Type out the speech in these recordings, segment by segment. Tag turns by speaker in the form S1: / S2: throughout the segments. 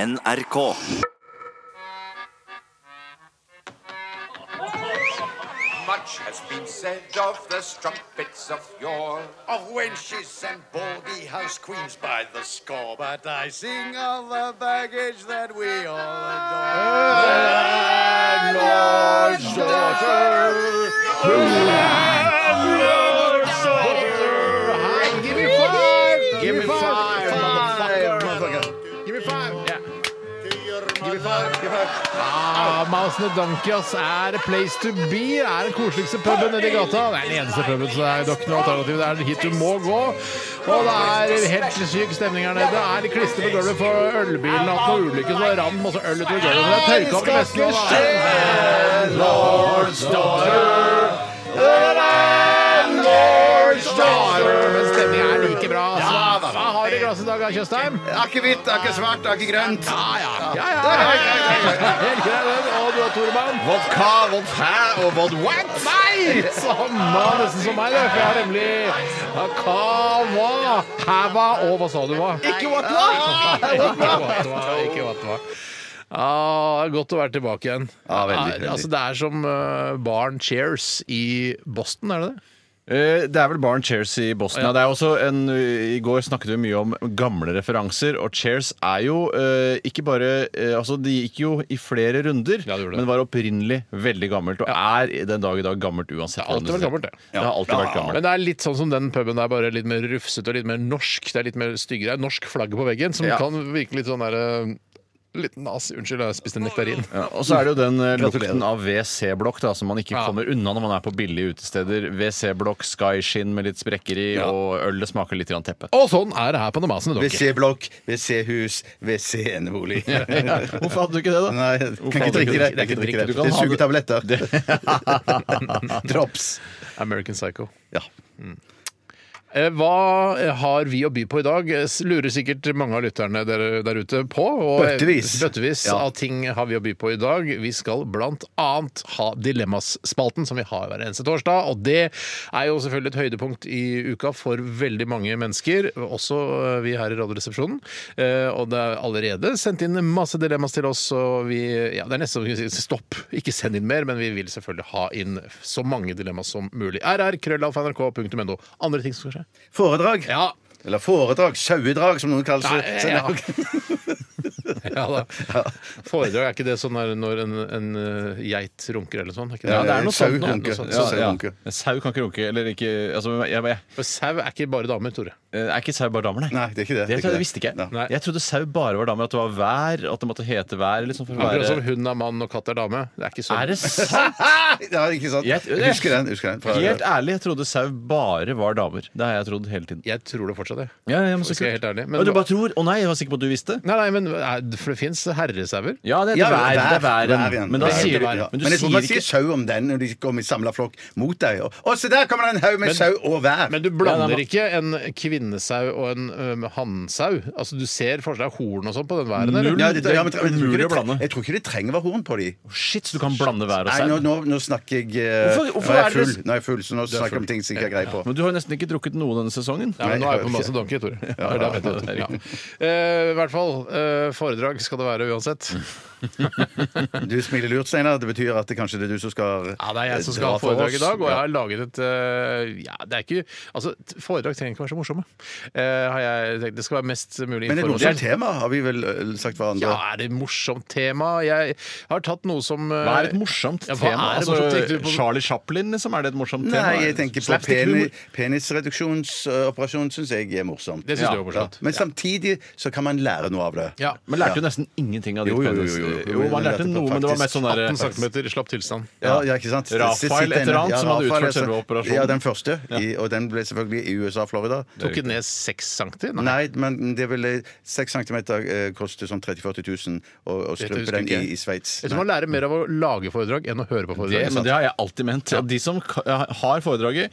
S1: NRK.
S2: Much has been said of the strumpets of yore,
S3: of wenches and baldy house queens by the score. But I sing of the baggage that we all adore.
S4: Give me five. Give me
S3: five,
S4: five,
S3: motherfucker.
S4: motherfucker. Give me five. Give me five. Give me five. Ah, Mouse and the Donkey ass, er a place to be. Det er den koseligste puben nedi gata. Det er den eneste puben, så det er jo ikke noe alternativ. Det er hit du må gå. Og det er helt syk stemning her nede. Det er klister på gulvet for ølbilen. Hatt noen ulykker, så det har rammet masse øl utover gulvet. Så det er tørka opp i nesten og det er- Men stemningen er like bra. altså. Hva har du i glasset i dag, Tjøstheim?
S3: Akke hvitt, akke svart, akke grønt.
S4: Ja, ja, ja, ja, ja, ja. Helt grei den. Og du har Toremann.
S3: Vodka, vodka og vodwat.
S4: Nei! Samme, nesten som meg, da, for jeg har nemlig Kava, Hava og hva sa du, hva?
S3: Ikke vodka!
S4: Ikke vatva, ikke vatva. Ah, det er godt å være tilbake igjen.
S3: Ja, veldig,
S4: Ah,
S3: veldig.
S4: Altså, det er som eh, barn Cheers i Boston, er det det?
S5: Eh, Det er vel Barn Cheers i Boston. Ja. Det er også en, eh, I går snakket vi mye om gamle referanser, og Cheers er jo eh, ikke bare eh, Altså, det gikk jo i flere runder,
S4: Ja, det gjorde det.
S5: men var opprinnelig veldig gammelt, og er den dag i dag gammelt uansett.
S4: Det har alltid vært
S5: hvordan ser ut.
S4: gammelt, det.
S5: Det har alltid vært gammelt.
S4: Men det er litt sånn som den puben der, bare litt mer rufsete og litt mer norsk. Det er litt mer styggere. Det er Norsk flagg på veggen, som
S5: Ja.
S4: kan virke litt sånn derre Litt nazi. Unnskyld, jeg spiste nektarin.
S5: Ja, og så er det jo den eh,
S3: Gratulerer.
S5: lukten av WC-blokk da, som man ikke
S4: Ja.
S5: kommer unna når man er på billige utesteder. WC-blokk, skyskinn med litt sprekker i,
S4: Ja.
S5: og ølet smaker litt grann teppe.
S4: Og sånn er det her på Namasen. dere.
S3: WC-blokk, WC-hus, WC-enebolig.
S5: Hvorfor hadde du ikke det, da?
S3: Nei, jeg kan ikke drikke det. Jeg kan ikke drikke det.
S5: Du kan
S3: Det er
S5: ha det.
S3: sugetabletter. Drops.
S4: American Psycho. Mm.
S3: Ja.
S4: Eh, Hva har vi å by på i dag? Eh, S- Lurer sikkert mange av lytterne der, der ute på. Og
S3: Bøttevis.
S4: Bøttevis av ting har vi å by på i dag. Vi skal blant annet ha Dilemmaspalten, som vi har hver eneste torsdag. Og det er jo selvfølgelig et høydepunkt i uka for veldig mange mennesker, også eh, vi her i Radioresepsjonen. Eh, Og det er allerede sendt inn masse dilemmas til oss, og vi Ja, det er nesten så vi kan si stopp, ikke send inn mer, men vi vil selvfølgelig ha inn så mange dilemmas som mulig. RR, krøllalfa.nrk.no. Andre ting som skal skje?
S3: Foredrag.
S4: Ja.
S3: Eller foredrag. Sauedrag, som noen kaller det.
S4: Nei, ja. ja da. Foredrag er ikke det sånn der når en, en eh, geit runker eller sånn? Er ikke det?
S3: Ja, det er noe
S4: Sau
S3: sånt, noe
S4: runker.
S3: sånt.
S4: Ja,
S3: Eh, Sau
S4: ja.
S3: runker.
S5: Sau kan ikke runke, eller ikke altså, jeg, jeg,
S4: For sau er ikke bare damer, Tore.
S5: Eh, Er ikke sau bare damer, nei?
S3: Nei, det er ikke det.
S5: Det,
S3: Det er ikke det.
S5: visste ikke jeg.
S4: Nei.
S5: Jeg trodde sau bare var damer, at det var vær, at det måtte hete vær. Liksom, for å
S4: Akkurat som
S5: være...
S4: hund er mann og katt er dame. Det er ikke sånn.
S5: Er det sant?
S3: Ja, ikke sant?
S5: Jeg-
S3: Jeg husker den. husker den. Fra-
S5: Helt ærlig, jeg trodde sau bare var damer. Det har jeg trodd hele tiden.
S4: Jeg tror det fortsatt, jeg.
S5: Ja, ja, men så
S4: Skal jeg
S5: kult.
S4: være helt ærlig, men-
S5: Og du bare tror? Å nei, jeg var sikker på at du visste.
S4: Nei, nei, men eh, for det fins herresauer.
S5: Ja, det
S3: Ja,
S5: heter vær. Det er
S3: vær
S5: væren.
S3: igjen.
S5: Men da
S3: Det heter
S5: sier du
S3: vær, ja.
S5: Men du
S3: Men jeg tror man
S5: sier
S3: sier
S5: ikke
S3: sau om den når de kommer i samla flokk mot deg. Og, og se der kommer det en haug med sau og vær!
S4: Men du
S5: Ja,
S4: blander
S5: nei, men-
S4: ikke en kvinnesau og en um, hannsau? Altså, du ser for deg horn og sånn på den væren? eller?
S5: Null.
S3: Ja, det- ja, men- men- jeg tror ikke
S5: Umulig å
S3: det-
S5: blande.
S3: Jeg tror ikke det trenger å være horn på de.
S5: Shit, så du kan blande vær og
S3: Nei, nå,
S5: sau.
S3: nå, nå snakker jeg eh,
S5: Hvorfor- hvorfor
S3: Nå er
S5: er
S3: jeg
S5: det-
S3: full, nå er jeg full så nå snakker jeg om ting som jeg ikke har greie på.
S5: Men du har jo nesten ikke drukket noe denne sesongen.
S4: Ja, men nå er jeg på masse donkey, Tore. Det er det jeg vet om. Ja. Eh, I hvert fall. eh, foredrag skal det være uansett.
S3: Du smiler lurt, Steinar. Det betyr at det kanskje det er du som skal eh,
S4: Ja, det er jeg som
S3: dra
S4: skal ha
S3: for
S4: foredrag
S3: oss.
S4: i dag, og jeg
S3: Ja.
S4: har laget et eh, Ja, det er ikke Altså, t- foredrag trenger ikke være så morsomme. Eh, har jeg tenkt. Det skal være mest mulig
S3: Men et morsomt
S4: informasjon.
S3: tema har vi vel eh, sagt hverandre.
S4: Ja, er det morsomt tema? Jeg har tatt noe som eh,
S5: Hva er et morsomt
S4: Ja, hva
S5: tema?
S4: er et
S5: Altså,
S4: morsomt tema?
S5: Charlie Chaplin, liksom? Er det et morsomt tema?
S3: Nei, jeg tenker på
S5: Slapstick humor.
S3: peni, penisreduksjonsoperasjon syns jeg er morsomt.
S4: Det syns
S5: Ja,
S4: du er morsomt.
S3: Men samtidig så kan man lære noe av det.
S4: Ja.
S5: Men lærte jo nesten ingenting av ditt
S3: Jo, jo, jo,
S5: penis.
S3: jo, jo.
S5: man lærte
S3: Lærte på
S5: noe, men det var
S3: faktisk
S5: mest sånn
S4: 18
S5: derre
S4: cm Eh, slapp tilstand.
S3: Ja, ja, ikke sant?
S5: Rafael
S3: Det sitter
S5: et eller
S3: en-
S5: annet som hadde
S3: Rafael,
S5: utført selve
S3: altså.
S5: operasjonen.
S3: Ja, den første. I, og den ble selvfølgelig i USA og Florida.
S4: Tok den ned 6 cm? Nei.
S3: Nei, men det ville 6 cm eh, koste sånn 30 000-40 000 å- å strømpe
S4: husker
S3: den
S4: ikke jeg.
S3: i, i Sveits.
S4: Jeg tror man lærer mer av å lage foredrag enn å høre på
S5: det,
S4: foredrag.
S5: men det har jeg alltid ment. At de som ka- har foredraget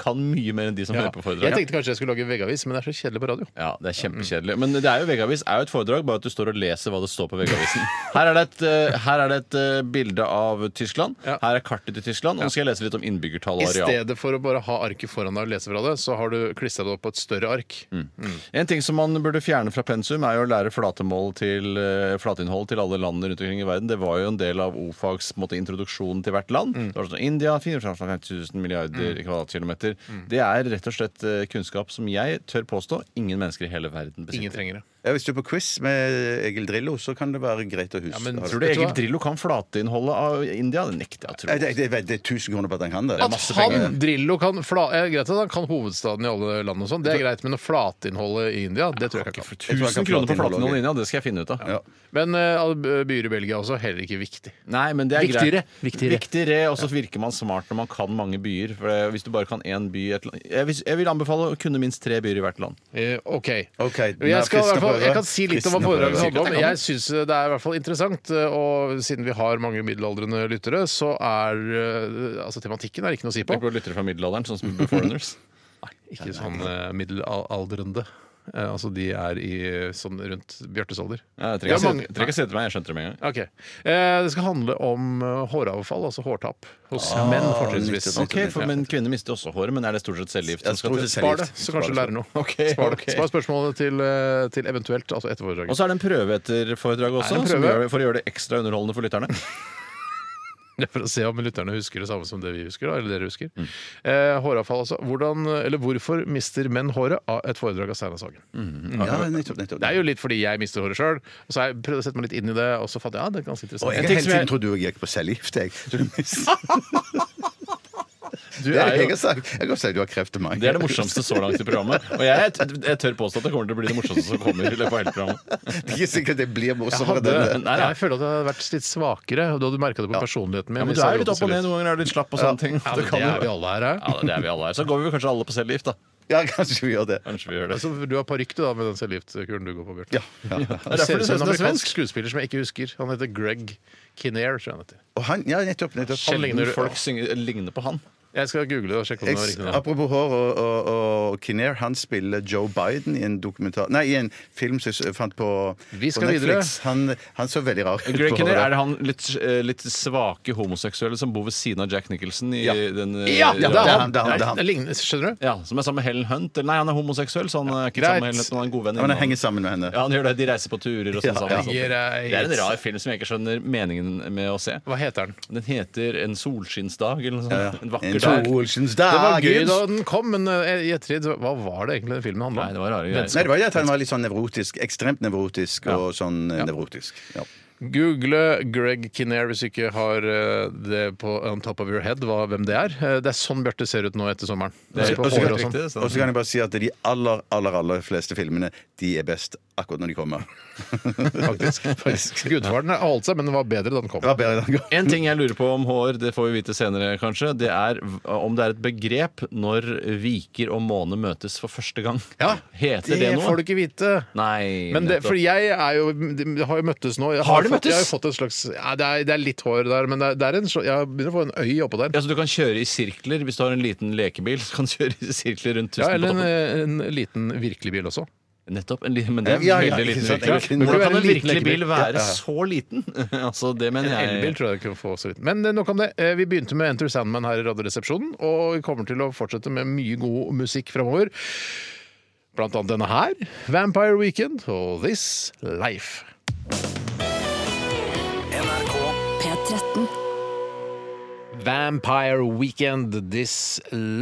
S5: kan mye mer enn de som
S4: Ja.
S5: hører på
S4: Jeg
S5: foredrag.
S4: tenkte kanskje jeg skulle lage veggavis, men det er så kjedelig på radio.
S5: Ja, det er kjempekjedelig. Men det er jo veggavis er jo et foredrag, bare at du står og leser hva det står på veggavisen. Her er det et, eh, her er det et eh, bilde av Tyskland.
S4: Ja.
S5: Her er kartet til Tyskland. Og nå skal jeg lese litt om innbyggertall
S4: I
S5: og areal.
S4: stedet for å bare ha arket foran deg og lese fra det, så har du klistra det opp på et større ark.
S5: Mm. En ting som man burde fjerne fra pensum, er jo å lære flatemål til, eh, flateinnhold til alle landene rundt omkring i verden. Det var jo en del av O-fags på en måte, introduksjon til hvert
S4: Mm.
S5: land. Det var sånn India 450 000 milliarder kvadratkilometer.
S4: Mm.
S5: Det er rett og slett eh, kunnskap som jeg tør påstå ingen mennesker i hele verden
S4: Ingen
S5: besitter.
S4: trenger det.
S3: Ja, hvis du er på quiz med Egil Drillo, så kan det være greit å huske.
S4: Ja, men
S3: Har du-
S5: Tror du
S4: Vet du
S5: Egil
S4: hva?
S5: Drillo kan flateinnholdet av India? Det nekter jeg å
S3: Nei,
S5: tro.
S3: det, det, det, er tusen kroner på at han kan det.
S4: At han, Drillo, kan, fla, eh, greit at han kan hovedstaden i alle land og sånn, det er greit, men å flateinnholdet i India, det tror jeg ikke han kan.
S3: Jeg tror han kan
S5: 1000 kroner
S3: flateinnholdet.
S5: på flateinnholdet i India, det skal jeg finne ut av.
S4: Men eh, alle byer i Belgia også, heller ikke viktig.
S5: Nei, men det er
S4: Viktigere.
S5: greit.
S4: Viktigere.
S5: og så virker man smart når man kan mange byer. For det- hvis du bare kan én by i et land jeg, vil- jeg vil anbefale å kunne minst tre byer i hvert land.
S4: Eh, OK.
S3: Ok, den er
S4: jeg, skal, i hvert fall,
S3: fristende
S4: jeg
S3: på
S4: kan si litt om hva
S3: Fristende på
S4: foredraget
S3: øret.
S4: handler om. Jeg syns det er i hvert fall interessant, eh, og siden vi har mange middelaldrende lyttere, så er eh, altså tematikken er ikke noe å si på.
S5: Tenk på lyttere fra middelalderen, sånn som Foreigners.
S4: Ikke sånn eh, middelaldrende. Eh, altså de er i eh, sånn rundt Bjartes alder.
S5: Ja,
S4: Det er
S5: Jeg trenger ikke si
S4: mange-
S5: det- trenger ikke si det til meg, jeg skjønte det med en gang.
S4: Ok. Eh, det skal handle om eh, håravfall, altså hårtap, hos menn fortrinnsvis.
S3: nyttig,
S5: Ah, Ok, for, men Kvinner mister også håret, men er det stort sett cellegift som
S3: Jeg
S5: skal
S3: tror
S5: til?
S3: det er
S4: Spar
S3: cellegift.
S4: det, så kanskje du lærer noe.
S5: Ok,
S4: Spar,
S5: ok.
S4: det. Spar spørsmålene til, eh, til eventuelt, altså etter
S5: Og
S4: foredraget.
S5: så er det en prøve etter foredraget også,
S4: Er det en
S5: som
S4: prøve?
S5: gjør, for å gjøre det ekstra underholdende for lytterne.
S4: Det er For å se om lytterne husker det samme som det vi husker. Da, eller dere husker.
S5: Mm.
S4: Eh, håravfall, altså. Hvordan, eller hvorfor mister menn håret? Av et foredrag av Steinar Sagen.
S5: Mm.
S3: Ja, nettopp, nettopp.
S4: Det er jo litt fordi jeg mister håret sjøl, og så har jeg prøvd å sette meg litt inn i det, og så fant jeg ja, det er ganske
S3: Og
S4: interessant.
S3: jeg har
S5: En ting
S3: hele
S5: som jeg-
S3: tiden trodd du gikk på cellegift, jeg. Så du mister-
S5: Du
S3: Det er det
S5: er
S3: jeg
S5: jo
S3: har sagt. Jeg har sagt du har kreft til meg.
S5: det er det morsomste så langt i programmet. Og jeg, jeg tør påstå at det kommer til å bli det morsomste som kommer. i løpet av hele programmet
S3: Det er ikke sikkert det blir
S4: Jeg,
S3: morsommere.
S4: hadde,
S3: denne.
S5: Nei, nei.
S4: jeg føler at jeg hadde vært litt svakere, og du hadde merka det på personligheten min.
S5: Ja, men
S4: hvis
S5: Du er
S4: jeg
S5: jo litt
S4: hadde
S5: opp og ned,
S4: gått
S5: noen ganger er du litt slapp og sånne ting.
S4: Ja,
S5: Det
S4: men
S5: kan
S4: det er
S5: jo-
S4: vi alle her, er.
S5: Ja, det er vi alle her. Så går vi kanskje alle på cellegift, da.
S3: Ja, kanskje vi gjør det.
S5: Kanskje vi gjør det.
S4: Altså, du har parykk du, da, med den cellegiftkuren du går på, Bjarte.
S3: Ja, ja.
S5: er
S4: Det
S5: derfor
S4: ser
S5: det
S4: ut som en
S5: ser ut som det er
S4: amerikansk
S5: svensk.
S4: skuespiller som jeg ikke husker. Han heter Greg Kinnear. tror jeg han heter.
S3: Og han, ja, nettopp, nettopp.
S4: Sjelden ligner du-
S5: folk synger, ligner på han.
S4: Jeg skal google det og sjekke om det var
S3: Jeg,
S4: riktig. navn.
S3: apropos hår og, og, og Kinnair, han spiller Joe Biden i en dokumentar Nei, i en film som jeg fant på,
S4: Vi skal
S3: på Netflix. Han, han så veldig rar ut.
S5: Greg
S3: på
S5: Kinnear,
S3: håret.
S5: er det han litt, eh, litt svake homoseksuelle som bor ved siden av Jack Nicholson i
S3: Ja.
S5: den eh,
S4: Ja, det er han!
S3: det er han, det er han.
S4: Nei, det ligner, skjønner du?
S5: Ja, Som er sammen med Helen Hunt. Eller Nei, han er homoseksuell, så han eh, er ikke
S4: Greit.
S5: sammen med Helen Hunt, men han er en god venn.
S3: Ja, men
S5: innen
S3: han henger sammen med henne.
S5: Ja, han gjør det. De reiser på turer og
S3: Ja,
S5: sånn sammen. Det er en rar film som jeg ikke skjønner meningen med å se.
S4: Hva heter den?
S5: Den heter 'En solskinnsdag' eller noe sånt. En vakker
S3: En
S5: dag.
S3: solskins
S4: Det var
S3: dag.
S4: gøy da den kom, men eh, i ettertid så- Hva var det egentlig den filmen handla om?
S5: Nei, det var rare greier.
S3: Nei, det var jo at han var litt sånn nevrotisk. Ekstremt nevrotisk og sånn eh, nevrotisk. Ja.
S4: Google Greg Kinnear hvis du ikke har eh, det på on top of your head hva, hvem det er. Eh, Det er sånn Bjarte ser ut nå etter sommeren.
S5: Det er
S4: På
S3: Og så
S4: håret
S3: kan-
S4: og sånn.
S5: riktig, så-
S3: og så kan jeg bare si at de aller, aller, aller fleste filmene, de er best akkurat når de kommer.
S4: Faktisk. faktisk. Gudfaren holdt seg, men den var bedre da den kom.
S3: Det var bedre den gangen.
S5: En ting jeg lurer på om hår, det får vi vite senere kanskje, det er v- om det er et begrep når viker og måne møtes for første gang.
S4: Ja,
S5: Heter det,
S4: Det
S5: noe?
S4: får du ikke vite.
S5: Nei.
S4: Men det,
S5: nettopp.
S4: for jeg er jo, de har jo møttes nå. Jeg
S5: Har de
S4: fått-
S5: møttes?
S4: Jeg har jo fått et slags, ja, det, er, det er litt hår der, men det er, det er en, sl- jeg begynner å få en øy oppå der.
S5: ja, så du kan kjøre i sirkler hvis du har en liten lekebil. Så kan du kjøre i sirkler rundt
S4: Ja,
S5: tusen
S4: eller
S5: på
S4: en,
S5: toppen.
S4: en liten virkelig bil også.
S5: Nettopp. En, li- men det er en
S3: Ja, ja,
S5: veldig
S3: ikke
S5: liten
S3: sant,
S5: virkelig
S3: egentlig.
S4: Det
S5: bil. Hvordan
S4: må
S5: kan
S4: jo
S5: en
S4: være en
S5: virkelig
S4: liten
S5: bil
S4: bil.
S5: være så liten? altså, det
S4: En
S5: mener jeg
S4: elbil tror jeg kunne få så vidt. Men eh, nok om det. Eh, Vi begynte med Enter Sandman her i Radioresepsjonen, og vi kommer til å fortsette med mye god musikk framover. Blant annet denne her, Vampire Weekend og This Life.
S6: P13.
S4: Vampire Weekend This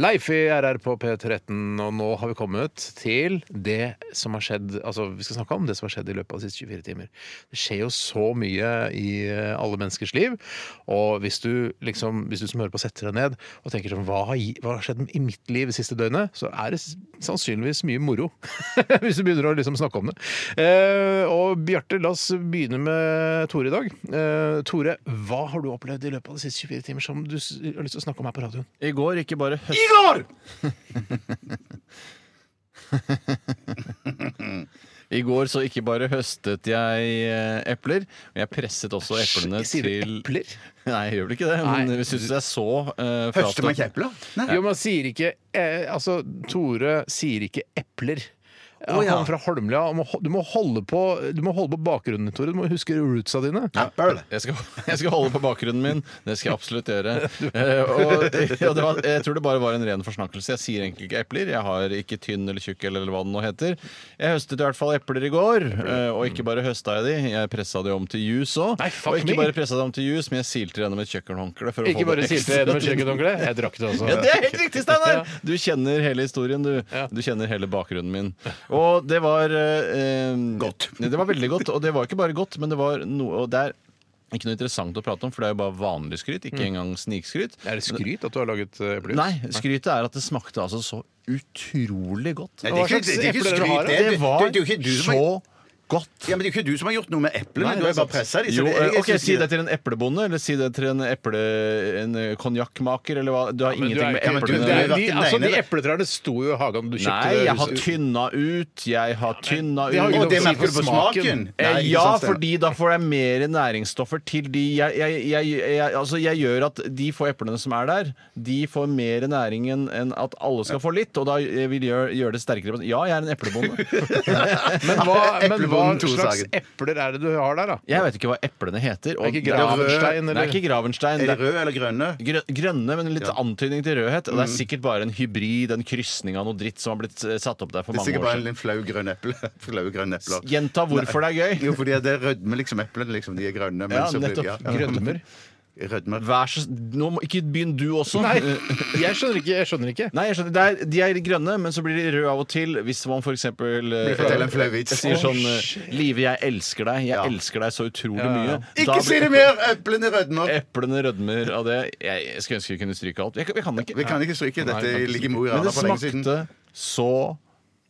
S4: Life i RR på P13. Og nå har vi kommet til det som har skjedd Altså, vi skal snakke om det som har skjedd i løpet av de siste 24 timer. Det skjer jo så mye i eh, alle menneskers liv. Og hvis du liksom, hvis du som hører på setter deg ned og tenker sånn Hva har, gi- hva har skjedd i mitt liv det siste døgnet? Så er det s- sannsynligvis mye moro. hvis du begynner å liksom snakke om det. Eh, og Bjarte, la oss begynne med Tore i dag. Eh, Tore, hva har du opplevd i løpet av de siste 24 timer som du s- har lyst til å snakke om her på radioen?
S5: I går ikke bare høst... I går så ikke bare høstet jeg eh, epler, men jeg presset også eplene
S4: Sier du
S5: til
S4: epler?
S5: Nei, jeg gjør vel ikke det, men
S4: Nei.
S5: jeg syns jeg så
S3: Høster
S5: eh,
S3: man
S5: frastøtende.
S3: ikke epler? Nei.
S4: Jo, man sier ikke eh, Altså, Tore sier ikke epler. Han
S3: Å, ja.
S4: kommer fra Holmlia. og må ho- Du må holde på, du må holde på bakgrunnen, Tore. Du må huske rootsa dine.
S3: Apple.
S5: Jeg skal, jeg skal holde på bakgrunnen min. Det skal jeg absolutt gjøre. Eh, og, ja, det var, jeg tror det bare var en ren forsnakkelse. Jeg sier egentlig ikke epler. Jeg har ikke tynn eller tjukk eller hva det nå heter. Jeg høstet i hvert fall epler i går, eh, og ikke bare høsta jeg de, jeg pressa de om til juice òg.
S4: Nei, fuck
S5: Og ikke
S4: me.
S5: bare pressa de om til juice, men jeg silte det gjennom et kjøkkenhåndkle. for å
S4: Ikke
S5: få
S4: bare
S5: det
S4: silte
S5: ekstra
S4: jeg med
S5: tynn.
S4: kjøkkenhåndkle. Jeg drakk det også.
S5: Ja, det er helt riktig, Steinar!
S4: Ja.
S5: Du kjenner hele historien, du.
S4: Ja.
S5: Du kjenner hele bakgrunnen min. Og det var eh, Godt. Det var veldig godt. Og det var ikke bare godt, men det var noe Og det er ikke noe interessant å prate om, for det er jo bare vanlig skryt, ikke engang snikskryt.
S4: Mm. Er det skryt at du har laget eh, epler?
S5: Nei, skrytet er at det smakte altså så utrolig godt.
S3: Nei, det er ikke, det er ikke
S4: Hva slags epler
S3: skryt,
S4: har
S3: det.
S4: du?
S3: er-
S5: Det var
S3: det er jo ikke du som
S5: så
S3: har,
S5: godt.
S3: ja, men det er jo ikke du som har gjort noe med eplene.
S5: Nei,
S3: Du har
S5: det
S3: bare
S5: er sant.
S3: pressa dem.
S5: Jo, eh, ok, Si det til en eplebonde, eller si det til en eple... En eh, konjakkmaker, eller hva. Du har
S4: Men du
S5: ingenting
S4: er-
S5: med
S4: ja, men du-
S5: eplene
S4: det er-
S3: du er
S4: de,
S3: ikke
S4: altså,
S3: den ene,
S4: de
S3: det.
S4: epletrærne sto jo i hagen. Du kjøpte
S5: Nei,
S4: det
S5: jeg har
S4: huset.
S5: tynna ut. Jeg har tynna ut.
S4: Det har jo ikke
S3: Og
S4: lov
S3: det
S4: å si
S3: merker du på smaken.
S5: Eh,
S3: Nei, ikke
S5: ja,
S3: sant, Steinar.
S5: fordi da får jeg mer næringsstoffer til de jeg, jeg, jeg, jeg, altså jeg gjør at de få eplene som er der, de får mer næring enn enn at alle skal få litt. Og da eh, vil jeg gjøre gjøre det sterkere. Ja, jeg er en eplebonde.
S4: Men hva, men hva
S3: Eplebonden Tore
S4: slags
S3: Sagen.
S4: epler er det du har der, da?
S5: Jeg vet ikke hva eplene heter. og-
S4: Er det ikke Gravenstein,
S5: Det er
S4: eller?
S5: ikke Gravenstein.
S3: Er
S5: Det
S3: de
S5: er
S3: røde eller grønne?
S5: grø- grønne, men litt antydning til rødhet. Og det er sikkert bare en hybrid, en krysning av noe dritt som har blitt eh, satt opp der for
S3: Det er
S5: mange
S3: sikkert
S5: år
S3: bare en
S5: siden.
S3: liten flau grønn eple. Flau grønn eple.
S5: Gjenta hvorfor det er gøy.
S3: Jo, fordi det rødmer liksom eplene. Liksom, de er grønne. Men
S5: Ja,
S3: så blir de-
S5: nettopp.
S4: Grønner?
S3: Rødmer.
S5: Vær så Nå må ikke begynn du også. Eh,
S4: Nei, jeg skjønner ikke. Jeg skjønner ikke.
S5: Nei, jeg skjønner. Det er, de er grønne, men så blir de røde av og til hvis man f.eks.
S3: Fortell en flau vits.
S5: sier sånn eh, Live, jeg elsker deg. Jeg
S3: Ja.
S5: elsker deg så utrolig
S4: Ja, ja.
S5: mye. Da
S3: Ikke
S5: blir
S3: si det mer! Eplene rødmer.
S5: Eplene rødmer av det. Jeg, jeg skulle ønske vi kunne stryke alt. Vi kan, vi kan ikke.
S3: Vi kan ikke stryke.
S5: Nei, vi
S3: Dette
S5: kan ikke
S3: ligger i
S5: stryke.
S3: Mo i Rana for lenge siden.
S5: Men det smakte så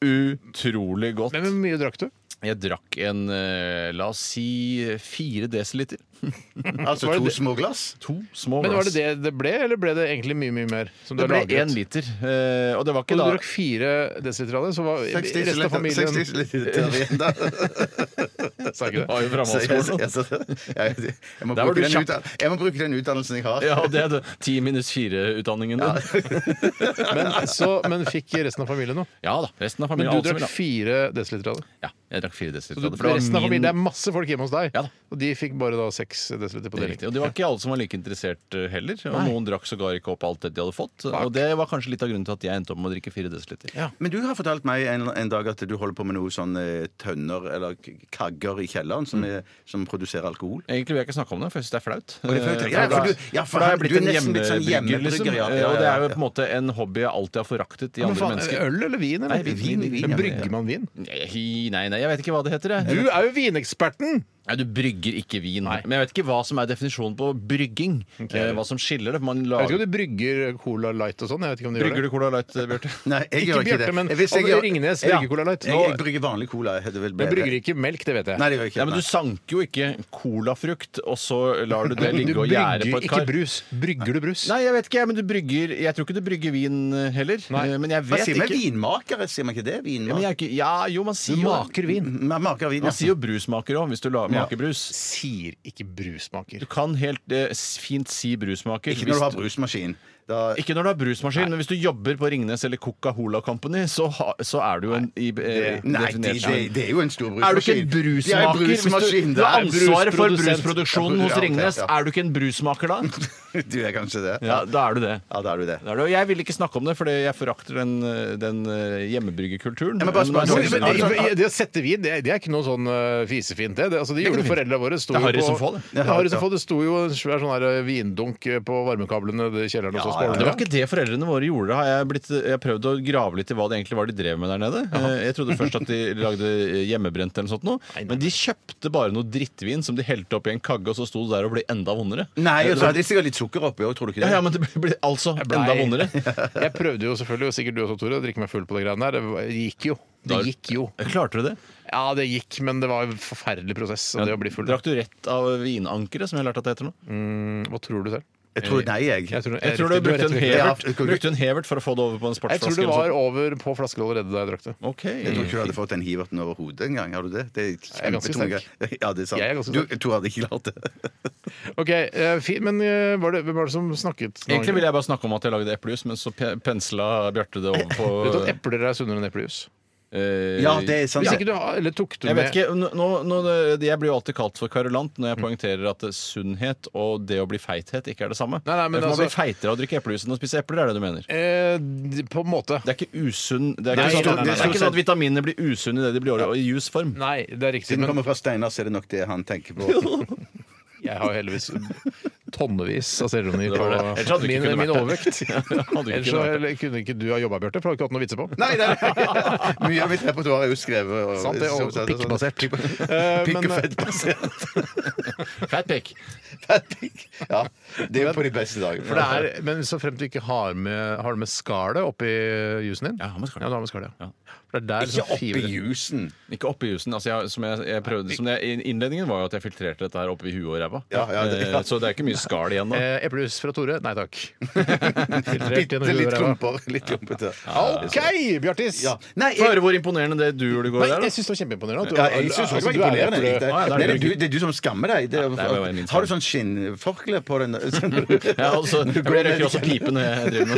S5: utrolig godt.
S4: Men hvor mye drakk du?
S5: Jeg drakk en, eh, la oss si, fire desiliter.
S3: Altså
S4: Var det
S3: to
S4: det-
S3: små glass.
S5: To små
S4: Men
S5: glass.
S4: Var det det det ble, eller ble det egentlig mye mye mer? Som du
S5: Det
S4: har
S5: ble
S4: lagret?
S5: én liter. eh, Og det var
S4: Og
S5: ikke
S4: du
S5: da
S4: drakk fire desiliter av det, så var
S3: 60
S4: resten av familien
S3: liter igjen da.
S4: Sa ikke det?
S5: var jo
S3: Så jeg-
S5: framadsskolen.
S3: jeg- jeg- jeg må
S5: Der var
S3: bruke
S5: du
S3: den
S5: kjapp.
S3: utdan- Jeg må bruke den utdannelsen jeg har.
S5: Ja, det er det. Ti minus fire-utdanningen din.
S4: Men, så, men fikk resten av familien noe?
S5: Ja. da. Resten av
S4: Men
S5: familien
S4: du
S5: alt som
S4: drakk
S5: vil ha.
S4: fire desiliter av det?
S5: Ja, jeg drakk fire desiliter.
S4: Så du,
S5: av det, for det var
S4: resten av
S5: min-
S4: familien, Det er masse folk hjemme hos deg,
S5: Ja da.
S4: og de fikk bare da seks desiliter på
S5: Det er
S4: deling.
S5: riktig. Og det var ikke alle som var like interessert eh, heller. Og noen drakk sågar ikke opp alt det de hadde fått. Og det var kanskje litt av grunnen til at jeg endte opp med å drikke fire desiliter.
S4: Ja.
S3: Men du har fortalt meg en, en dag at du holder på med noe sånn eh, tønner eller k- kagger i kjelleren som, er, som produserer alkohol.
S5: Egentlig vil jeg ikke snakke om det, for jeg syns det er flaut.
S3: det er flaut, ja.
S5: Eh,
S3: Ja, for du- ja, for
S5: for da har jeg
S3: han- du
S5: blitt
S3: er
S5: en
S3: nesten litt sånn
S5: hjemmebrygger,
S3: hjemmebrygger,
S5: liksom.
S3: ja, ja,
S5: Eh, Og det er jo
S3: ja.
S5: på en måte en hobby jeg alltid har foraktet i
S4: Men
S5: andre
S4: faen,
S5: mennesker.
S4: øl eller vin? Eller?
S5: Nei, vin, vin,
S4: men
S5: ja,
S4: brygger man vin?
S5: Nei, nei, nei, jeg vet ikke hva det heter. Jeg.
S4: Du er jo vineksperten!
S5: Nei, du brygger ikke vin.
S4: Nei.
S5: Men jeg vet ikke hva som er definisjonen på brygging. Eh, hva som skiller det. for Man
S4: Jeg vet ikke
S5: lager...
S4: om du brygger Cola Light og sånn. Jeg vet ikke om du gjør
S5: Brygger
S4: det.
S5: du Cola Light, eh, Bjarte?
S3: Nei, jeg
S4: Ikke
S3: gjør ikke
S4: Bjarte,
S3: det.
S4: men-
S3: Hvis jeg
S4: Ja, men
S3: gjør-
S4: Ringnes brygger Cola Light.
S3: Jeg,
S4: Nå-
S3: jeg brygger vanlig cola. Jeg heter vel
S4: Men brygger ikke melk, det vet jeg.
S3: Nei, det gjør jeg ikke.
S5: Ja, men Du sanker jo ikke colafrukt, og så lar du det
S4: du
S5: ligge og gjære
S4: brygger
S5: på et
S4: ikke
S5: kar.
S4: brus. Brygger du brus?
S5: Nei, jeg vet ikke, jeg, men du brygger Jeg tror ikke du brygger vin eh, heller.
S4: Nei.
S5: Eh, Men jeg
S3: Hva
S5: vet
S3: sier man
S5: ikke.
S3: vinmakere? Sier man ikke det?
S5: Ja, men
S3: Vinmaker?
S5: jeg er ikke ja, jo, man
S4: Du
S5: sier jo
S4: maker vin.
S3: Man maker vin,
S5: Man sier jo brusmaker òg, hvis du la,
S3: Ja.
S5: maker brus.
S4: Sier ikke brusmaker.
S5: Du kan helt eh, s- fint si brusmaker.
S3: Ikke
S5: hvis
S3: når du har brusmaskin. Da,
S5: Ikke når du har brusmaskin, men hvis du jobber på Ringnes eller Coca-Cola Company, så, ha, så er du en i, eh,
S3: nei, det,
S5: definert
S3: det,
S5: som-
S3: det er jo en stor brusmaskin.
S5: Er du ikke en
S3: Ja,
S5: brusmaker? Hvis
S3: brusmaskin,
S5: du, du
S3: det
S5: har
S3: er
S5: ansvaret for
S3: brusprodusent.
S5: brusproduksjonen hos
S3: Ja, ok,
S5: Ringnes.
S3: ja.
S5: Er du ikke en brusmaker da?
S3: Du er kanskje det.
S5: Ja, da er du det.
S3: Ja, da er du det.
S5: Da er du- Jeg vil ikke snakke om det, for jeg forakter den, eh, den eh, hjemmebryggekulturen.
S3: Ja, men bare spør-
S5: Men det er
S3: men-
S5: mange som-
S3: men-
S4: Det å sette vin, det, er- det er ikke noe sånn eh, fisefint, det. det altså, de
S5: Det er
S4: gjorde
S5: ikke noe fint.
S4: foreldrene våre. Sto jo
S5: Det er Harry
S4: på-
S5: som får det.
S4: Ja, Harry som får det. sto jo en svær sånn her eh, vindunk eh, på varmekablene i kjelleren hos oss. på
S5: Ja, Det var
S4: Holmlia.
S5: ikke det foreldrene våre gjorde. Har jeg, blitt, jeg har prøvd å grave litt i hva det egentlig var de drev med der nede. Eh, Jeg trodde først at de lagde eh, hjemmebrent eller noe sånt, noe, men de kjøpte bare noe drittvin som de helte opp i en kagge, og så sto det der og ble enda vondere.
S3: Nei, og så hadde de sikkert litt sukker oppi òg, tror du ikke
S5: Ja,
S3: det?
S5: ja, men det ble- ble altså enda
S4: Nei.
S5: vondere.
S4: Jeg prøvde jo selvfølgelig, og sikkert du også, Tore, å drikke meg full på de greiene der. Det var- Det gikk jo. Det
S5: Da-
S4: gikk jo.
S5: Klarte du det?
S4: Ja, det gikk, men det var en forferdelig prosess. Og det å bli full.
S5: Drakk du rett av vinankeret, som jeg lærte at det heter nå?
S4: Hva tror du selv?
S3: Jeg tror nei, jeg.
S4: Jeg tror,
S5: Jeg tror du brukte en sånn. hevert,
S3: Ja,
S5: brukte en hevert for å få det over på en
S4: Jeg tror
S5: sportsflaske.
S4: det var
S5: eller noe sånt.
S4: over på flasker allerede da jeg drakk det.
S5: Ok.
S3: Jeg tror ikke du hadde fått den hiverten over hodet engang. Har du det? Det er
S4: ganske
S3: kjempetung
S4: sterk.
S3: greie. Ja, det er sant.
S4: Jeg er ganske
S3: du,
S4: sterk.
S3: du hadde ikke klart det.
S4: Ok, eh, fint, Men eh, var det, hvem var det som snakket?
S5: Egentlig ville jeg bare snakke om at jeg lagde eplejus, men så pe- pensla Bjarte det over på
S4: Vet du at epler er sunnere enn eplejus?
S5: eh,
S3: Ja, det er sant.
S4: Hvis ikke du har, eller tok du
S5: Jeg vet
S4: med
S5: ikke, nå, nå- nå, jeg blir jo alltid kalt for kverulant når jeg poengterer at sunnhet og det å bli feithet ikke er det samme.
S4: Nei, nei, men
S5: For Man
S4: altså-
S5: blir feitere av å drikke eplejus enn å spise epler, er det du mener?
S4: Eh, d- På en måte.
S5: Det er ikke usunn Det er
S4: Nei,
S5: ikke, sånn,
S4: nei, nei,
S5: det er
S4: nei.
S5: ikke sånn at vitaminene blir usunne i det de blir i jusform.
S4: Nei, det er riktig.
S3: Siden det
S4: Men
S3: kommer fra Steinar, så er det nok det han tenker på.
S4: jeg har heldigvis tonnevis av selvironi
S5: var det. Ellers hadde
S4: på
S5: du
S4: min,
S5: ikke kunnet
S4: min
S5: vært
S4: overvekt.
S5: Hadde du ikke
S4: Ellers så
S5: kunnet vært det.
S4: kunne ikke du ha jobba, Bjarte, for du har ikke hatt noe å vitse på.
S3: Nei, det er Mye av mitt repertoar er jo skrevet og-
S4: Sant, det er
S3: så- så-
S4: også
S3: så-
S4: pikkbasert. Eh,
S3: Pikk og
S4: men, eh,
S3: fettbasert.
S5: Fat pick.
S3: Fettpikk. Ja, det er jo på de beste dagene.
S4: for det er, men så fremt du ikke har med, har du med skallet oppi jusen din
S5: Ja, har med skallet.
S4: Ja, du har med skallet, ja.
S5: Ja.
S4: For det er der
S3: Ikke
S4: liksom
S3: oppi
S4: fibrer-
S3: jusen.
S5: Ikke oppi jusen. Altså jeg, som jeg, jeg prøvde, som jeg, innledningen var jo at jeg filtrerte dette her oppi huet og ræva.
S3: Ja, ja, det- ja.
S5: Eh, Så det er ikke mye skall igjen da.
S4: Eh, Eplejus fra Tore? Nei takk. Filtrert gjennom
S3: Bitte litt
S4: huet og ræva.
S3: klumper. Litt klumpete.
S4: OK, Bjartis!
S3: Ja. Nei,
S5: Få høre
S3: jeg,
S5: hvor imponerende det du gjorde i går
S4: Nei,
S5: der. da.
S4: jeg syns det var kjempeimponerende. at du-
S3: ja, jeg syns også det var
S4: du er
S3: imponerende.
S4: eple-
S3: egentlig.
S5: Ah, ja,
S3: Nei,
S5: det er
S3: det, er
S5: veldig
S3: du, det er du som skammer deg. Det er,
S5: det er jo min skam.
S3: har du sånn skinnforkle på den?
S5: Ja, altså, jeg blir- jeg røyker også pipe når jeg driver med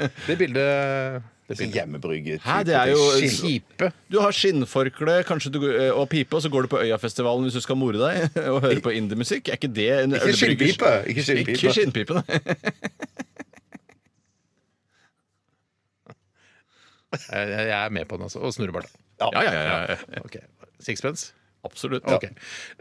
S5: det.
S4: Det bildet det bildet.
S3: Hjemmebrygget.
S5: Hæ, det er jo
S4: Kjipe.
S5: Du har skinnforkle kanskje du, går- og pipe, og så går du på Øyafestivalen hvis du skal more deg og høre på indiemusikk. Er ikke det en
S3: Ikke
S5: ølbryggers-
S3: skinnpipe. Ikke skinnpipe.
S5: Ikke skinnpipe, nei.
S4: Jeg, jeg jeg er med på den, altså. Og snurrebart.
S5: Ja, ja, ja, ja.
S4: Ok. Sixpence?
S5: Absolutt.
S4: Ok.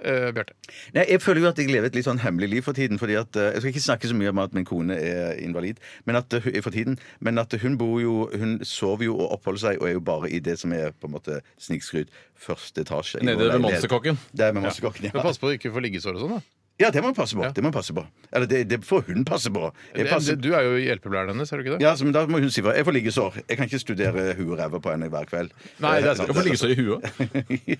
S4: Eh, Bjarte.
S3: Nei, Jeg føler jo at jeg lever et litt sånn hemmelig liv for tiden. fordi at, eh, Jeg skal ikke snakke så mye om at min kone er invalid men at, eh, hun- for tiden. Men at hun bor jo Hun sover jo og oppholder seg, og er jo bare i det som er på en måte snikskryt første etasje. i
S5: Nede
S3: vår
S5: ved
S3: leilighet.
S5: Monsterkokken.
S3: Det er ved Monsterkokken,
S4: Men
S3: ja.
S4: pass på å ikke få liggesår og sånn, da.
S3: ja, det må hun passe på. Det må hun passe på. Eller det, det får hun passe på. Jeg passer,
S4: Det- Du er jo hjelpepleieren hennes, er du ikke det?
S3: ja, så, men Da må hun si fra. Jeg får liggesår. Jeg kan ikke studere huet og ræva på henne hver kveld. Eh,
S4: Nei, det er sant.
S5: Hvorfor ligge så i huet?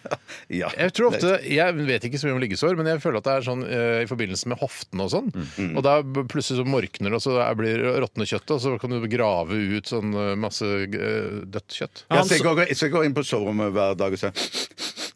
S3: ja.
S4: Jeg tror ofte, jeg vet ikke så mye om liggesår, men jeg føler at det er sånn eh, i forbindelse med hoftene og sånn.
S5: Mm.
S4: Og da b- plutselig så morkner det, og så er- blir det råtne kjøttet, og så kan du grave ut sånn eh, masse eh, dødt kjøtt.
S3: Ja, så jeg, går, jeg skal gå inn på soverommet hver dag og si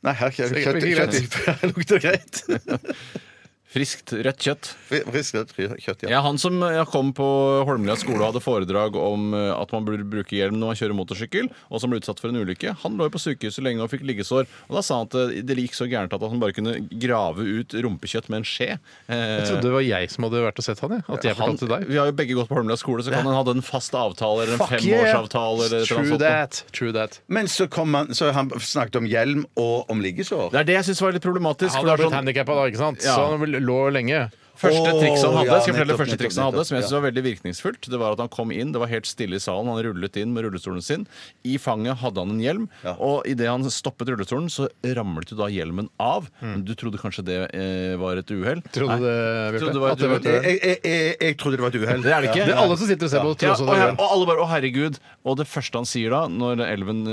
S3: Nei, her er ikke
S4: Så det
S3: kjøtt.
S4: blir
S3: kjøtt, Her lukter greit.
S5: Friskt rødt kjøtt.
S3: Friskt rødt kjøtt, ja.
S5: Ja, han som eh, kom på Holmlia skole og hadde foredrag om eh, at man burde bruke hjelm når man kjører motorsykkel, og som ble utsatt for en ulykke, han lå jo på sykehuset lenge og fikk liggesår. Og da sa han at eh, det gikk så gærent at han bare kunne grave ut rumpekjøtt med en skje. Eh,
S4: Jeg trodde det var jeg som hadde vært og sett han, jeg. At jeg
S5: han,
S4: fortalte deg.
S5: vi har jo begge gått på Holmlia skole, så kan han hadde en fast avtale eller en
S4: Fuck
S5: femårsavtale. eller et eller annet
S4: True
S5: sånt noe.
S4: that. True that.
S3: Men så, kom han, så han snakket om hjelm og om liggesår.
S5: Det er det jeg syns var litt problematisk.
S4: Han
S5: for
S4: har
S5: det er
S4: blitt
S5: sånn-
S4: handikappa da, ikke sant?
S5: Ja.
S4: Så han vel- lå lenge.
S5: Første
S3: Åh,
S5: trikset han hadde,
S3: ja, nettopp,
S5: skal jeg fortelle det første
S3: nettopp,
S5: trikset han hadde,
S3: nettopp,
S5: som jeg
S3: ja.
S5: synes var veldig virkningsfullt, det var at han kom inn, det var helt stille i salen, han rullet inn med rullestolen sin. I fanget hadde han en hjelm,
S3: Ja.
S5: og idet han stoppet rullestolen, så ramlet jo da hjelmen av. Men Du trodde kanskje det eh, var et uhell?
S4: Mm. Trodde du
S5: Nei.
S4: det,
S5: Trodde
S4: Bjarte?
S5: det var
S4: At det
S5: et
S4: var et
S5: uhell.
S4: uhell?
S3: Jeg, Eh, jeg, jeg, jeg, jeg trodde det var et uhell.
S5: Det er det ikke.
S4: Det er alle som sitter og ser på.
S5: Ja,
S4: tror også
S5: og,
S4: det
S5: ja,
S4: var
S5: og alle bare 'Å, herregud'. Og det første han sier da, når elven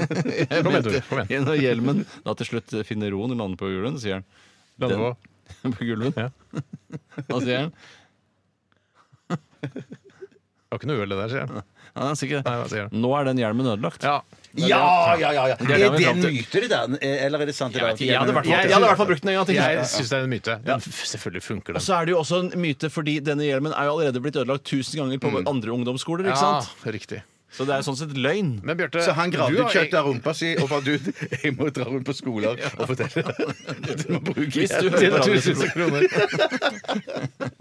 S4: Kom igjen, Tore, kom igjen.
S5: Når hjelmen da til slutt finner roen og lander på gulvet, så sier han
S4: Lande på.
S5: På gulvet.
S4: Ja.
S5: Da sier han
S4: Det var ikke noe uhell, det der, sier jeg.
S5: Ja, han sier ikke det.
S4: Nei, hva sier han?
S5: Nå er den hjelmen ødelagt.
S4: Ja.
S3: Ja, ja, ja. ja.
S5: er det
S3: Er
S5: vi
S3: det
S5: fram
S3: en
S5: til.
S3: myte, det der? Eh, Eller er det sant? det der?
S5: Jeg hadde i hvert fall-
S4: Jeg-
S5: jeg hadde i hvert fall brukt den en gang til.
S4: Jeg syns det er en myte. Den, f- selvfølgelig funker
S5: Og
S4: den.
S5: så er det jo også en myte, fordi denne hjelmen er jo allerede blitt ødelagt tusen ganger på andre ungdomsskoler. ikke sant?
S4: Ja, riktig.
S5: Så det er jo sånn sett løgn.
S4: Men Bjarte
S3: Så han
S4: du har-
S3: gravde ut kjøttet av rumpa si og fant ut jeg må dra rundt på skoler og fortelle at du må bruke
S5: Hvis du
S3: hjelm.
S5: hører på radioen,
S4: Tusen kroner.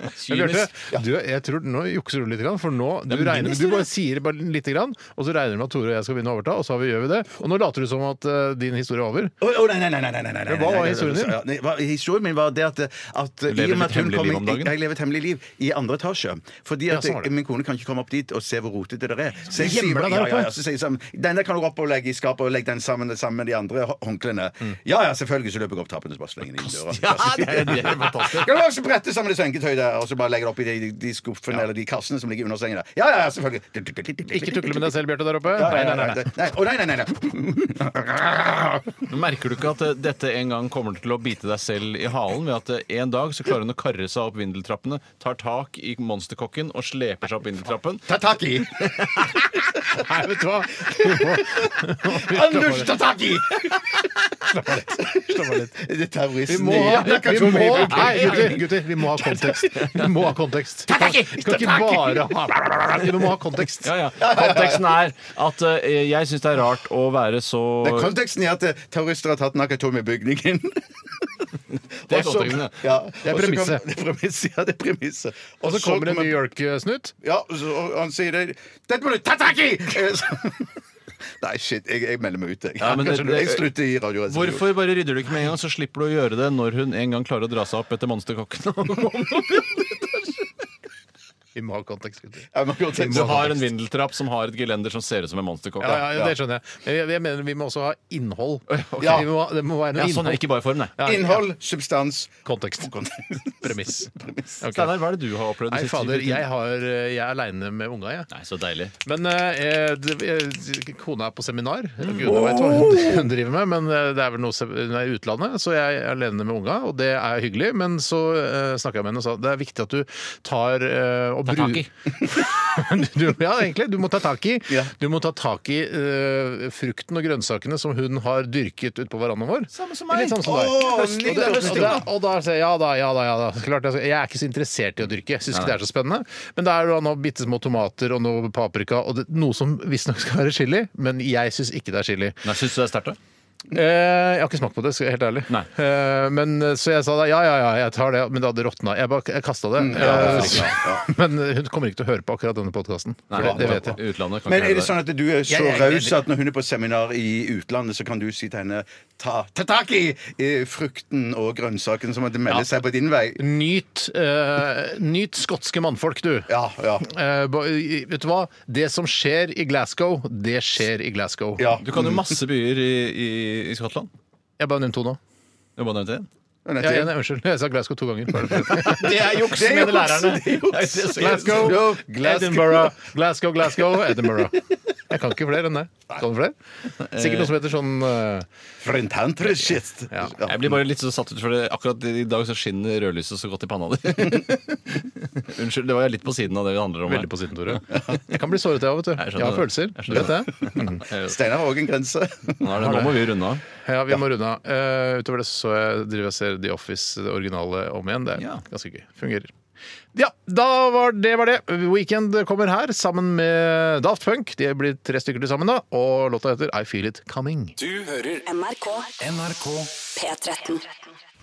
S4: Men Bjarte,
S5: Kynisk.
S4: du, jeg tror nå jukser du litt, grann, for nå du,
S5: Det er min
S4: regner, du
S5: historie.
S4: bare sier bare litt, grann, og så regner du med at Tore og jeg skal begynne å overta, og så har vi- gjør vi det. Og nå later du som at eh, din historie er over.
S3: Å, å, nei, nei, nei, nei, nei, nei, nei,
S4: Men hva var
S3: nei, nei,
S4: historien din?
S3: ja, nei, hva- Historien min var det at, at i og
S5: lever
S3: med at
S5: litt
S3: hun
S5: hemmelig
S3: kom
S5: liv
S3: inn-
S5: om dagen?
S3: Jeg lever et hemmelig liv i andre etasje. Fordi
S4: Ja,
S3: at
S4: sånn var det.
S3: min kone kan ikke komme opp dit og se hvor rotete det er. Så jeg
S4: klemmer deg der
S3: ja, ja,
S4: oppe.
S3: ja, så sier jeg sammen, Den der kan du opp og legge i skapet og legge den sammen, sammen med de andre hå- håndklærne. Ja ja, selvfølgelig, så løper jeg opp trappene og bare slenger den inn døra.
S4: Mm. Ja, det er, det er fantastisk.
S3: Kan du også brette sammen det senketøy der og så bare legge det oppi de, de, de skuffene eller de kassene som ligger under sengen der? Ja ja, ja, selvfølgelig.
S4: Ikke tukle med deg selv, Bjarte, der oppe.
S3: Ja,
S4: Nei,
S3: ja,
S4: nei,
S3: ja,
S4: nei, nei.
S3: nei. Å, nei, nei, nei, nei.
S5: Men Merker du ikke at eh, dette en gang kommer til å bite deg selv i halen ved at eh, en dag så klarer hun å karre seg opp vindeltrappene, tar tak i monsterkokken og sleper seg opp vindeltrappen?
S3: Ta tak i!
S4: Nei, vet du hva?
S3: Anders, ta tak i!
S4: Slapp av litt.
S3: Det er
S4: Vi
S3: terroristen.
S4: må
S3: i-
S4: ha,
S3: Ja,
S4: vi
S3: kanskje
S4: må,
S3: Mabel King.
S4: nei, gutter, gutter, vi må ha kontekst. Vi må ha kontekst. Kan
S3: tak i!
S4: kan ikke
S3: Ta tak
S4: bare ha Vi må ha kontekst.
S5: Ja, ja. Konteksten er at eh, jeg syns det er rart å være så
S3: Det er konteksten i at eh, terrorister har tatt Nakatomi-bygningen.
S5: Det er
S3: Og så-
S5: konteksten, ja.
S3: ja.
S4: Det er
S3: og så kom-
S4: premisset.
S3: Det er premisset, ja. Det er premisset.
S4: Og så kommer det en New York-snutt.
S3: Ja, og så, og han sier det. Dette må du ta tak i! Eh, så- Nei, shit. Jeg, jeg melder meg ut, jeg.
S5: Ja, men det-
S3: Kanskje du- jeg slutter i radioen.
S5: Hvorfor bare rydder du ikke med en gang, så slipper du å gjøre det når hun en gang klarer å dra seg opp etter monsterkokken?
S4: Vi må ha kontekst, gutter.
S3: Ja, men godt,
S5: Du
S3: så har-
S5: har en vindeltrapp som har et gelender som ser ut som en monsterkokk.
S4: Ja, ja, det skjønner jeg. Men jeg, jeg mener vi må også ha innhold.
S3: Ja.
S4: Vi må, det må være noe
S5: Ja, sånn,
S4: innhold.
S5: ja, ikke bare form, nei.
S4: Ja,
S3: Innhold, substans
S4: Kontekst.
S3: kontekst.
S4: Premiss. Ok.
S5: Steinar, hva er det du har opplevd?
S4: Nei,
S5: den siste
S4: fader,
S5: tiden?
S4: jeg, har, jeg er aleine med unga, jeg.
S5: Nei, så deilig.
S4: Men eh, det- eh, kona er på seminar. Gud, jeg vet hva hun- hun driver med, men eh, det er vel noe se- hun er i utlandet, så jeg er alene med unga, og det er hyggelig. Men så eh, snakka jeg med henne og sa det er viktig at du tar eh, og
S5: Ta tak i.
S4: du, ja, egentlig. Du må ta tak i,
S3: Ja.
S4: du må ta tak i eh, frukten og grønnsakene som hun har dyrket utpå verandaen vår.
S5: Samme som meg.
S4: Litt samme som deg. Og
S3: Åh,
S4: det-
S3: litt av
S4: og
S3: høsting,
S4: det-
S3: da.
S4: og da sier jeg ja da, ja da. ja da Klart, jeg, jeg er ikke så interessert i å dyrke. Jeg syns ikke det er så spennende. Men det er jo nå bitte små tomater og noe paprika og det, noe som visstnok skal være chili, men jeg syns ikke det er chili.
S5: Nei, Syns du det er sterkt, da?
S4: Eh, jeg har ikke smakt på det, skal jeg helt ærlig.
S5: Nei.
S4: Eh, men, eh, så jeg sa da ja, ja, ja, jeg tar det, men det hadde råtna. Jeg, bare- jeg kasta det. Eh,
S3: det er riktig, Mm, ja.
S4: Men eh, hun kommer ikke til å høre på akkurat denne podkasten. Det, det vet jeg.
S5: Utlandet kan
S3: Men er
S5: ikke høre
S3: det
S5: det.
S3: sånn at du er så
S4: Jeg er
S3: raus
S4: enig.
S3: at når hun er på seminar i utlandet, så kan du si til henne ta, ta tak i eh, frukten og grønnsakene som at det melder seg på din vei?
S4: Nyt, eh, nyt skotske mannfolk, du.
S3: Ja, ja.
S4: Eh, ba- i- vet du hva? Det som skjer i Glasgow, det skjer i Glasgow.
S3: ja.
S5: Du kan jo masse byer i, i, i Skottland.
S4: Jeg bare nevnte to nå.
S5: Jeg bare nevnte én.
S4: Ja, jeg, nei, unnskyld, jeg sa Glasgow to ganger.
S5: Det er juks,
S3: Det er mener juks, lærerne. det er juks.
S4: Glasgow,
S3: No, Glasgow.
S4: Edinburgh, Glasgow, Glasgow, Edinburgh. Jeg kan ikke flere enn det. Kan du flere? Sikkert noe som heter sånn eh,
S3: Frentantre shit.
S4: Ja.
S5: Jeg blir bare litt så satt ut, for det. akkurat i dag så skinner rødlyset så godt i panna di. Unnskyld, det var jeg litt på siden av det det handler om. her.
S4: Veldig på siden, Tore. Jeg kan bli såret, jeg òg, vet du.
S5: Jeg
S4: Jeg
S5: skjønner
S4: Mm. har
S5: det.
S4: følelser.
S5: Jeg
S4: Du
S5: skjønner
S4: vet det?
S3: Steinar har òg en grense.
S5: Nå, er det, nå må vi runde av.
S4: Ja, vi må runde av. Eh, utover det så jeg driver jeg og ser The Office, det originale, om igjen. Det er
S5: Ja.
S4: ganske gøy. Fungerer. Ja, da var det var det. Weekend kommer her sammen med Daft Punk. De blir tre stykker til sammen, da. Og låta heter I Feel It Coming.
S7: Du hører
S6: NRK
S7: NRK
S6: P13.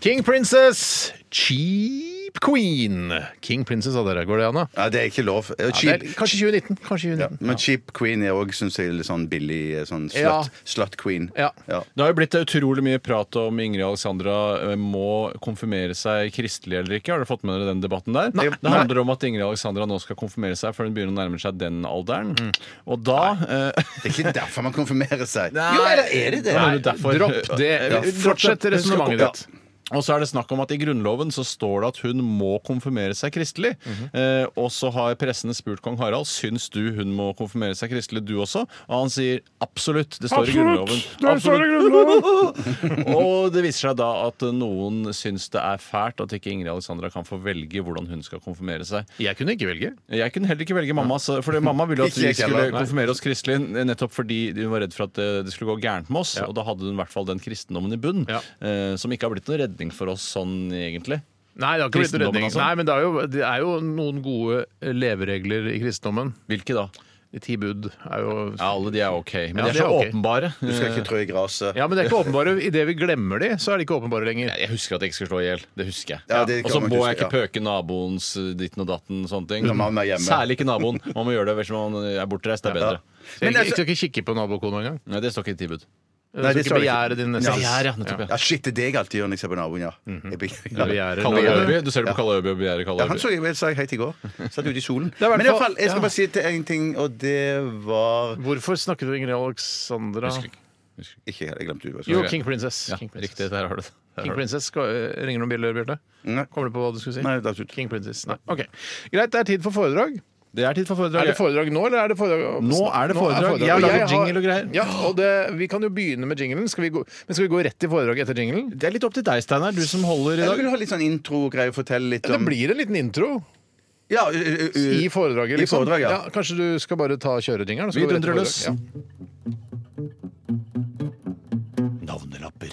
S4: King Princess, Cheap Queen. King Princess av dere, går det an? da?
S3: Ja, det er ikke lov. Eh,
S4: Ja,
S3: Cheap.
S4: det er kanskje 2019. Kanskje 2019.
S3: Men cheap queen er òg, syns jeg, litt sånn billig eh, sånn slut,
S4: Ja.
S3: slut queen.
S4: Ja.
S5: Det har jo blitt utrolig mye prat om Ingrid Alexandra eh, må konfirmere seg kristelig eller ikke. Har dere fått med dere den debatten der?
S4: Nei.
S5: Det handler om at Ingrid Alexandra nå skal konfirmere seg før hun begynner å nærme seg den alderen.
S4: Mm.
S5: Og da eh,
S3: Det er ikke derfor man konfirmerer seg.
S5: Nei.
S3: Jo, eller er det det?
S5: Nei, derfor-
S4: Dropp det. Eh,
S5: Ja,
S4: Fortsett
S5: dropp det.
S4: resonnementet ditt.
S5: Og så er det snakk om at I Grunnloven så står det at hun må konfirmere seg kristelig.
S4: Mhm.
S5: eh, og så har pressene spurt kong Harald syns du hun må konfirmere seg kristelig, du også. Og han sier absolutt. Det står i Grunnloven. og det viser seg da at noen syns det er fælt at ikke Ingrid Alexandra kan få velge hvordan hun skal konfirmere seg.
S4: Jeg kunne ikke velge.
S5: Jeg kunne heller ikke velge mamma, så- for mamma ville at
S3: Ikke
S5: vi
S3: jeg
S5: skulle
S3: heller, nei.
S5: konfirmere oss kristelig, nettopp fordi hun var redd for at eh, det det skulle gå gærent med oss. Og da hadde hun i hvert fall den kristendommen i bunn,
S4: Ja.
S5: eh, som ikke har blitt noen redning for oss sånn egentlig.
S4: Nei, det har ikke blitt
S5: Kristendommen,
S4: redning.
S5: altså.
S4: Nei, men det er, jo, det er jo noen gode eh, leveregler i kristendommen.
S5: Hvilke da?
S4: De ti bud er jo
S5: Ja, alle de er ok,
S4: Ja,
S5: men de er
S4: det er
S5: så
S4: ok.
S5: åpenbare.
S3: Du skal ikke trø i gresset.
S4: Ja, men det er ikke åpenbare. Idet vi glemmer de, så er de ikke åpenbare lenger.
S5: Eh, Jeg husker at jeg ikke skal slå i hjel. Det husker jeg.
S3: Ja, det
S5: og
S3: kan
S5: så
S3: man
S5: må
S3: huske,
S5: jeg ikke pøke naboens eh, ditten og datten. sånne ting
S3: Når man er hjemme.
S5: Særlig ikke naboen. Man må gjøre det hvis man er bortreist. Det er bedre.
S4: Jeg,
S3: Men
S4: jeg
S3: altså,
S4: skal ikke kikke på nabokona engang.
S5: Nei, det står ikke i tilbud.
S4: Du
S3: Nei,
S4: skal
S3: det
S4: ikke
S3: sa jeg ikke.
S4: begjære din neste.
S5: Begjære, ja, nettopp, ja.
S3: Ja, shit, det er det jeg alltid gjør når jeg ser på naboen, ja. Jeg begjærer-
S4: Du begjærer-
S5: Kalle
S4: Ja,
S5: Øby. Du ser det på Kalle Øby og begjærer Kalle
S3: Ja, han
S5: Øby.
S3: så jeg vel sa jeg helt i går. Satt ute i solen.
S4: er i hvert
S3: Men i
S4: fall-
S3: hvert fall, jeg skal
S4: ja.
S3: bare si til en ting, og det var
S4: Hvorfor snakker du Ingrid Alexandra?
S5: Husker ikke.
S3: Ikke, jeg glemte det. hva jeg
S4: Jo,
S3: skulle si.
S4: King Princess.
S5: Ja,
S4: King Princess.
S5: riktig. Der har du det. Der
S4: King
S5: har du det.
S4: Princess skal, øh, ringer noen bjeller, Bjarte?
S3: Nei.
S4: Kommer du på hva du skulle si?
S3: Nei, det er slutt.
S4: King Princess. Nei. OK. Greit, det er tid for foredrag.
S5: Det er tid for
S4: Er
S5: foredrag.
S4: det foredrag nå, eller er det foredrag
S5: Nå er det foredrag. Jeg har laget jingle og greier.
S4: Ja, og det, vi kan jo begynne med jinglen. Skal vi gå, men skal vi gå rett til foredraget etter jinglen?
S5: Det er litt opp til deg, Steinar, du som holder i
S3: Eller
S5: dag.
S3: vil du ha litt sånn intro-greie? Fortelle litt
S4: Det
S3: om
S4: blir en liten intro
S3: Ja, ø- ø- ø-
S4: i foredraget.
S3: I
S4: Liksom.
S3: foredrag, ja.
S4: Kanskje du skal bare ta kjørejingeren? og så
S5: Vi
S4: går rett til
S5: dundrer løs.
S4: foredrag.
S5: Navnelapper.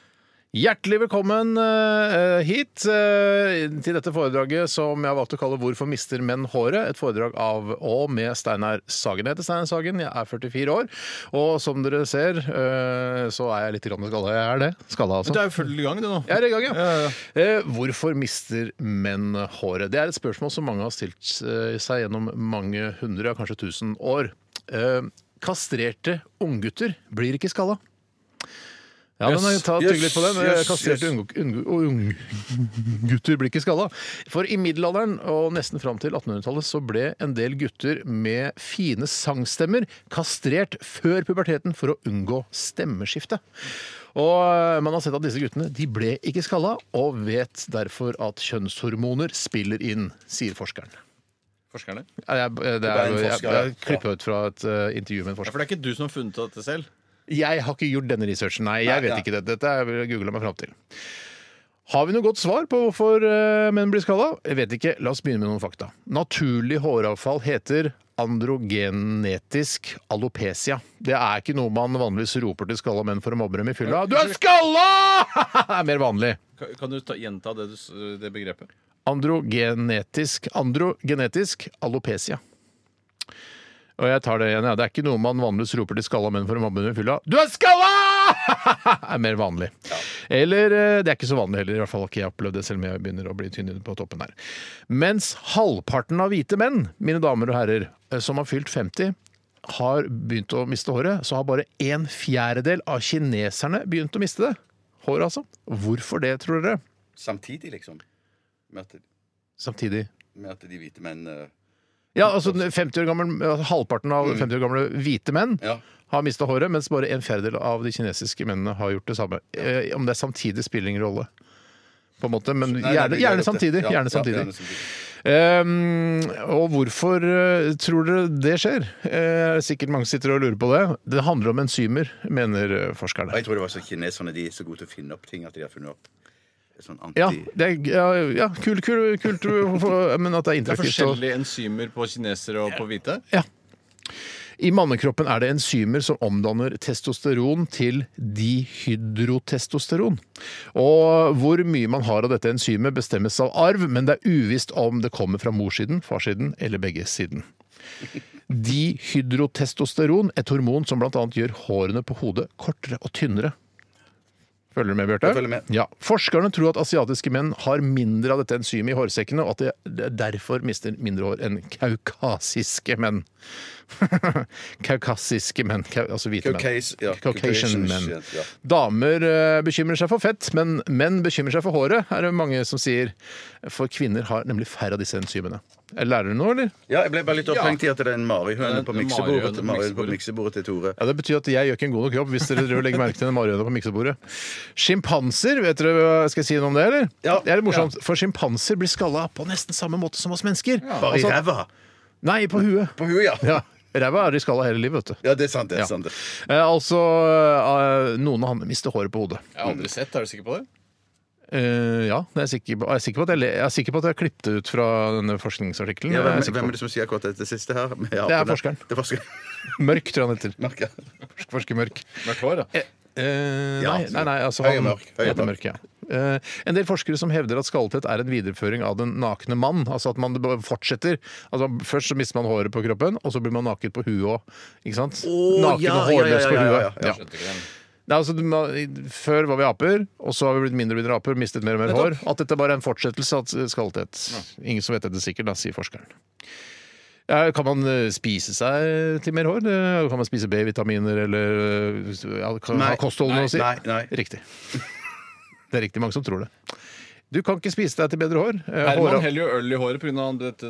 S5: Hjertelig velkommen eh, hit eh, til dette foredraget som jeg har valgt å kalle 'Hvorfor mister menn håret?' Et foredrag av og med Steinar Sagen. Jeg heter Steinar Sagen, jeg er 44 år, og som dere ser eh, så er jeg litt grann skalla. Jeg er det. Skalla, altså. Du er jo full i gang, du nå.
S4: Jeg er i gang, ja.
S5: Ja,
S4: Eh, hvorfor mister menn håret? Det er et spørsmål som mange har stilt eh, seg gjennom mange hundre, ja, kanskje tusen år. Eh, kastrerte unggutter blir ikke skalla. Ja,
S5: Yes,
S4: men ta
S3: yes,
S4: tygg litt på den. Eh,
S3: yes,
S4: Kastrerte
S3: yes.
S4: ung- ung- og unggutter blir ikke skalla. For i middelalderen og nesten fram til 1800-tallet så ble en del gutter med fine sangstemmer kastrert før puberteten for å unngå stemmeskifte. Og eh, man har sett at disse guttene de ble ikke skalla, og vet derfor at kjønnshormoner spiller inn, sier forskeren.
S5: Forskerne.
S4: Ja, Jeg, det er,
S3: er en
S4: jo- jeg,
S3: forsker, ja.
S4: jeg klipper ut fra et eh, intervju med en
S5: Ja,
S4: forsker.
S5: for det er ikke du som har funnet dette selv.
S4: Jeg har ikke gjort denne researchen, nei. Jeg
S3: Nei,
S4: vet
S3: nei.
S4: ikke det. Dette har jeg googla meg fram til. Har vi noe godt svar på hvorfor eh, menn blir skalla? Jeg vet ikke. La oss begynne med noen fakta. Naturlig håravfall heter androgenetisk alopecia. Det er ikke noe man vanligvis roper til skalla menn for å mobbe dem i fylla. Du er skalla! Det er mer vanlig.
S5: Kan- Kan du ta, gjenta det, du, s- det begrepet?
S4: Androgenetisk Androgenetisk alopecia. Og jeg tar det igjen, ja. Det er ikke noe man vanligvis roper til skalla menn for å mobbe under fylla. Du er skalla! er mer vanlig. Eller eh, det er ikke så vanlig heller, i hvert fall har ikke jeg opplevd det, selv om jeg begynner å bli tynn på toppen her. Mens halvparten av hvite menn, mine damer og herrer, eh, som har fylt 50, har begynt å miste håret, så har bare en fjerdedel av kineserne begynt å miste det. Håret, altså. Hvorfor det, tror dere?
S3: Samtidig, liksom. Med at,
S4: Samtidig
S3: med at de hvite menn eh,
S4: Ja, altså den 50 år gammel, altså halvparten
S3: Mm.
S4: av 50 år gamle hvite menn
S3: Ja.
S4: har mista håret, mens bare en fjerdedel av de kinesiske mennene har gjort det samme. Eh, om det er samtidig, spiller ingen rolle. På en måte, men
S3: Nei, nei,
S4: gjerne,
S3: vi-
S4: gjerne
S3: vi-
S4: samtidig.
S3: ja, ja,
S4: Gjerne samtidig.
S3: gjerne samtidig.
S4: Ehm, og hvorfor eh, tror dere det skjer? Eh, sikkert mange sitter og lurer på det. Det handler om enzymer, mener eh,
S3: Og jeg
S4: forskerne.
S3: tror det var så kineserne de er så gode til å finne opp ting at de har funnet opp sånn anti...
S4: Ja, det er, ja, ja kult, kult, kult, men at det er
S5: Det er
S4: interaktivt. og-
S5: forskjellige enzymer på kinesere og på hvite.
S4: I mannekroppen er det enzymer som omdanner testosteron til dihydrotestosteron. Og hvor mye man har av dette enzymet bestemmes av arv, men det er uvisst om det kommer fra morssiden, farssiden eller begge siden. Dihydrotestosteron, et hormon som bl.a. gjør hårene på hodet kortere og tynnere. Følger du med, Bjarte?
S3: Jeg følger med.
S4: Ja. Forskerne tror at asiatiske menn har mindre av dette enzymet i hårsekkene, og at de derfor mister mindre hår enn kaukasiske menn. kaukasiske menn, kau, altså hvite menn.
S3: Caucas- ja,
S4: Caucasian
S3: Caucasian
S4: menn.
S3: shit, ja.
S4: Damer eh, bekymrer seg for fett, men menn bekymrer seg for håret, er det mange som sier. For kvinner har nemlig færre av disse enzymene. Jeg Lærer du noe, eller?
S3: Ja, jeg ble bare litt opphengt i at det er en marihøne
S5: Det er
S3: på
S5: en
S3: miksebordet
S5: marihøne på
S3: Marihøne på
S5: miksebordet.
S3: miksebordet til Tore.
S4: Ja, Det betyr at jeg gjør ikke en god nok jobb hvis dere driver og legger merke til den marihøna på miksebordet. Sjimpanser, vet dere hva skal jeg si noe om det, eller?
S3: Ja.
S4: Det er litt morsomt, for sjimpanser blir skalla på nesten samme måte som oss mennesker.
S3: Bare i
S4: Altså-
S3: ræva!
S4: Nei, på huet.
S3: På huet, ja.
S4: Ja. Ræva er de skalla hele livet, vet du.
S3: Ja, det er sant. det
S4: Ja.
S3: er sant det.
S4: Eh, altså, eh, noen av han mister håret på hodet.
S5: Jeg har aldri sett, er du sikker på det?
S4: Eh, ja, det er jeg, sikker på. jeg, er sikker på at jeg, le- jeg er sikker på at jeg har klippet det ut fra denne forskningsartikkelen.
S3: Ja,
S4: Jeg er
S3: hvem,
S4: sikker
S3: hvem
S4: på
S3: er det som sier akkurat dette siste her? Med apene?
S4: Det er forskeren.
S3: Det er forskeren.
S4: det. Mørk, tror jeg han heter.
S3: Merker jeg.
S4: Forsker- Forsker Mørk.
S5: Mørkt hår, da.
S4: Eh, eh,
S3: Ja,
S4: nei, nei, nei, altså
S3: Høy og
S4: han
S3: mørk, høy og
S4: heter mørk
S3: mørk.
S4: ja. Eh, en del forskere som hevder at skallethet er en videreføring av den nakne mann. Altså at man bare fortsetter. Altså Først så mister man håret på kroppen, og så blir man naket på huet òg. Ikke sant?
S3: Å,
S4: naken
S3: ja,
S4: og hårløs
S3: ja, ja, ja, ja,
S4: på
S3: ja.
S4: huet. Ja. Nei, altså, du må- i- Før var vi aper, og så har vi blitt mindre og mindre aper, mistet mer og mer hår. At dette bare er en fortsettelse av skallthet. Ingen som vet dette sikkert, da, sier forskeren. Ja, kan man eh, spise seg til mer hår? Eh, Kan man spise B-vitaminer eller eh, ja, kan,
S3: Nei,
S4: ha kosthold noe å si?
S3: nei, nei.
S4: Riktig. Det er riktig mange som tror det. Du kan ikke spise deg til bedre hår. Eh,
S5: Herman
S4: håra-
S5: heller jo øl i håret pga.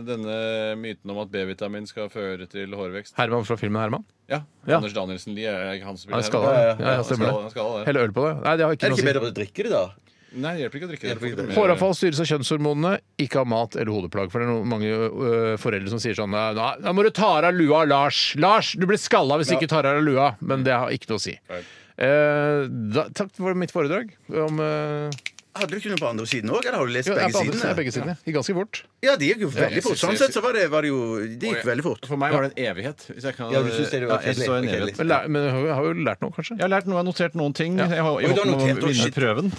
S5: denne myten om at B-vitamin skal føre til hårvekst.
S4: Herman fra filmen Herman?
S5: Ja,
S4: Ja.
S5: Anders Danielsen Lie er ikke han som
S4: Han er
S5: spiller
S4: skalla.
S5: Herman.
S4: Ja,
S3: ja, ja.
S4: ja, stemmer det.
S5: Han er skalla, han er skalla,
S4: Hele øl på det. Nei, det har ikke
S3: Er det
S4: noe å
S3: ikke
S4: si.
S3: bedre å drikke det, da?
S5: Nei, det hjelper ikke å drikke.
S3: Hjelper ikke
S5: det.
S3: det.
S4: Håravfall styres av kjønnshormonene, ikke av mat eller hodeplagg. For det er noen, mange ø, foreldre som sier sånn «Nei, Nei, da må du ta av deg lua, Lars. Lars, du blir skalla hvis du ikke tar av deg lua. Men det har ikke noe å si.
S5: Feil.
S4: Eh, da, takk for mitt foredrag om eh,
S3: Hadde du ikke noe på andre siden òg? Eller har du lest
S4: jo, jeg er på
S3: begge
S4: andre siden, jeg er
S3: sidene?
S4: begge sidene. Gikk ganske fort.
S3: Ja, det gikk jo veldig
S5: jeg
S3: fort.
S5: synes-
S3: Sånn sett så var det, var det jo Det gikk veldig fort.
S5: For meg var det en evighet. Hvis jeg kan,
S3: Ja, du synes det var
S5: Ja, jeg så en
S3: kjedelig.
S5: evighet.
S4: Men, lær, men jeg har jo- har jo lært noe, kanskje.
S5: Jeg har lært noe, jeg har notert noen ting. Jeg har,
S3: Oi,
S5: jeg
S3: du har
S5: håper
S3: notert
S5: å
S3: noe,
S5: vinne
S3: shit.
S5: prøven.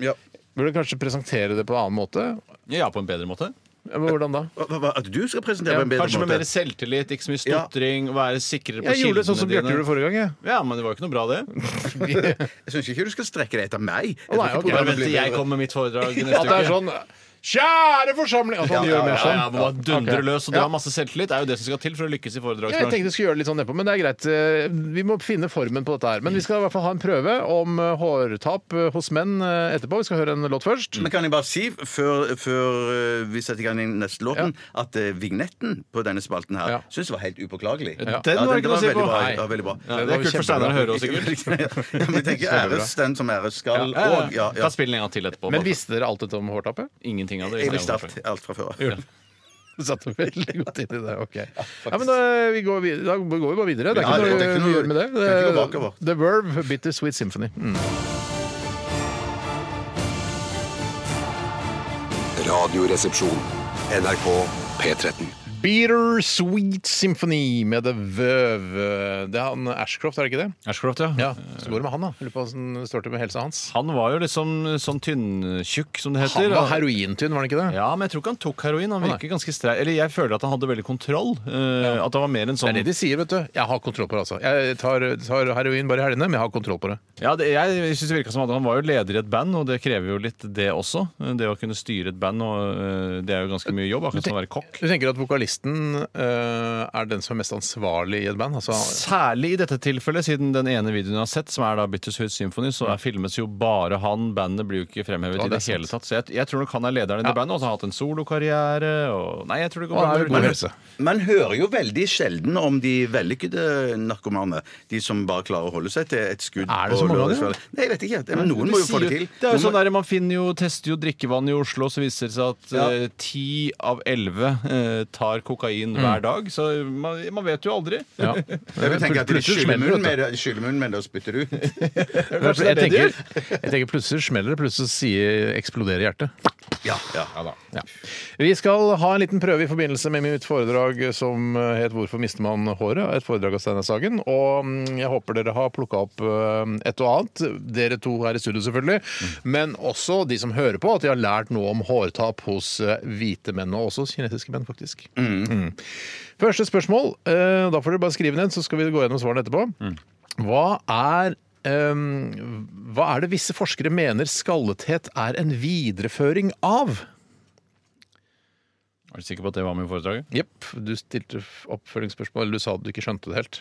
S3: Ja.
S4: Burde kanskje presentere det på en annen måte.
S5: Ja, på en bedre måte.
S4: Ja, men Hvordan da?
S3: Hva, hva, at du skal presentere på en bedre
S5: Kanskje med mer
S3: måte?
S5: selvtillit, ikke så mye
S3: Ja.
S5: stotring, være sikrere på
S4: Jeg gjorde det sånn som
S5: kildene
S4: Bjarte
S5: dine.
S4: gjorde forrige gang. Jeg.
S5: Ja, men det var jo ikke noe bra, det.
S3: Jeg syns ikke du skal strekke deg etter meg. Jeg
S4: Å, nei,
S3: tror ikke
S4: ok.
S5: Bare
S3: programmet
S5: vent til
S3: blir
S5: jeg
S3: bedre.
S5: kommer med mitt foredrag neste
S4: At det
S5: uke.
S4: er sånn Kjære forsamling! At man
S5: Ja,
S4: gjør
S5: ja,
S4: mer sånn.
S5: ja, må bare dundre
S4: Ok.
S5: løs, og du
S4: Ja.
S5: har masse selvtillit. Det er jo det som skal til for å
S4: Ja,
S5: lykkes i
S4: Jeg
S5: foredragsbransjen.
S4: tenkte vi skulle gjøre det litt sånn nedpå, men det er greit. Eh, Vi må finne formen på dette her. Men vi skal i hvert fall ha en prøve om eh, hårtap eh, hos menn eh, etterpå. Vi skal høre en låt først.
S3: Men kan jeg bare si, før, før eh, vi setter i gang den neste låten, at eh, vignetten på denne spalten her
S4: Ja.
S3: syns jeg var helt upåklagelig.
S5: Ja. Den var ikke noe å si
S3: veldig
S5: på.
S3: bra.
S5: Nei.
S3: Ja, veldig bra.
S4: Det
S5: Ja, det
S4: var
S5: er kult for
S4: kjempebra.
S5: Steinar å høre oss, sikkert.
S3: ja, men jeg tenker æres den som æres skal,
S5: Ja, ja,
S3: og
S5: ja.
S3: ja, ja.
S5: Kan spille den en gang til etterpå.
S4: Men
S5: bare.
S4: visste dere alt dette om hårtapet?
S5: Ingenting av det.
S3: Jeg visste alt, alt fra før.
S4: Du satte veldig godt inn i det. ok. Ja, men da, vi går, vid- da går vi bare videre. Det er ikke
S3: Ja, det- det
S4: noe
S3: er ikke
S4: vi
S3: noe-
S4: gjør med det. Eh,
S3: kan ikke gå bakover.
S4: The Verve, Bitter Sweet Symphony. Mm.
S7: Radioresepsjon. NRK P13.
S4: Bitter Sweet Symphony med The Verve. Det er han Ashcroft, er det ikke det?
S5: Ashcroft,
S4: Ja, Så går det med han, da. Lurer på åssen det står til med helsa hans.
S5: Han var jo liksom sånn tynntjukk, som det heter.
S4: Han var herointynn, var han ikke det?
S5: Ja, men jeg tror ikke han tok heroin. Han virker ganske strei. Eller jeg føler at han hadde veldig kontroll. eh, At han var mer en
S4: Det
S5: sånn
S4: er det de sier, vet du. Jeg har kontroll på det, altså. Jeg tar, tar heroin bare i helgene, men jeg har kontroll på det.
S5: Ja, det, jeg synes det virket som at Han var jo leder i et band, og det krever jo litt det også. Det å kunne styre et band, og eh, det er jo ganske mye jobb. Akkurat som å være kokk.
S4: Du tenker at vokalisten eh, er den som er mest ansvarlig i et band? Altså,
S5: Særlig i dette tilfellet, siden den ene videoen jeg har sett, som er da Bittersweet Symphony, så er filmes jo bare han. Bandet blir jo ikke fremhevet
S4: Ja,
S5: i
S4: det
S5: det
S4: er
S5: hele tatt. Så jeg, jeg tror nok han er lederen i
S4: Ja.
S5: det bandet, og så har han hatt en solokarriere og Nei, jeg tror det går
S4: Og
S5: bra.
S4: han er jo god
S5: Men-
S4: helse.
S3: Man hører jo veldig sjelden om de vellykkede narkomane. De som bare klarer å holde seg til et skudd.
S4: Er det så
S3: på
S4: mange av de?
S3: lørdagskvelden. Nei, jeg vet ikke. Men noen
S5: De
S3: må jo få
S5: sier
S3: det til.
S5: Det er jo
S3: Noen
S5: sånn
S3: må-
S5: der, Man finner jo, tester jo drikkevann i Oslo, så viser det seg at
S3: Ja.
S5: eh, ti av elleve eh, tar kokain hver dag. Så man, man vet jo aldri.
S4: ja.
S3: Jeg vil tenke at de
S4: Plutselig
S3: skyller
S4: smeller det,
S3: munnen med det, de skyller munnen med det og spytter det ut.
S4: Jeg tenker, jeg tenker plutselig smeller det, plutselig sier eksploderer hjertet.
S3: Ja, ja.
S4: Ja. Vi skal ha en liten prøve i forbindelse med mitt foredrag som eh, het 'Hvorfor mister man håret?' Et foredrag av Steinar Sagen. Og mm, jeg håper dere har plukka opp eh, et og annet. Dere to her i studio, selvfølgelig. Men også de som hører på, at de har lært noe om hårtap hos eh, hvite menn, og også kinesiske menn, faktisk. Mm. Første spørsmål. eh, Da får dere bare skrive ned, så skal vi gå gjennom svarene etterpå. Hva er em, hva er det visse forskere mener skallethet er en videreføring av?
S5: Er du sikker på at det var med i foredraget?
S4: Jepp. Du stilte f- oppfølgingsspørsmål, eller du sa at du ikke skjønte det helt.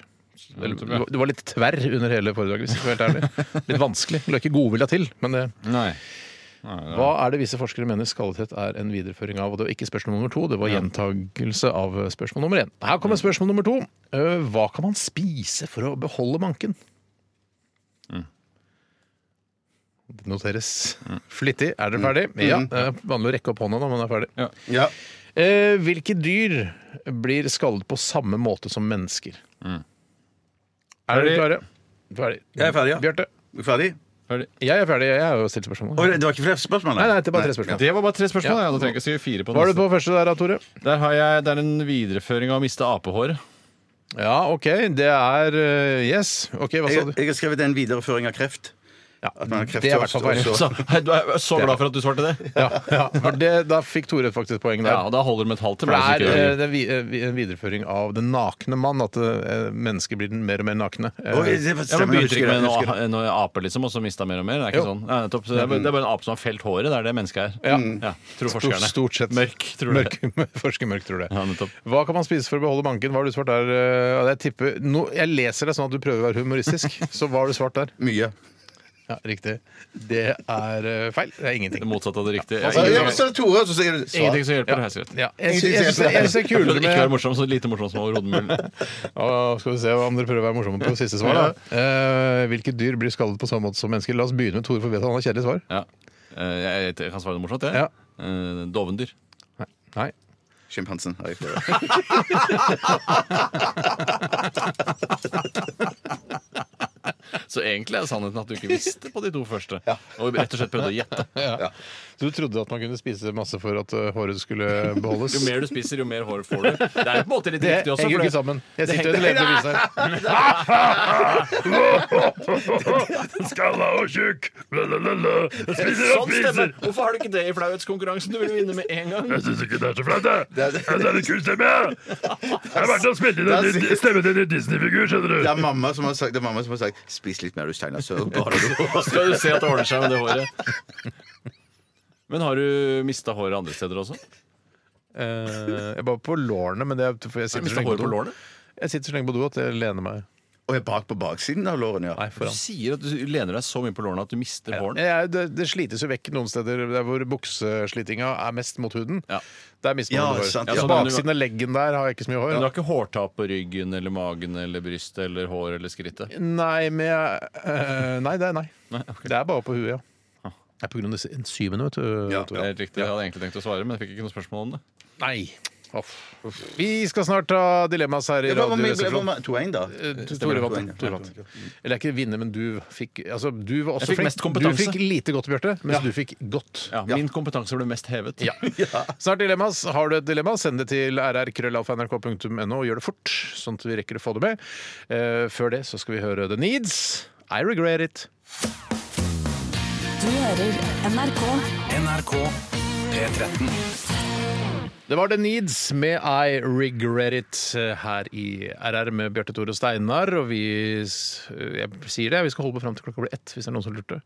S4: Eller, du, var- du var litt tverr under hele foredraget. hvis jeg skal være helt ærlig. Litt vanskelig. Du la ikke godvilja til. Men det,
S5: Nei.
S4: hva er det visse forskere mener skallethet er en videreføring av? Og det var ikke spørsmål nummer to, det var gjentagelse av eh, spørsmål nummer én. Her kommer spørsmål nummer to. Øh, Hva kan man spise for å beholde manken? Det noteres flittig. Er dere ferdig? Ja. Det er vanlig å rekke opp hånda når man er ferdig.
S3: ja.
S4: Eh, hvilke dyr blir skallet på samme måte som mennesker?
S3: Mm.
S4: Er dere klare? Ferdig.
S3: Jeg er ferdig, ja.
S4: Bjarte?
S3: Er vi Ferdig?
S5: Ferdig.
S4: Jeg er ferdig. Jeg har jo stilt spørsmål.
S3: Oi, det var ikke flere spørsmål?
S4: Nei, nei, det er bare tre spørsmål.
S5: Det var bare tre spørsmål.
S4: Ja.
S5: Ja. Da trenger jeg ikke skrive fire på
S4: Hva er du
S5: neste.
S4: på første der, da, Tore?
S5: Der har jeg, det er en videreføring av å miste apehåret.
S4: Ja, OK. Det er eh, Yes. OK, hva sa du?
S3: Jeg, jeg har skrevet en videreføring av kreft.
S4: Ja,
S3: At man har kreft
S4: det er i hvert fall
S3: først, og så-
S5: Så, du er så glad for at du svarte det.
S4: Ja, ja. For det, da fikk Tore faktisk poeng der.
S5: Ja, og Da holder det med et halvt til.
S4: For
S5: meg, hvis
S4: det
S5: ikke-
S4: er eh, det er vi- eh, vi- en videreføring av den nakne mann, at eh, mennesker blir den mer og mer nakne. Eh,
S3: Oi, det stemmer, jeg
S5: Ja, men Begynte
S3: husker
S5: ikke med
S3: det.
S5: en, a- en ape liksom, og så mista mer og mer? Det er ikke
S4: Jo.
S5: sånn. Nei, nettopp. Så det, er, bare- det er bare en ape som har felt håret. Det er det mennesket er.
S4: Ja.
S5: tror
S4: stort,
S5: forskerne.
S4: stort sett.
S5: Mørk, tror du det?
S4: Mørk, forsker mørk, tror det.
S5: Ja, nettopp.
S4: Hva kan man spise for å beholde banken? Hva har du svart der? eh, Jeg, tipper, nå, jeg leser deg sånn at du prøver å være humoristisk, så hva har du svart der?
S3: Mye.
S4: Ja, Riktig. Det er eh, feil. Det er
S5: Det
S4: ingenting.
S5: motsatte av det riktige.
S3: Ja,
S5: ingenting-
S3: ja, men så er det Tore, og så sier du
S5: Ingenting
S3: svar.
S5: som hjelper. helt rett.
S4: Ja, jeg sy- jeg syns det jeg syns det er
S5: Jeg prøvde
S4: kulere
S5: ikke å være
S4: med
S5: morsom, så lite morsom som overhodet mulig.
S4: Å, Skal vi se om dere prøver å være morsomme på siste svar. Da. Eh, hvilke dyr blir skallet på samme måte som mennesker? La oss begynne med Tore, for vi vet at han har kjedelig svar.
S5: Ja. Eh, Jeg, jeg kan svare det morsomt, jeg.
S4: Ja.
S5: Eh, Dovendyr.
S4: Nei.
S3: Sjimpansen. har jeg ikke det.
S5: Så egentlig er sannheten at du ikke visste på de to første. Og rett og slett prøvde å gjette.
S4: Ja. Du trodde at man kunne spise masse for at eh, håret skulle beholdes?
S5: Jo mer du spiser, jo mer hår får du. Det er på en måte litt
S4: Det
S5: riktig også.
S4: henger jo
S5: for
S4: ikke sammen. Jeg sitter og leter bevis her. Skalla og tjukk!
S5: Sånn stemmer! Hvorfor har du ikke det i flauhetskonkurransen? Du vil jo vinne med en gang.
S4: Jeg syns ikke det er så flaut, jeg. Jeg syns det er litt kul stemme, jeg. Jeg har vært og spilt inn en ny- stemme til en ny Disney-figur, skjønner
S3: Det
S4: du.
S3: er mamma som har sagt, det er mamma som har sagt 'spis litt mer, altså." du, Steinar', så bare du
S5: Skal du se at det ordner seg med det håret. Men har du mista håret andre steder også?
S4: Eh, Jeg er bare på lårene, men det er, for jeg, sitter så
S5: Mistet
S4: lenge
S5: håret
S4: på
S5: på
S4: do.
S5: lårene?
S4: jeg sitter så lenge på do at jeg lener meg
S3: Og jeg bak på baksiden av lårene, ja.
S4: Nei,
S5: Du
S4: foran.
S5: sier at du lener deg så mye på lårene at du mister hårene.
S4: Jeg, det, det slites jo vekk noen steder der hvor bukseslitinga er mest mot huden.
S5: Ja.
S4: Der mister
S3: Ja,
S4: man hår.
S3: sant,
S5: ja.
S4: Så Baksiden av leggen der har jeg ikke så mye hår.
S5: Men du har ikke hårtap på ryggen eller magen eller brystet eller hår eller skrittet?
S4: Nei, men jeg eh, Nei, det er nei.
S5: Nei, ok.
S4: Det er bare på huet, ja.
S5: Ah.
S4: Det er på grunn av disse enzymene, vet du.
S3: Ja,
S5: Det
S4: Tore.
S5: er helt riktig. Jeg hadde egentlig tenkt å svare, men jeg fikk ikke noe spørsmål om det.
S4: Nei. Uff. Vi skal snart ta dilemmas her i
S3: Hva var min- hva
S4: Radioresepsjonen.
S3: var min- 2-1, da.
S4: Eh, Tore vant.
S3: Poeng, ja.
S4: Tore vant. Eller ikke vinne, men du fikk altså, Du var også
S5: Jeg fikk
S4: flink.
S5: mest
S4: Du
S5: kompetanse.
S4: fikk lite godt, Bjarte, mens du fikk godt.
S5: Ja, min kompetanse ble mest hevet.
S4: Ja. Snart dilemmas. Har du et dilemma, send det til rrkrøllalfa.nrk.no og gjør det fort, sånn at vi rekker å få det med. Eh, før det så skal vi høre The Needs. I regret it.
S6: Du hører NRK.
S7: NRK P13.
S4: Det var The Needs med I Regret It eh, her i RR med Bjarte Tore og Steinar. Og vi s- eh, jeg sier det, vi skal holde på fram til klokka blir ett, hvis det er noen som lurte.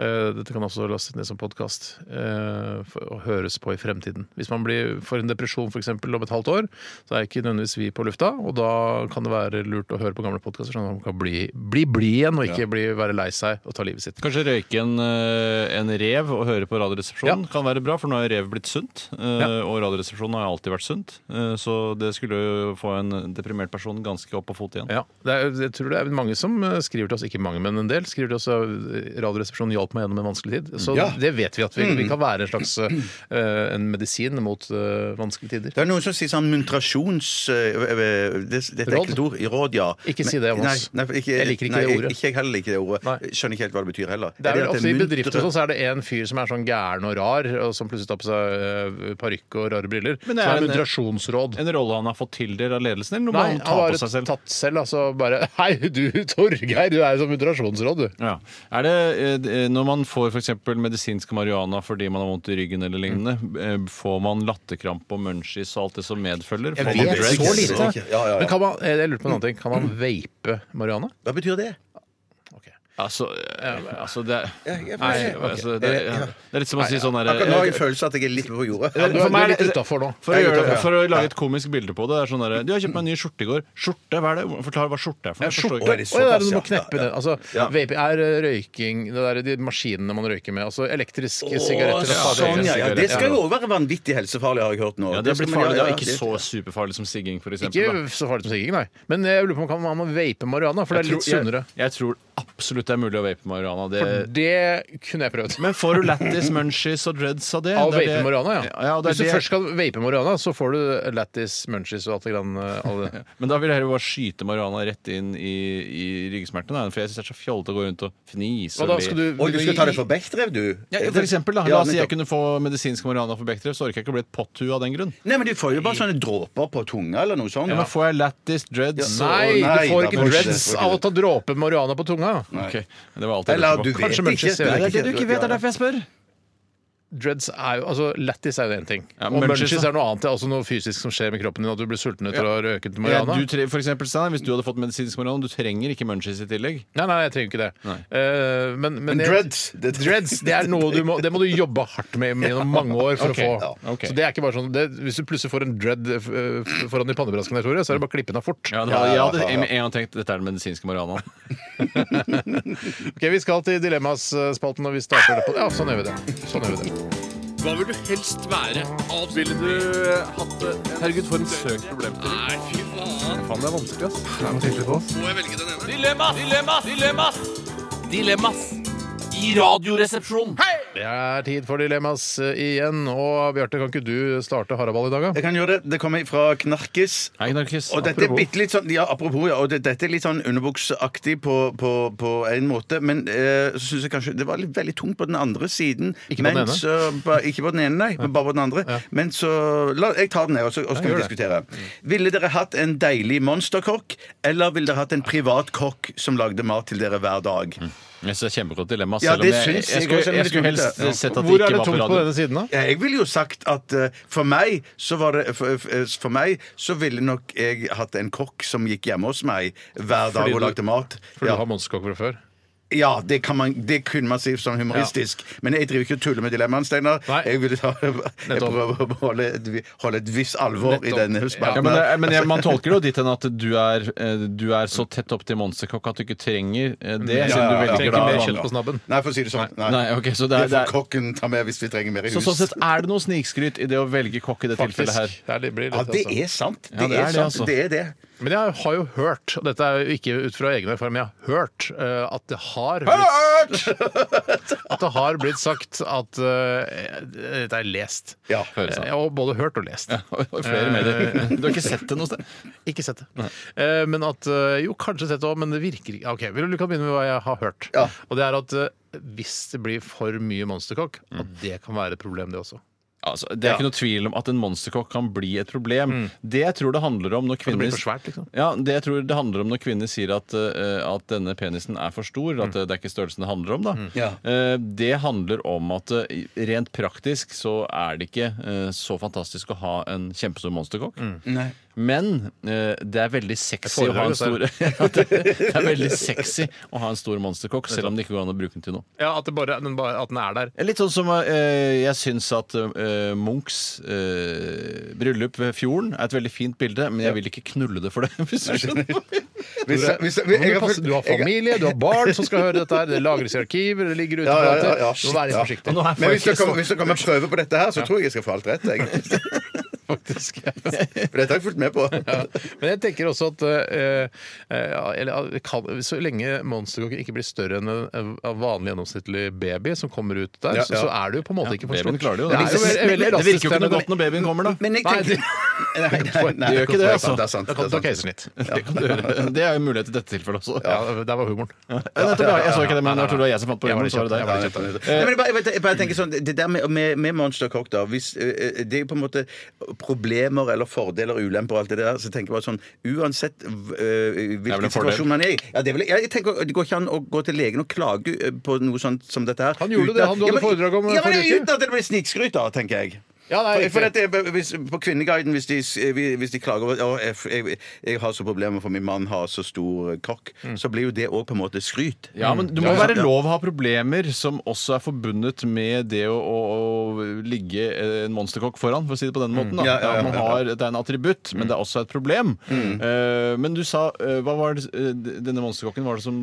S4: Eh, Dette kan også lastes ned som podkast og høres på i fremtiden. Hvis man blir, får en depresjon f.eks. om et halvt år, så er ikke nødvendigvis vi på lufta. Og da kan det være lurt å høre på gamle podkaster, sånn at man kan bli bli blid igjen, og ikke bli, være lei seg og ta livet sitt.
S5: Kanskje røyke en, eh, en rev og høre på Radioresepsjonen kan være bra, for nå er rev blitt sunt. eh,
S4: Ja.
S5: Og Radioresepsjonen har alltid vært sunt. eh, Så det skulle jo få en deprimert person ganske opp på fot igjen.
S4: Ja, det er, Jeg tror det er mange som eh, skriver til oss, ikke mange, men en del, skriver til oss at Radioresepsjonen hjalp meg gjennom en vanskelig tid. Så
S3: Ja.
S4: det vet vi at vi, vi
S5: Mm.
S4: kan være en slags eh, en medisin mot eh, vanskelige tider.
S3: Det er noen som sier sånn muntrasjons... øh, øh, Det, det er et
S4: Råd?
S3: ekkelt ord. I Råd, ja.
S4: Ikke si det om oss.
S3: Nei, nei, for ikke,
S4: Jeg liker ikke
S3: nei,
S4: det ordet.
S3: Ikke jeg heller liker det ordet.
S4: Nei.
S3: Skjønner ikke helt hva det betyr heller.
S4: Det er vel
S3: at
S4: ofte I
S3: muntre-
S4: bedrifter og sånn, så er det en fyr som er sånn gæren og rar, og som plutselig tar på seg eh, parykk og rare briller. Som
S5: Men det
S4: er
S5: er en-
S4: moderasjonsråd.
S5: En rolle han har fått tildelt av ledelsen, eller noe
S4: Nei,
S5: han
S4: han
S5: tar
S4: var
S5: på seg selv?
S4: tatt selv, altså bare Hei, du Torgeir, du er jo sånn moderasjonsråd, du.
S5: Ja. Er det, eh, d- når man får f.eks. medisinsk marihuana fordi man har vondt i ryggen
S3: Mm.
S5: eller lignende, eh, får man latterkrampe og munchies og alt det som medfølger? Får man
S3: vet
S5: dreads?
S3: så lite. Ja, ja, ja.
S4: Men kan man, eh, jeg lurer på en annen ting. Kan man vape marihuana?
S3: Hva betyr det?
S4: Eh,
S5: Altså, eh, altså det er
S3: jeg-
S5: Nei, altså, det, er- det er litt som å si sånn
S3: Akkurat nå har jeg
S5: derre
S3: en følelse av at jeg er litt på jordet.
S4: Ja, du,
S5: for
S4: eh, er- du
S5: meg er
S4: er litt
S5: det-
S4: utafor nå.
S5: for å,
S3: Jeg er
S5: gjøre,
S3: utafor, ja.
S5: for å lage et komisk bilde på det. det er sånn der, 'Du har kjøpt meg en ny skjorte i går.' Skjorte, hva er det? Forklar hva skjorte er for
S4: Ja,
S5: noe. Jeg forstår
S4: skjorte. Å,
S3: er det
S5: ikke.
S4: ja,
S3: såpass,
S4: du må
S3: ja.
S4: kneppe
S3: Ja,
S4: det.
S3: ja.
S4: Altså,
S3: Ja.
S4: vape er eh, røyking det der, De maskinene man røyker med. Altså elektriske sigaretter. og fader.
S3: Sånn, ja, ja. Det skal jo også være vanvittig helsefarlig, har jeg hørt nå.
S5: Ja, det er
S3: skal
S5: blitt
S3: man-
S5: farlig.
S3: ja,
S5: Det er
S3: ja,
S5: ikke
S3: det-
S5: så superfarlig som sigging, f.eks.
S4: Ikke så farlig som sigging, nei. Men jeg lurer på om kan man kan vape marihuana, for det er litt sunnere.
S5: Jeg, jeg tror absolutt det er mulig å vape marihuana. Det,
S4: Det kunne jeg prøvd.
S5: Men får du lættis, munchies og dreads av det?
S4: Av
S5: Det er det-
S4: vape marihuana, ja.
S5: ja det er
S4: Hvis du
S5: det.
S4: først skal vape marihuana, så får du lættis, munchies og alt det grann. eh, All det.
S5: Men da vil jeg heller bare skyte marihuana rett inn i, i ryggsmertene. da, For jeg syns det er så fjollete å gå rundt og fnise
S4: Og
S5: og
S4: da
S5: le.
S4: skal du,
S3: Oi, du skal ta det for bekkdrev, du?
S5: Ja, for eksempel, da.
S3: Ja,
S5: La oss si jeg
S3: nettopp.
S5: kunne få medisinsk marihuana for Bechdrev, så orker jeg ikke å bli et potthue av den grunn.
S3: Nei, men du får jo bare sånne dråper på tunga eller noe sånt.
S5: Ja. Men får jeg lættis, dreads
S4: Nei,
S3: Nei,
S4: du får
S3: da
S4: ikke
S3: får du ikke det.
S4: dreads av å ta dråpe marihuana på tunga. ja.
S5: Ok, Det var alt jeg
S3: Eller
S5: lurte
S3: du
S5: på.
S3: vet
S4: Kanskje
S3: ikke.
S4: Manchester
S5: Nei,
S4: United.
S5: det er det du ikke vet, det er derfor jeg spør!
S4: Dreads er jo, altså Lættis er jo én ting.
S5: Ja,
S4: og
S5: munchies,
S4: munchies
S5: da.
S4: er noe annet. Det er altså noe fysisk som skjer med kroppen din. At du blir sulten etter å ha røket
S5: Ja,
S4: marihuana.
S5: du tre, for eksempel, Stein, hvis du hadde fått medisinsk marihuana, du trenger ikke munchies i tillegg.
S4: Nei, nei, jeg trenger ikke det. Eh, men, men, jeg-
S3: dreads, det-
S4: det, dreads det, er noe du må, det må du jobbe hardt med gjennom mange år for å
S5: ok,
S4: få.
S5: ja, ok.
S4: Så det er ikke bare sånn det, Hvis du plutselig får en dread eh, f- foran i pannebrasken, der, Tore, så er det bare å klippe den av fort.
S5: Ja, det var, jeg hadde med en gang tenkt dette er den medisinske marihuanaen.
S4: Ok, Vi skal til Dilemmaspalten, og vi starter det på Ja, sånn gjør vi det. Sånn gjør vi det.
S8: Hva vil du helst være? Ville du hatt det? Herregud, for en søkt problemstilling. Nei, fy faen. Faen, det er vanskelig, ass. Det er noe på oss. Må jeg velge den ene? Dilemmas! Dilemmas! Dilemmas! Dilemmas! I radioresepsjonen.
S4: Det er tid for Dilemmas eh, igjen. Og Bjarte, kan ikke du starte haraball i dag, da?
S3: Jeg kan gjøre det. Det kommer fra Knarkes.
S5: Hei, Knarkes.
S3: Og dette er bitte litt sånn, ja, apropos, ja, og det, dette er litt sånn underbukseaktig på, på, på en måte, men eh, så syns jeg kanskje det var litt, veldig tungt på den andre siden.
S4: Ikke på den
S3: men
S4: ene?
S3: Så, ba, ikke på den ene, nei, men bare på den andre. Men så la, Jeg tar den, jeg, og så og så skal vi
S4: gjør
S3: diskutere. Ville dere hatt en deilig monsterkokk, eller ville dere hatt en privat kokk som lagde mat til dere hver dag?
S5: Jeg synes det er kjempegodt dilemma.
S3: Ja,
S5: selv om
S3: det
S5: jeg, jeg,
S3: syns jeg
S5: skulle,
S3: også, men
S5: jeg
S3: det
S5: skulle
S3: er tungt,
S5: helst
S3: det.
S5: sett at det
S4: Hvor
S5: ikke
S4: er det
S5: var på
S4: tungt på
S5: radio.
S4: denne siden, da?
S3: Ja, Eh, Jeg ville jo sagt at eh, for meg så var det For, eh, for meg så ville nok jeg hatt en kokk som gikk hjemme hos meg hver dag
S4: Fordi
S3: og
S4: du-
S3: lagde mat.
S4: For
S3: Ja.
S4: du har monsterkokk fra før?
S3: Ja, det, kan man, det kunne man si sånn humoristisk. Men jeg driver ikke og tuller med dilemmaene, Steinar.
S4: Nei.
S3: Jeg, vil ta- jeg prøver å holde, et- holde et visst alvor i
S4: Nettopp.
S3: denne
S5: Ja,
S3: spalten.
S5: men
S3: her.
S5: det, men jeg, man tolker det jo dit hen at du er, eh, du er så tett opp til monsterkokk at du ikke trenger eh, det.
S3: Ja,
S5: siden
S3: ja,
S5: du
S3: ja.
S5: velger sånn.
S4: Trenger
S5: da
S4: mer
S5: vanlig.
S4: kjøtt på snabben.
S3: Nei, for å si det sånn. Nei.
S5: Nei, ok, så det er-
S3: det
S5: det
S3: får kokken ta med hvis vi trenger mer i
S5: Så
S3: hus.
S5: sånn sett er det noe snikskryt i det å velge kokk i det tilfellet her.
S4: Faktisk. Det, er- det blir litt,
S3: ja, det
S4: altså.
S3: er sant. Det,
S5: Ja,
S3: er, sant.
S5: altså.
S3: det er det.
S4: Men jeg har jo hørt, og dette er jo ikke ut fra egen erfaring, men jeg har hørt eh, at det har blitt, At det har blitt sagt at eh, Dette er lest.
S3: Ja.
S5: Høres
S4: Eh, og både hørt og lest.
S5: Og og flere medier. Du har ikke sett det noe sted?
S4: Ikke sett det. Eh, men at eh, Jo, kanskje sett det òg, men det virker ikke OK, vi kan begynne med hva jeg har hørt.
S3: Ja.
S4: Og det er at eh, hvis det blir for mye monsterkokk, at det kan være et problem, det også.
S5: Altså, det er ikke noe tvil om at en monsterkokk kan bli et problem. Det jeg tror det handler om når
S4: Det
S5: kvinner
S4: Mm. blir for svært, liksom.
S5: Ja, det jeg tror det handler om når kvinner sier at, eh, at denne penisen er for stor. At
S4: Mm.
S5: eh, det er ikke størrelsen det handler om, da.
S3: Ja.
S5: Eh, det handler om at eh, rent praktisk så er det ikke eh, så fantastisk å ha en kjempestor monsterkokk.
S4: Mm.
S3: Nei.
S5: Men eh, det er veldig sexy å ha en stor
S4: foredrag,
S5: ja, det, det er veldig sexy å ha en stor monsterkokk, selv om det ikke går an å bruke den til noe.
S4: Ja, at, det bare, den bare, at den er der.
S5: Litt sånn som eh, jeg syns at eh, Munchs eh, bryllup ved fjorden er et veldig fint bilde, men jeg vil ikke knulle det for det. Hvis du skjønner.
S3: Hvis, hvis,
S4: Nå må
S3: jeg
S4: du,
S3: har
S4: passe,
S3: fulgt-
S4: du har
S3: jeg-
S4: familie, du har barn som skal høre dette her. Det lagres i arkiver, det ligger ute
S3: Ja,
S4: på
S3: ja,
S4: alt
S3: ja,
S4: det.
S3: ja.
S4: Du må være litt
S3: Ja.
S4: forsiktig.
S5: nå er
S3: Men hvis det
S5: jeg
S3: kommer, hvis det kommer prøve på dette her, så tror jeg jeg skal få alt rett. Jeg.
S4: faktisk.
S3: For dette har jeg fulgt med på.
S4: Men jeg tenker også at eh, eh, ja, eller, eh, kan, så lenge monsterkokken ikke blir større enn en, en vanlig gjennomsnittlig baby som kommer ut der,
S3: Ja,
S4: Så,
S3: ja.
S4: så er det jo på en måte ikke for
S5: Babyen
S4: stort.
S5: klarer det jo.
S4: Det, er jo
S3: Nei,
S4: veldig-
S3: men-
S4: veldig
S5: Det virker jo
S4: rasistisk,
S5: ikke noe
S4: men-
S5: godt når babyen kommer, da.
S3: Men jeg
S4: Nei,
S3: tenker
S4: det-
S3: Nei, nei, nei,
S5: det gjør ikke det, altså.
S3: Det er sant.
S4: Da kan du ta casen litt.
S5: Det kan du gjøre. Det er jo en mulighet i dette tilfellet også.
S4: Ja, der var humoren.
S5: Eh, nettopp, ja. Jeg så ikke det, men jeg tror det var jeg som fant på
S4: Jeg var
S5: humoren.
S4: litt
S5: Så var det
S4: kjapp,
S5: deg.
S4: jeg var
S5: Eh,
S4: litt kjapp.
S3: Nei, men jeg bare, jeg vet- jeg bare tenker sånn, Det der med, med, med Monster Cock, da hvis, eh, eh, Det er jo på en måte problemer eller fordeler og ulemper og alt det der. Så tenker jeg bare sånn Uansett v- eh,
S5: vel en
S3: hvilken
S5: fordel.
S3: situasjon man er i ja, det, er vel, jeg, jeg tenker, det går ikke an å gå til legen og klage eh, på noe sånt som dette her.
S4: Han gjorde
S3: uten
S4: det,
S3: at-
S4: han du hadde
S3: ja, men-
S4: foredrag om eh,
S3: Ja, men
S4: forrige uke.
S3: Uten at det blir snikskryt, da, tenker jeg.
S4: Ja, nei,
S3: for, for
S4: riktig.
S3: dette, eh, hvis, på Kvinneguiden, hvis de, eh, hvis de klager over at jeg, jeg, jeg har så problemer for min mann har så stor eh, kokk,
S4: Mm.
S3: så blir jo det òg på en måte skryt.
S5: Ja, men Det må være lov å ha problemer som også er forbundet med det å, å, å ligge eh, en monsterkokk foran, for å si det på den måten. Da.
S3: Ja, ja, ja,
S5: At
S3: ja,
S5: man
S3: ja.
S5: har, det er en attributt, men det er også et problem. Eh, men du sa eh, Hva var det, eh, denne monsterkokken? Var det som,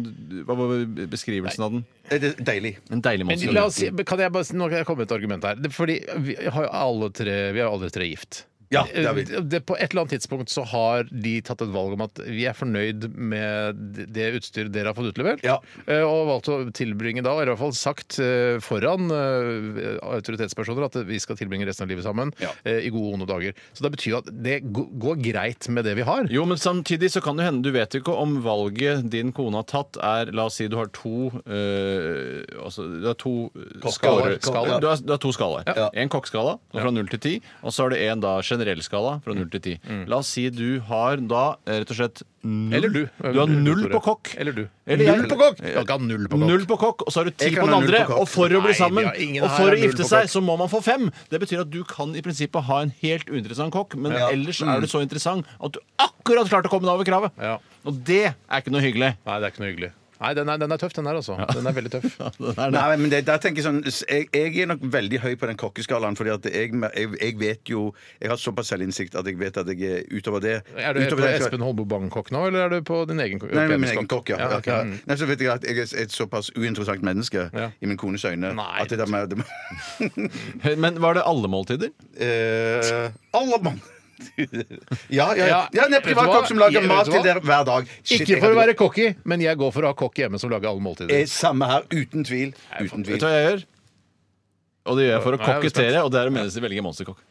S5: hva var beskrivelsen av den?
S3: Er Eh, det Deilig.
S5: En deilig
S4: Men la
S5: monsterkokk.
S4: oss, si- kan jeg bare, nå kan jeg komme med et argument her. Det- Fordi vi har jo alle tre, vi er jo alle tre gift. Eh,
S3: Ja, det er vi.
S4: Det, på et eller annet tidspunkt så har de tatt et valg om at vi er fornøyd med det utstyret dere har fått utlevert,
S3: Ja.
S4: eh, og valgt å tilbringe da, eller i hvert fall sagt eh, foran eh, autoritetspersoner, at vi skal tilbringe resten av livet sammen
S3: Ja.
S4: eh, i gode og onde dager. Så det betyr jo at det gå- går greit med det vi har.
S5: Jo, men samtidig så kan det hende Du vet jo ikke om valget din kone har tatt, er La oss si du har to øh, altså, Du har to
S4: Skalaer,
S5: skalaer.
S4: skalaer.
S5: Du, har, du har to skalaer. En kokkskala så fra null til ti, og så har du en da generell skala fra 0 til 10. La oss si du har da eh, rett og slett null.
S4: Mm. Eller du.
S5: Du har null på kokk.
S4: Eller du.
S5: Eller jeg.
S4: null på kokk! Jeg kan ha null på kokk.
S5: Null på kokk, og så har du ti
S3: Jeg kan
S5: på den
S3: ha null
S5: andre.
S3: på kokk.
S5: Og for å
S4: Nei,
S5: bli sammen,
S4: vi har ingen
S5: og
S4: her
S5: for
S4: har
S5: å
S4: null
S5: gifte
S4: på
S5: seg,
S4: kokk.
S5: så må man få fem. Det betyr at du kan i prinsippet ha en helt uinteressant kokk, men ellers er du så interessant at du akkurat klarte å komme deg over kravet.
S4: Ja.
S5: Og det er ikke noe hyggelig.
S4: Nei, det er ikke noe hyggelig. Nei, den er, den er tøff, den her, altså. Den er veldig tøff.
S5: Det er det.
S3: Nei, men det, der tenker Jeg sånn jeg, jeg er nok veldig høy på den kokkeskalaen, Fordi at jeg, jeg, jeg vet jo Jeg har såpass selvinnsikt at jeg vet at jeg er utover det.
S4: Er du på
S3: utover det jeg skal-
S4: Espen Holbo Bang-kokk nå, eller er du på din egen kokk?
S3: Nei, men min egen kokk, ja.
S4: ok. Mm.
S3: ja. Nei, så vet jeg at jeg er et såpass uinteressant menneske
S4: Ja.
S3: i min kones øyne
S4: Nei.
S3: at det der med det,
S5: Men var det alle måltider?
S3: Eh, Alle mann! ja, ja, ja.
S4: Ja,
S3: ja
S4: vet
S3: det er
S4: du hva?
S3: privatkokk som lager
S4: Ja, vet
S3: mat
S4: du
S3: til
S4: hva?
S3: dere hver dag. Shit,
S4: Ikke
S3: jeg
S4: for å
S3: hadde-
S4: være cocky, men jeg går for å ha kokk hjemme som lager alle måltider.
S3: Eh, Samme her, uten tvil. Uten
S5: Vet
S3: tvil.
S5: du hva jeg gjør? Og det gjør jeg for å
S4: Nei, jeg er
S5: kokettere, og det er å mene- velge monsterkokk.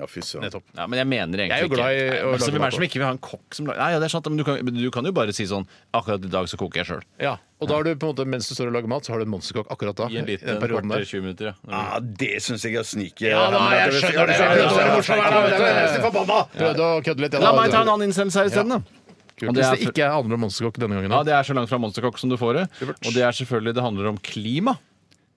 S3: Ja, fy søren.
S4: Nettopp.
S5: Ja, men jeg mener
S4: Jeg
S5: egentlig
S4: er jo glad i
S5: ikke.
S4: å
S5: Nei, men så
S4: lage mat
S5: Hvem er det som
S4: også.
S5: ikke vil ha en kokk som lager Nei, ja, det er sant, men du kan, men du kan jo bare si sånn Akkurat i dag så koker jeg sjøl.
S4: Ja, Og da har du på en måte, mens du står og lager mat, så har du en monsterkokk akkurat da.
S5: I en liten
S4: den perioden der.
S5: 20 minutter, ja.
S3: Ah, det syns jeg er snike.
S4: Ja da, jeg skjønner det. Det er dårlig morsom her, da, vet du. Jeg er nesten forbanna. Prøvde å kødde litt. jeg, da.
S5: La meg ta en annen innsendelse her isteden, da.
S4: Kult, Hvis det ikke handler om monsterkokk denne gangen. da.
S5: Ja, det er så langt fra monsterkokk som du får det. Og det er selvfølgelig Det handler om klima.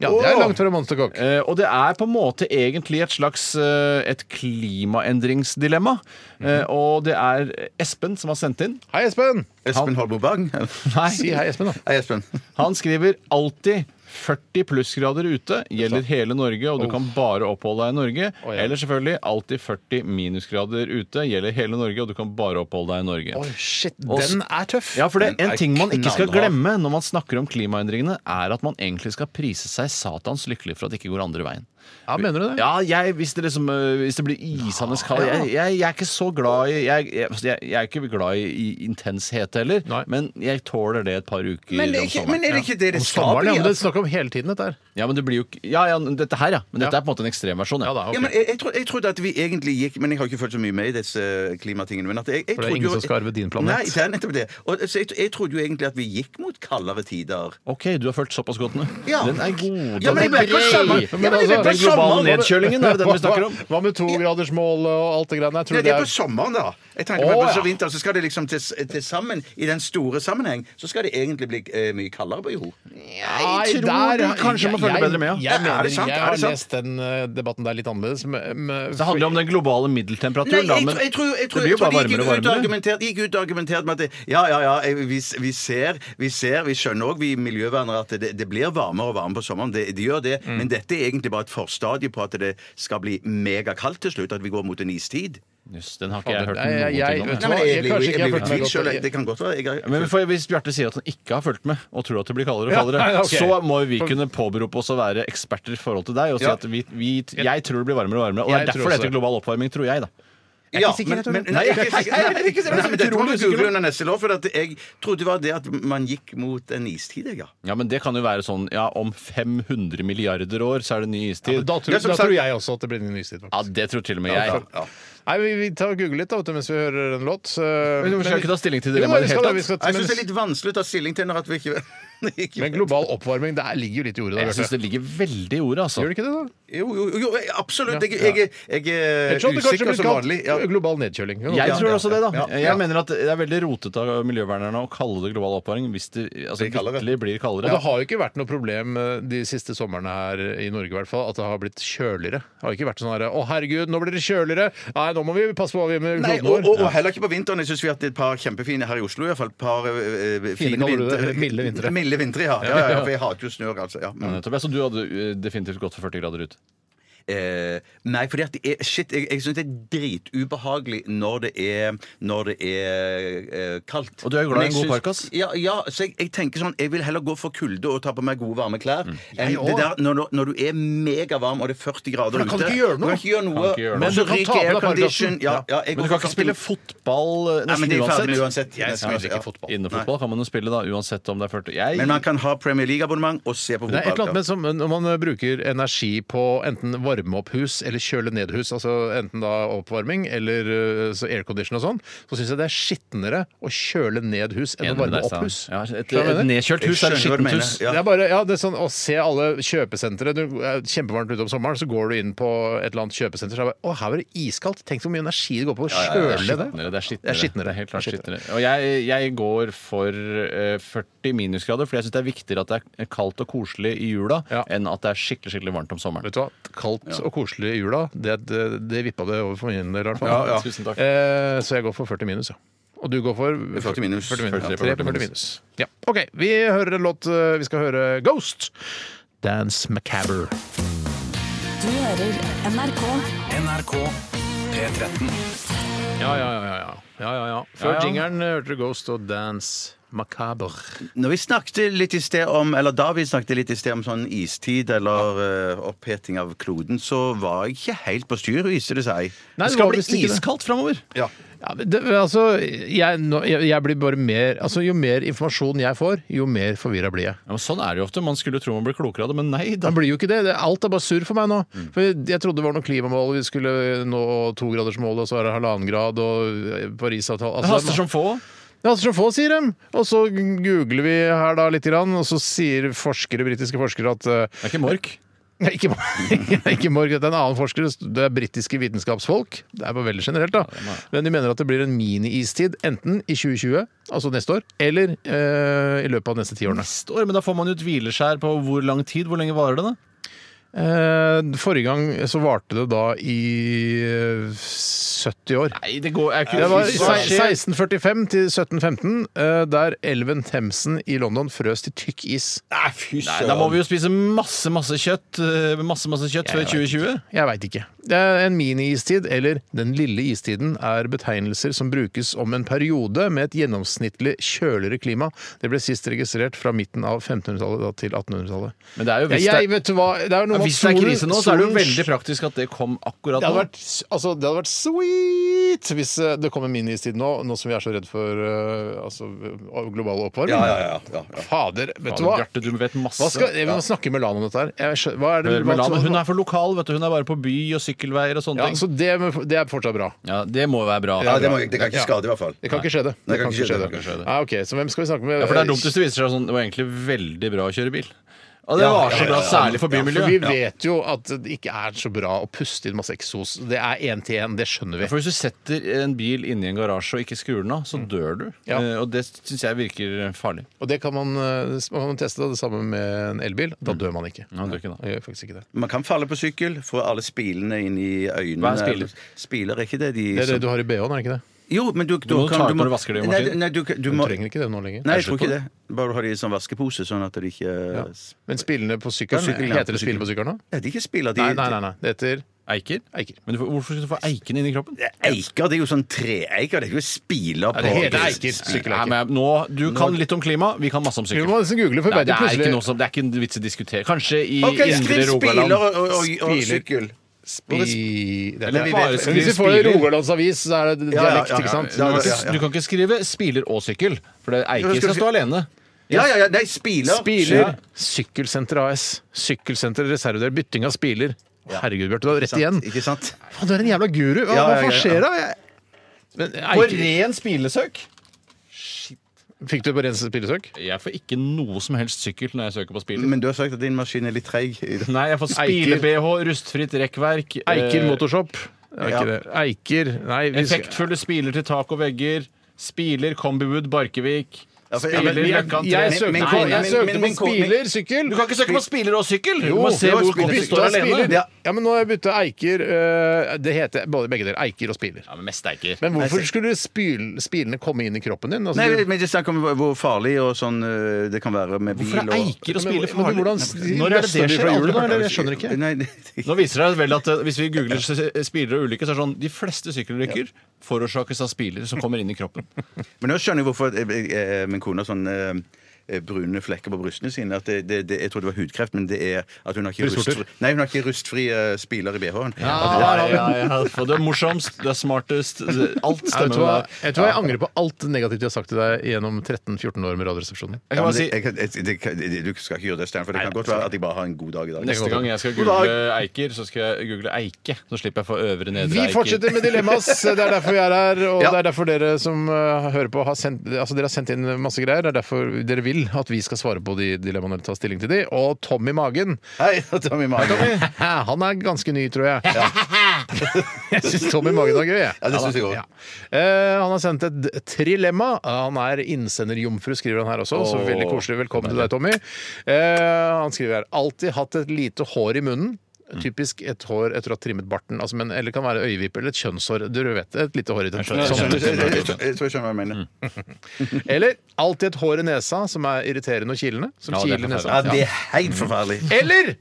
S4: Ja, det er langt fra monsterkokk.
S5: Eh, og det er på en måte egentlig et slags eh, et klimaendringsdilemma. Eh,
S4: Mhm.
S5: og det er Espen som har sendt inn.
S4: Hei, Espen!
S3: Espen Holmo Bang?
S5: Nei,
S4: Si hei, Espen, da.
S3: Hei, Espen.
S5: Han skriver alltid 40 plussgrader ute gjelder hele Norge, og du kan bare oppholde deg i Norge.
S4: ja.
S5: Eller selvfølgelig alltid 40 minusgrader ute gjelder hele Norge, og du kan bare oppholde deg i Norge.
S4: Oi, shit, den er tøff.
S5: Ja, for det,
S3: Den
S5: En
S3: er
S5: ting man ikke skal
S3: knallhard.
S5: glemme når man snakker om klimaendringene, er at man egentlig skal prise seg satans lykkelig for at det ikke går andre veien.
S4: Ja, mener du det?
S5: Ja, jeg, hvis, det liksom, øh, hvis det blir isende kaldt jeg, jeg, jeg er ikke så glad i Jeg, jeg, altså, jeg, jeg er ikke glad i, i intenshet heller,
S4: Nei.
S5: men jeg tåler det et par uker
S3: Men,
S5: om sommeren.
S3: er det ikke det det
S4: Om
S3: skal
S4: sommeren,
S3: bli?
S4: ja, men det snakker om hele tiden, dette her.
S5: Ja, men det blir jo ikke Ja, ja, dette her, ja. Men dette
S4: Ja.
S5: er på en måte en ekstremversjon.
S4: Ja, da, ok.
S3: Ja, men jeg, jeg, tro, jeg trodde at vi egentlig gikk Men jeg har ikke følt så mye med i disse klimatingene. Men at jeg, jeg
S4: For det er
S3: trodde
S4: ingen
S3: jo-
S4: som skal arve din planet.
S3: Nei, det er nettopp det. Og, så jeg, jeg trodde jo egentlig at vi gikk mot kaldere tider.
S5: OK, du har følt såpass godt nå.
S3: Ja.
S5: Den er god.
S3: Ja, men jeg
S5: den er
S3: vet ikke hva
S5: grei. altså,
S3: sommer- Ja, men jeg vet ikke
S5: den globale
S3: hva sommer-
S5: nedkjølingen er det den vi snakker om.
S4: Hva, hva med togradersmålet og alt det greiene der? Tror
S3: Nei,
S4: du
S3: det er
S4: det
S3: på sommeren, da. Jeg tenkte
S4: Å,
S3: på
S4: ja.
S3: så vinter, så skal det liksom til, til sammen, i den store sammenheng, så skal det egentlig bli eh, mye kaldere på jord.
S4: Nei,
S5: tror du kanskje må følge
S4: jeg,
S5: bedre
S4: Jeg,
S5: med, ja.
S3: Ja, er
S4: mener,
S3: det sant?
S4: jeg
S3: Er
S4: har
S3: det sant?
S4: lest den eh, debatten der litt annerledes. men- men-
S5: Det handler om den globale middeltemperaturen, da.
S3: Nei,
S5: Men
S3: jeg, tror- jeg, tror,
S5: det blir
S3: jeg
S5: jo
S3: tror
S5: bare
S3: de gikk
S5: varmere og
S3: ut og
S5: varmere.
S3: argumenterte, gikk ut og argumenterte med at det, ja, ja, ja, jeg- vi, vi ser, vi ser, vi skjønner òg, vi miljøvernere, at det, det blir varmere og varmere på sommeren. Det, det gjør det. Men dette er egentlig bare et forstadie på at det skal bli megakaldt til slutt, at vi går mot en istid.
S5: Jøss, den har ikke
S4: Fader,
S5: jeg hørt
S4: nei,
S5: noe
S4: jeg- jeg-
S5: ting om.
S4: vet
S5: jeg.
S4: du hva, jeg
S3: blir jo-
S4: kanskje ikke har
S3: jeg blir jo
S4: fulgt med
S3: i tvil
S4: godt
S3: selv.
S4: i-
S3: Det kan godt være. Jeg,
S5: Men for Hvis Bjarte sier at han ikke har fulgt med, og tror at det blir kaldere og
S4: Ja,
S5: kaldere,
S4: nei, ok.
S5: så må vi kunne påberope oss å være eksperter i forhold til deg og si
S4: Ja.
S5: at vi, vi, jeg tror det blir varmere og varmere. Og det
S4: Jeg
S5: er
S4: tror
S5: derfor det
S4: også.
S5: heter global oppvarming, tror jeg, da.
S3: Ja,
S4: sikker,
S3: men,
S4: jeg tror
S3: men,
S4: det.
S3: nei, jeg er ikke sikker. Nei,
S5: jeg er ikke sikker.
S3: nei, men Dette må
S5: Utrolig
S3: du
S5: sikker.
S3: google under neste lov, for at jeg trodde det var det at man gikk mot en istid. jeg, Ja.
S5: Ja, men det kan jo være sånn ja, om 500 milliarder år så er det ny istid.
S4: Ja,
S5: Ja,
S4: Da tror,
S3: Ja, som
S4: da
S3: sagt-
S4: tror jeg også at det blir en ny istid. faktisk.
S5: det tror til og med jeg.
S3: Ja.
S4: Nei, vi, vi tar og googler litt da, vet du, mens vi hører en låt. eh,
S5: Men vi skal ikke ta stilling til det
S4: Jo,
S5: dilemmaet
S4: vi
S5: i det
S4: skal
S5: hele
S4: det, vi skal-
S3: Jeg syns det
S4: men-
S3: er litt vanskelig å ta stilling til når at vi ikke, ikke
S4: Men global oppvarming, det er- ligger jo litt i ordet. da,
S5: Jeg
S4: Bjarte.
S5: syns det ligger veldig i ordet, altså.
S4: Gjør det ikke det, da?
S3: Jo, jo, jo, jo, absolutt. Jeg, jeg, jeg,
S4: Jeg
S3: er
S4: tror det kanskje
S3: usikker
S4: blir
S3: som
S4: kalt
S3: vanlig. Ja.
S4: Global nedkjøling. Ja,
S5: Jeg
S4: ja.
S5: tror også det, da.
S3: ja, ja.
S5: Jeg mener at det er veldig rotete av miljøvernerne å kalle det global oppvarming hvis det altså,
S3: Blir kaldere.
S5: virkelig blir
S4: Og
S5: kaldere.
S4: det har jo ikke vært noe problem eh, de siste somrene her i Norge, i hvert fall, at det har blitt kjøligere. Det har ikke vært sånn her, å herregud, nå blir det kjøligere! Nei, nå må vi passe på hva vi gjør med
S3: Nei,
S4: kloden
S3: og,
S4: vår.
S3: og, og heller ikke på vinteren. Jeg syns vi har hatt et par kjempefine her i Oslo. I hvert fall et par eh, eh, fine
S4: kaller du det?
S3: vintre.
S4: Milde vintre.
S3: Milde vintre, ja. Ja, ja, ja. For jeg hater jo snø, altså. Ja. Mm.
S5: Ja, Tobias, så du hadde eh, definitivt gått for 40 grader ut.
S3: Eh, nei, fordi at det er, shit, jeg, jeg syns det er dritubehagelig når det er, når det er eh, kaldt.
S5: Og du er jo
S3: Men
S5: glad i en
S3: jeg
S5: god
S3: syns-
S5: parkas.
S3: Ja, ja, så jeg, jeg tenker sånn Jeg vil heller gå for kulde og ta på meg gode, varme
S5: Mm.
S3: klær enn
S4: òg.
S3: det der når, du- når du er megavarm og det er 40 grader
S4: da
S3: ute.
S4: kan du ikke gjøre noe.
S3: Du kan ikke gjøre noe.
S5: Kan ikke gjøre noe.
S3: Men du kan ta
S4: på deg
S3: aircondition.
S4: parkasen.
S3: Ja, ja, jeg
S5: Men du
S3: går
S5: kan ikke
S3: for
S5: spille
S3: kaldt.
S5: fotball eh,
S3: Nei, men
S5: nesten
S3: det er ferdig med
S5: uansett.
S3: uansett.
S4: Jeg
S3: Nesten
S4: spiller
S3: uansett, ja.
S4: ikke fotball.
S5: Innefotball kan man jo spille, da, uansett om det er 40 Jeg
S3: Men man kan ha Premier League-abonnement og se på
S4: Det er et eller
S3: fotball.
S4: annet med som, når man bruker eh, energi på enten varme opp hus eller kjøle ned hus, altså enten da oppvarming eller eh, så aircondition og sånn, så syns jeg det er skitnere å kjøle ned hus enn å
S9: Enig med
S4: varme
S9: deg,
S4: opp
S9: Stein.
S4: hus.
S9: Ja, et,
S4: Skjønner du hva
S9: et
S4: jeg mener?
S9: nedkjølt hus er et
S3: Skjønner hva du
S9: skittent
S3: mener,
S9: hus.
S3: ja.
S4: Det er bare, ja, det er sånn, Å se alle kjøpesentre Det er kjempevarmt ute om sommeren, så går du inn på et eller annet kjøpesenter så er det bare, Å, her var det iskaldt! Tenk så mye energi det går på å
S9: det er
S4: kjøle det.
S9: skitnere, det er skitnere.
S4: Det er skitnere.
S9: Helt klart
S4: Det er
S9: skitnere.
S5: skittere. Og jeg, jeg går for eh, 40 minusgrader, for jeg syns det er viktigere at det er kaldt og koselig i jula
S4: Ja.
S5: enn at det er skikkelig skikkelig varmt om sommeren.
S4: Vet du hva? Kaldt og koselig i jula, det, det, det vippa det over for min del, i hvert fall.
S5: Ja, ja. Tusen takk.
S4: Eh, så jeg går for 40 minus, ja. Og du går for
S3: 40 minus.
S4: 40 minus.
S3: 40
S4: Ja, 40 minus. Ja. OK, vi hører en låt. eh, Vi skal høre Ghost. Dance Macabre.
S6: Du hører NRK.
S7: NRK P13.
S4: Ja, ja, ja. ja. ja, ja, ja. Før
S5: Ja, ja.
S4: jingeren eh, hørte du Ghost og Dance Macabre.
S3: Når vi snakket litt i sted om Eller da vi snakket litt i sted om sånn istid eller eh, oppheting av kloden, så var jeg ikke helt på styr, viste det seg.
S4: Nei,
S5: Det
S4: var
S5: skal bli
S4: visst ikke det.
S5: iskaldt framover!
S4: Ja, men det, altså, jeg, nå, jeg, jeg blir bare mer altså, Jo mer informasjon jeg får, jo mer forvirra blir jeg.
S5: Ja, men sånn er det jo ofte. Man skulle jo tro man ble klokere av det, men nei da.
S4: Man blir jo ikke det. det. Alt er bare surr for meg nå.
S5: Mm.
S4: For jeg, jeg trodde det var noe klimamål, vi skulle nå togradersmålet, og så er det halvannen grad og eh, Parisavtalen
S5: Det haster som få.
S4: Det haster som få, sier dem! Og så googler vi her da lite grann, og så sier forskere, britiske forskere at eh,
S5: Det er ikke mork.
S4: Nei, Ikke, Mor- ikke Morg, det er en annen forsker. Det er britiske vitenskapsfolk. Det er bare veldig generelt, da. Men de mener at det blir en mini-istid enten i 2020, altså neste år, eller eh, i løpet av de neste ti årene.
S5: Neste år, men da får man jo et hvileskjær på hvor lang tid. Hvor lenge varer det, da?
S4: Eh, forrige gang så varte det da i eh, 70 år.
S5: Nei, det går er ikke
S4: Det var
S5: Hva
S4: se-
S5: skjer?
S4: 1645 til 1715, eh, der elven Themsen i London frøs til tykk is.
S7: Nei, fy
S5: Nei, da må vi jo spise masse, masse kjøtt eh, Masse, masse kjøtt før
S4: vet
S5: 2020.
S4: Jeg veit ikke. Det er en mini-istid, eller den lille istiden, er betegnelser som brukes om en periode med et gjennomsnittlig kjøligere klima. Det ble sist registrert fra midten av 1500-tallet da til 1800-tallet.
S5: Men det er jo
S4: Jeg,
S5: hvis det
S4: jeg
S5: er,
S4: vet du hva, det er jo noe med at
S5: ja, hvis det er
S4: solen-
S5: krise nå, så er det jo
S4: solen-
S5: veldig praktisk at det kom akkurat
S4: det hadde,
S5: nå.
S4: vært, altså, det hadde vært sweet hvis eh, det kom en mini-istid nå, nå som vi er så redd for eh, altså, global oppvarming.
S3: Ja, ja, ja, ja, ja.
S4: Fader, vet du hva?
S5: Bjarte, du vet masse.
S4: hva skal, jeg må snakke med Lan om dette her. Jeg skjø- hva er det,
S5: Hør med Lan, hun er for lokal, vet du. Hun er bare på by og sykkelveier og sånne
S4: ja,
S5: ting.
S4: så det, det er fortsatt bra.
S5: Ja, det må jo være bra.
S3: Ja, det, må, det kan ikke skade, i hvert fall.
S4: Det kan ikke skje, det.
S3: Nei, det kan ikke skje det, det
S4: skje det. Ja, ok, Så hvem skal vi snakke med?
S5: Ja, for det er dumt hvis det viser seg sånn Det var egentlig veldig bra å kjøre bil. Og det
S3: Ja,
S5: var så
S3: ja,
S5: bra,
S3: ja, ja.
S5: særlig for
S4: For vi
S5: bymiljøet.
S4: vet jo at det ikke er så bra å puste inn masse eksos. Det er én til én, det skjønner vi.
S5: For hvis du setter en bil inni en garasje og ikke skrur den av, så dør du.
S4: Mm. Ja.
S5: Eh, Og det syns jeg virker farlig.
S4: Og det kan man, eh, man kan teste det samme med en elbil. Da
S5: Mm.
S4: dør man ikke.
S5: Ja, det er ikke det.
S4: Man gjør faktisk ikke det.
S3: Man kan falle på sykkel, få alle spilene inn i øynene.
S5: Hva er spiler?
S3: Spiler er ikke det de
S4: Det
S5: Liksom.
S4: er det
S3: som-
S4: du har i BH-en, er det ikke det?
S3: Jo, men du,
S5: må ta ut når du vasker det,
S3: nei,
S5: Martin.
S3: nei, du, du
S4: Du
S3: må
S4: trenger ikke det nå lenger.
S3: Nei, jeg tror ikke det. Bare ha det i sånn vaskepose, sånn at de ikke
S4: Men spillene på sykkelen,
S3: På sykkelen, ja.
S4: heter det spille på sykkelen nå?
S3: Nei, de ikke spiller. De,
S4: Nei, nei, nei. nei. Det heter
S5: Eiker?
S4: Eiker.
S5: Men du får, hvorfor skal du få eiken inn i kroppen?
S3: Det er Eiker, det er jo sånn treeiker. Det er ikke spiler på
S4: det heter
S3: Ok.
S4: eiker.
S5: Nei,
S4: Sykkeleiker.
S5: men nå, Du kan litt om klima, vi kan masse om
S4: Vi
S5: sykkel.
S4: må nesten google, for
S5: Nei,
S4: vet
S5: det,
S4: du
S5: er ikke
S4: plutselig-
S5: noe som, det er ikke en vits i å diskutere. Kanskje i
S3: OK,
S5: indre
S3: skriv spiler
S5: Rogaland.
S3: og, og, og, og
S4: Spiler.
S3: sykkel.
S4: Spi... Det er
S3: Eller vi vet-
S4: Bare- Hvis vi får det i Rogalands Avis, så er det
S3: Ja, ja,
S4: dialekt,
S3: ja,
S4: ikke sant?
S3: ja, ja,
S5: Du,
S3: ja, ja.
S5: du kan ikke skrive 'spiler og sykkel', for det er
S3: Ja,
S5: eiker
S3: skal
S5: skal
S3: du
S5: stå alene.
S3: Ja, ja, ja. Nei, spiler.
S4: Spiler. Sykkelsenter AS. Sykkelsenter reservedel. Bytting av spiler. Herregud, Bjarte, du har rett igjen.
S3: Ikke sant?
S4: Faen, du er en jævla guru. Hva,
S3: Ja, ja,
S4: hva
S3: ja,
S4: skjer da? Men, Eiker,
S5: ren spilesøk?
S4: fikk du på rens spillesøk?
S3: Eh,
S5: Jeg får ikke noe som helst sykkel når jeg søker på spiler.
S3: Men du har sagt at din maskin er litt treig. i dag.
S5: Nei, jeg får
S4: Eiker.
S5: spile-BH, rustfritt rekkverk,
S4: Eiker
S5: eh,
S4: Motorshop. Det er ikke
S3: Ja.
S4: det. Eiker Nei, vi skal-
S5: effektfulle spiler til tak og vegger, spiler Combiwood Barkevik,
S3: Ja, for- ja, men
S5: spiler
S3: vi er-
S5: Løkkan
S4: Jeg
S5: tre. altså,
S4: søkte
S3: men-
S4: på,
S3: men-
S4: jeg
S3: men-
S4: søkte på
S3: men-
S4: spiler, sykkel.
S5: Du kan ikke søke på spiler og sykkel! Du
S4: Jo,
S5: må se
S3: det var
S5: hvor
S3: spiler-
S5: Combi
S3: spiler-
S5: står alene.
S4: Spiler.
S3: Ja.
S4: Ja, men nå har jeg bytta Eiker eh, Det heter både begge deler. Eiker og spiler.
S5: Ja, men mest eiker.
S4: Men hvorfor skulle spil, spilene komme inn i kroppen din? Altså,
S3: Nei,
S4: du-
S3: men det er snakk om hvor farlig og sånn øh, det kan være med bil
S5: Hvorfor er eiker og spiler
S4: Men
S5: farlig?
S4: hvordan-
S5: Når er det det skjer? Aldri, da, eller?
S4: Jeg skjønner ikke.
S3: Nei, det, det,
S5: Nå viser det seg vel at eh, Hvis vi googler s- s- spiler og ulykker, så er det sånn de fleste sykkelulykker forårsakes av spiler som kommer inn i kroppen.
S3: men nå skjønner jeg hvorfor eh, eh, min kone har sånn eh, eh, brune flekker på brystene sine. At det, det, det, jeg tror det var hudkreft, men det er at hun har ikke,
S4: Brystvorter?
S3: rustfri, nei, hun har ikke rustfrie spiler i BH-en.
S5: Ja, ja, ja. For det er morsomst, det er smartest, det- alt
S4: Jeg
S5: stemmer
S4: tror
S5: med
S4: jeg,
S5: deg.
S4: jeg tror jeg angrer på alt negativt jeg har sagt til deg gjennom 13-14 år med Radioresepsjonen.
S5: Jeg
S3: Ja,
S5: kan
S3: men det,
S5: bare si
S3: jeg, kan- jeg, det, kan- det, du skal ikke gjøre det, Stein, for det kan godt være at jeg bare har en god dag i dag.
S5: Neste gang jeg skal
S3: God
S5: google Eiker, så skal jeg google Eike. Så slipper jeg for øvre nedre
S4: Vi
S5: Eiker.
S4: fortsetter med dilemmas. Det er derfor vi er her, og
S3: Ja.
S4: det er derfor dere som eh, hører på, har sendt, altså dere har sendt inn masse greier. Det er derfor dere vil at vi skal svare på de dilemmaene eller ta stilling til de. Og Tommy Magen,
S3: Hei, Tommy Magen.
S4: han er ganske ny, tror jeg. jeg syns Tommy Magen er gøy, jeg.
S3: Ja, det synes jeg også.
S4: Ja. Eh, han har sendt et d- trilemma. Han er innsenderjomfru, skriver han her også. Så
S3: Åh.
S4: veldig koselig. Velkommen til deg, Tommy. Eh, han skriver her alltid hatt et lite hår i munnen.
S3: Mm.
S4: Typisk et hår etter å ha trimmet barten. Altså, men, eller det kan være øyevippe eller et kjønnshår. Du vet, et lite hår i den.
S3: Jeg, skjønner- jeg, jeg, jeg,
S4: Sånn.
S3: jeg tror jeg skjønner hva jeg mener.
S4: Eller alltid et hår i nesa som er irriterende og kilende. Som
S5: Ja, det er
S4: kiler i
S5: forferdelig.
S4: nesa. Ja.
S3: Ja, det er
S4: Mm.
S3: helt forferdelig.
S4: Eller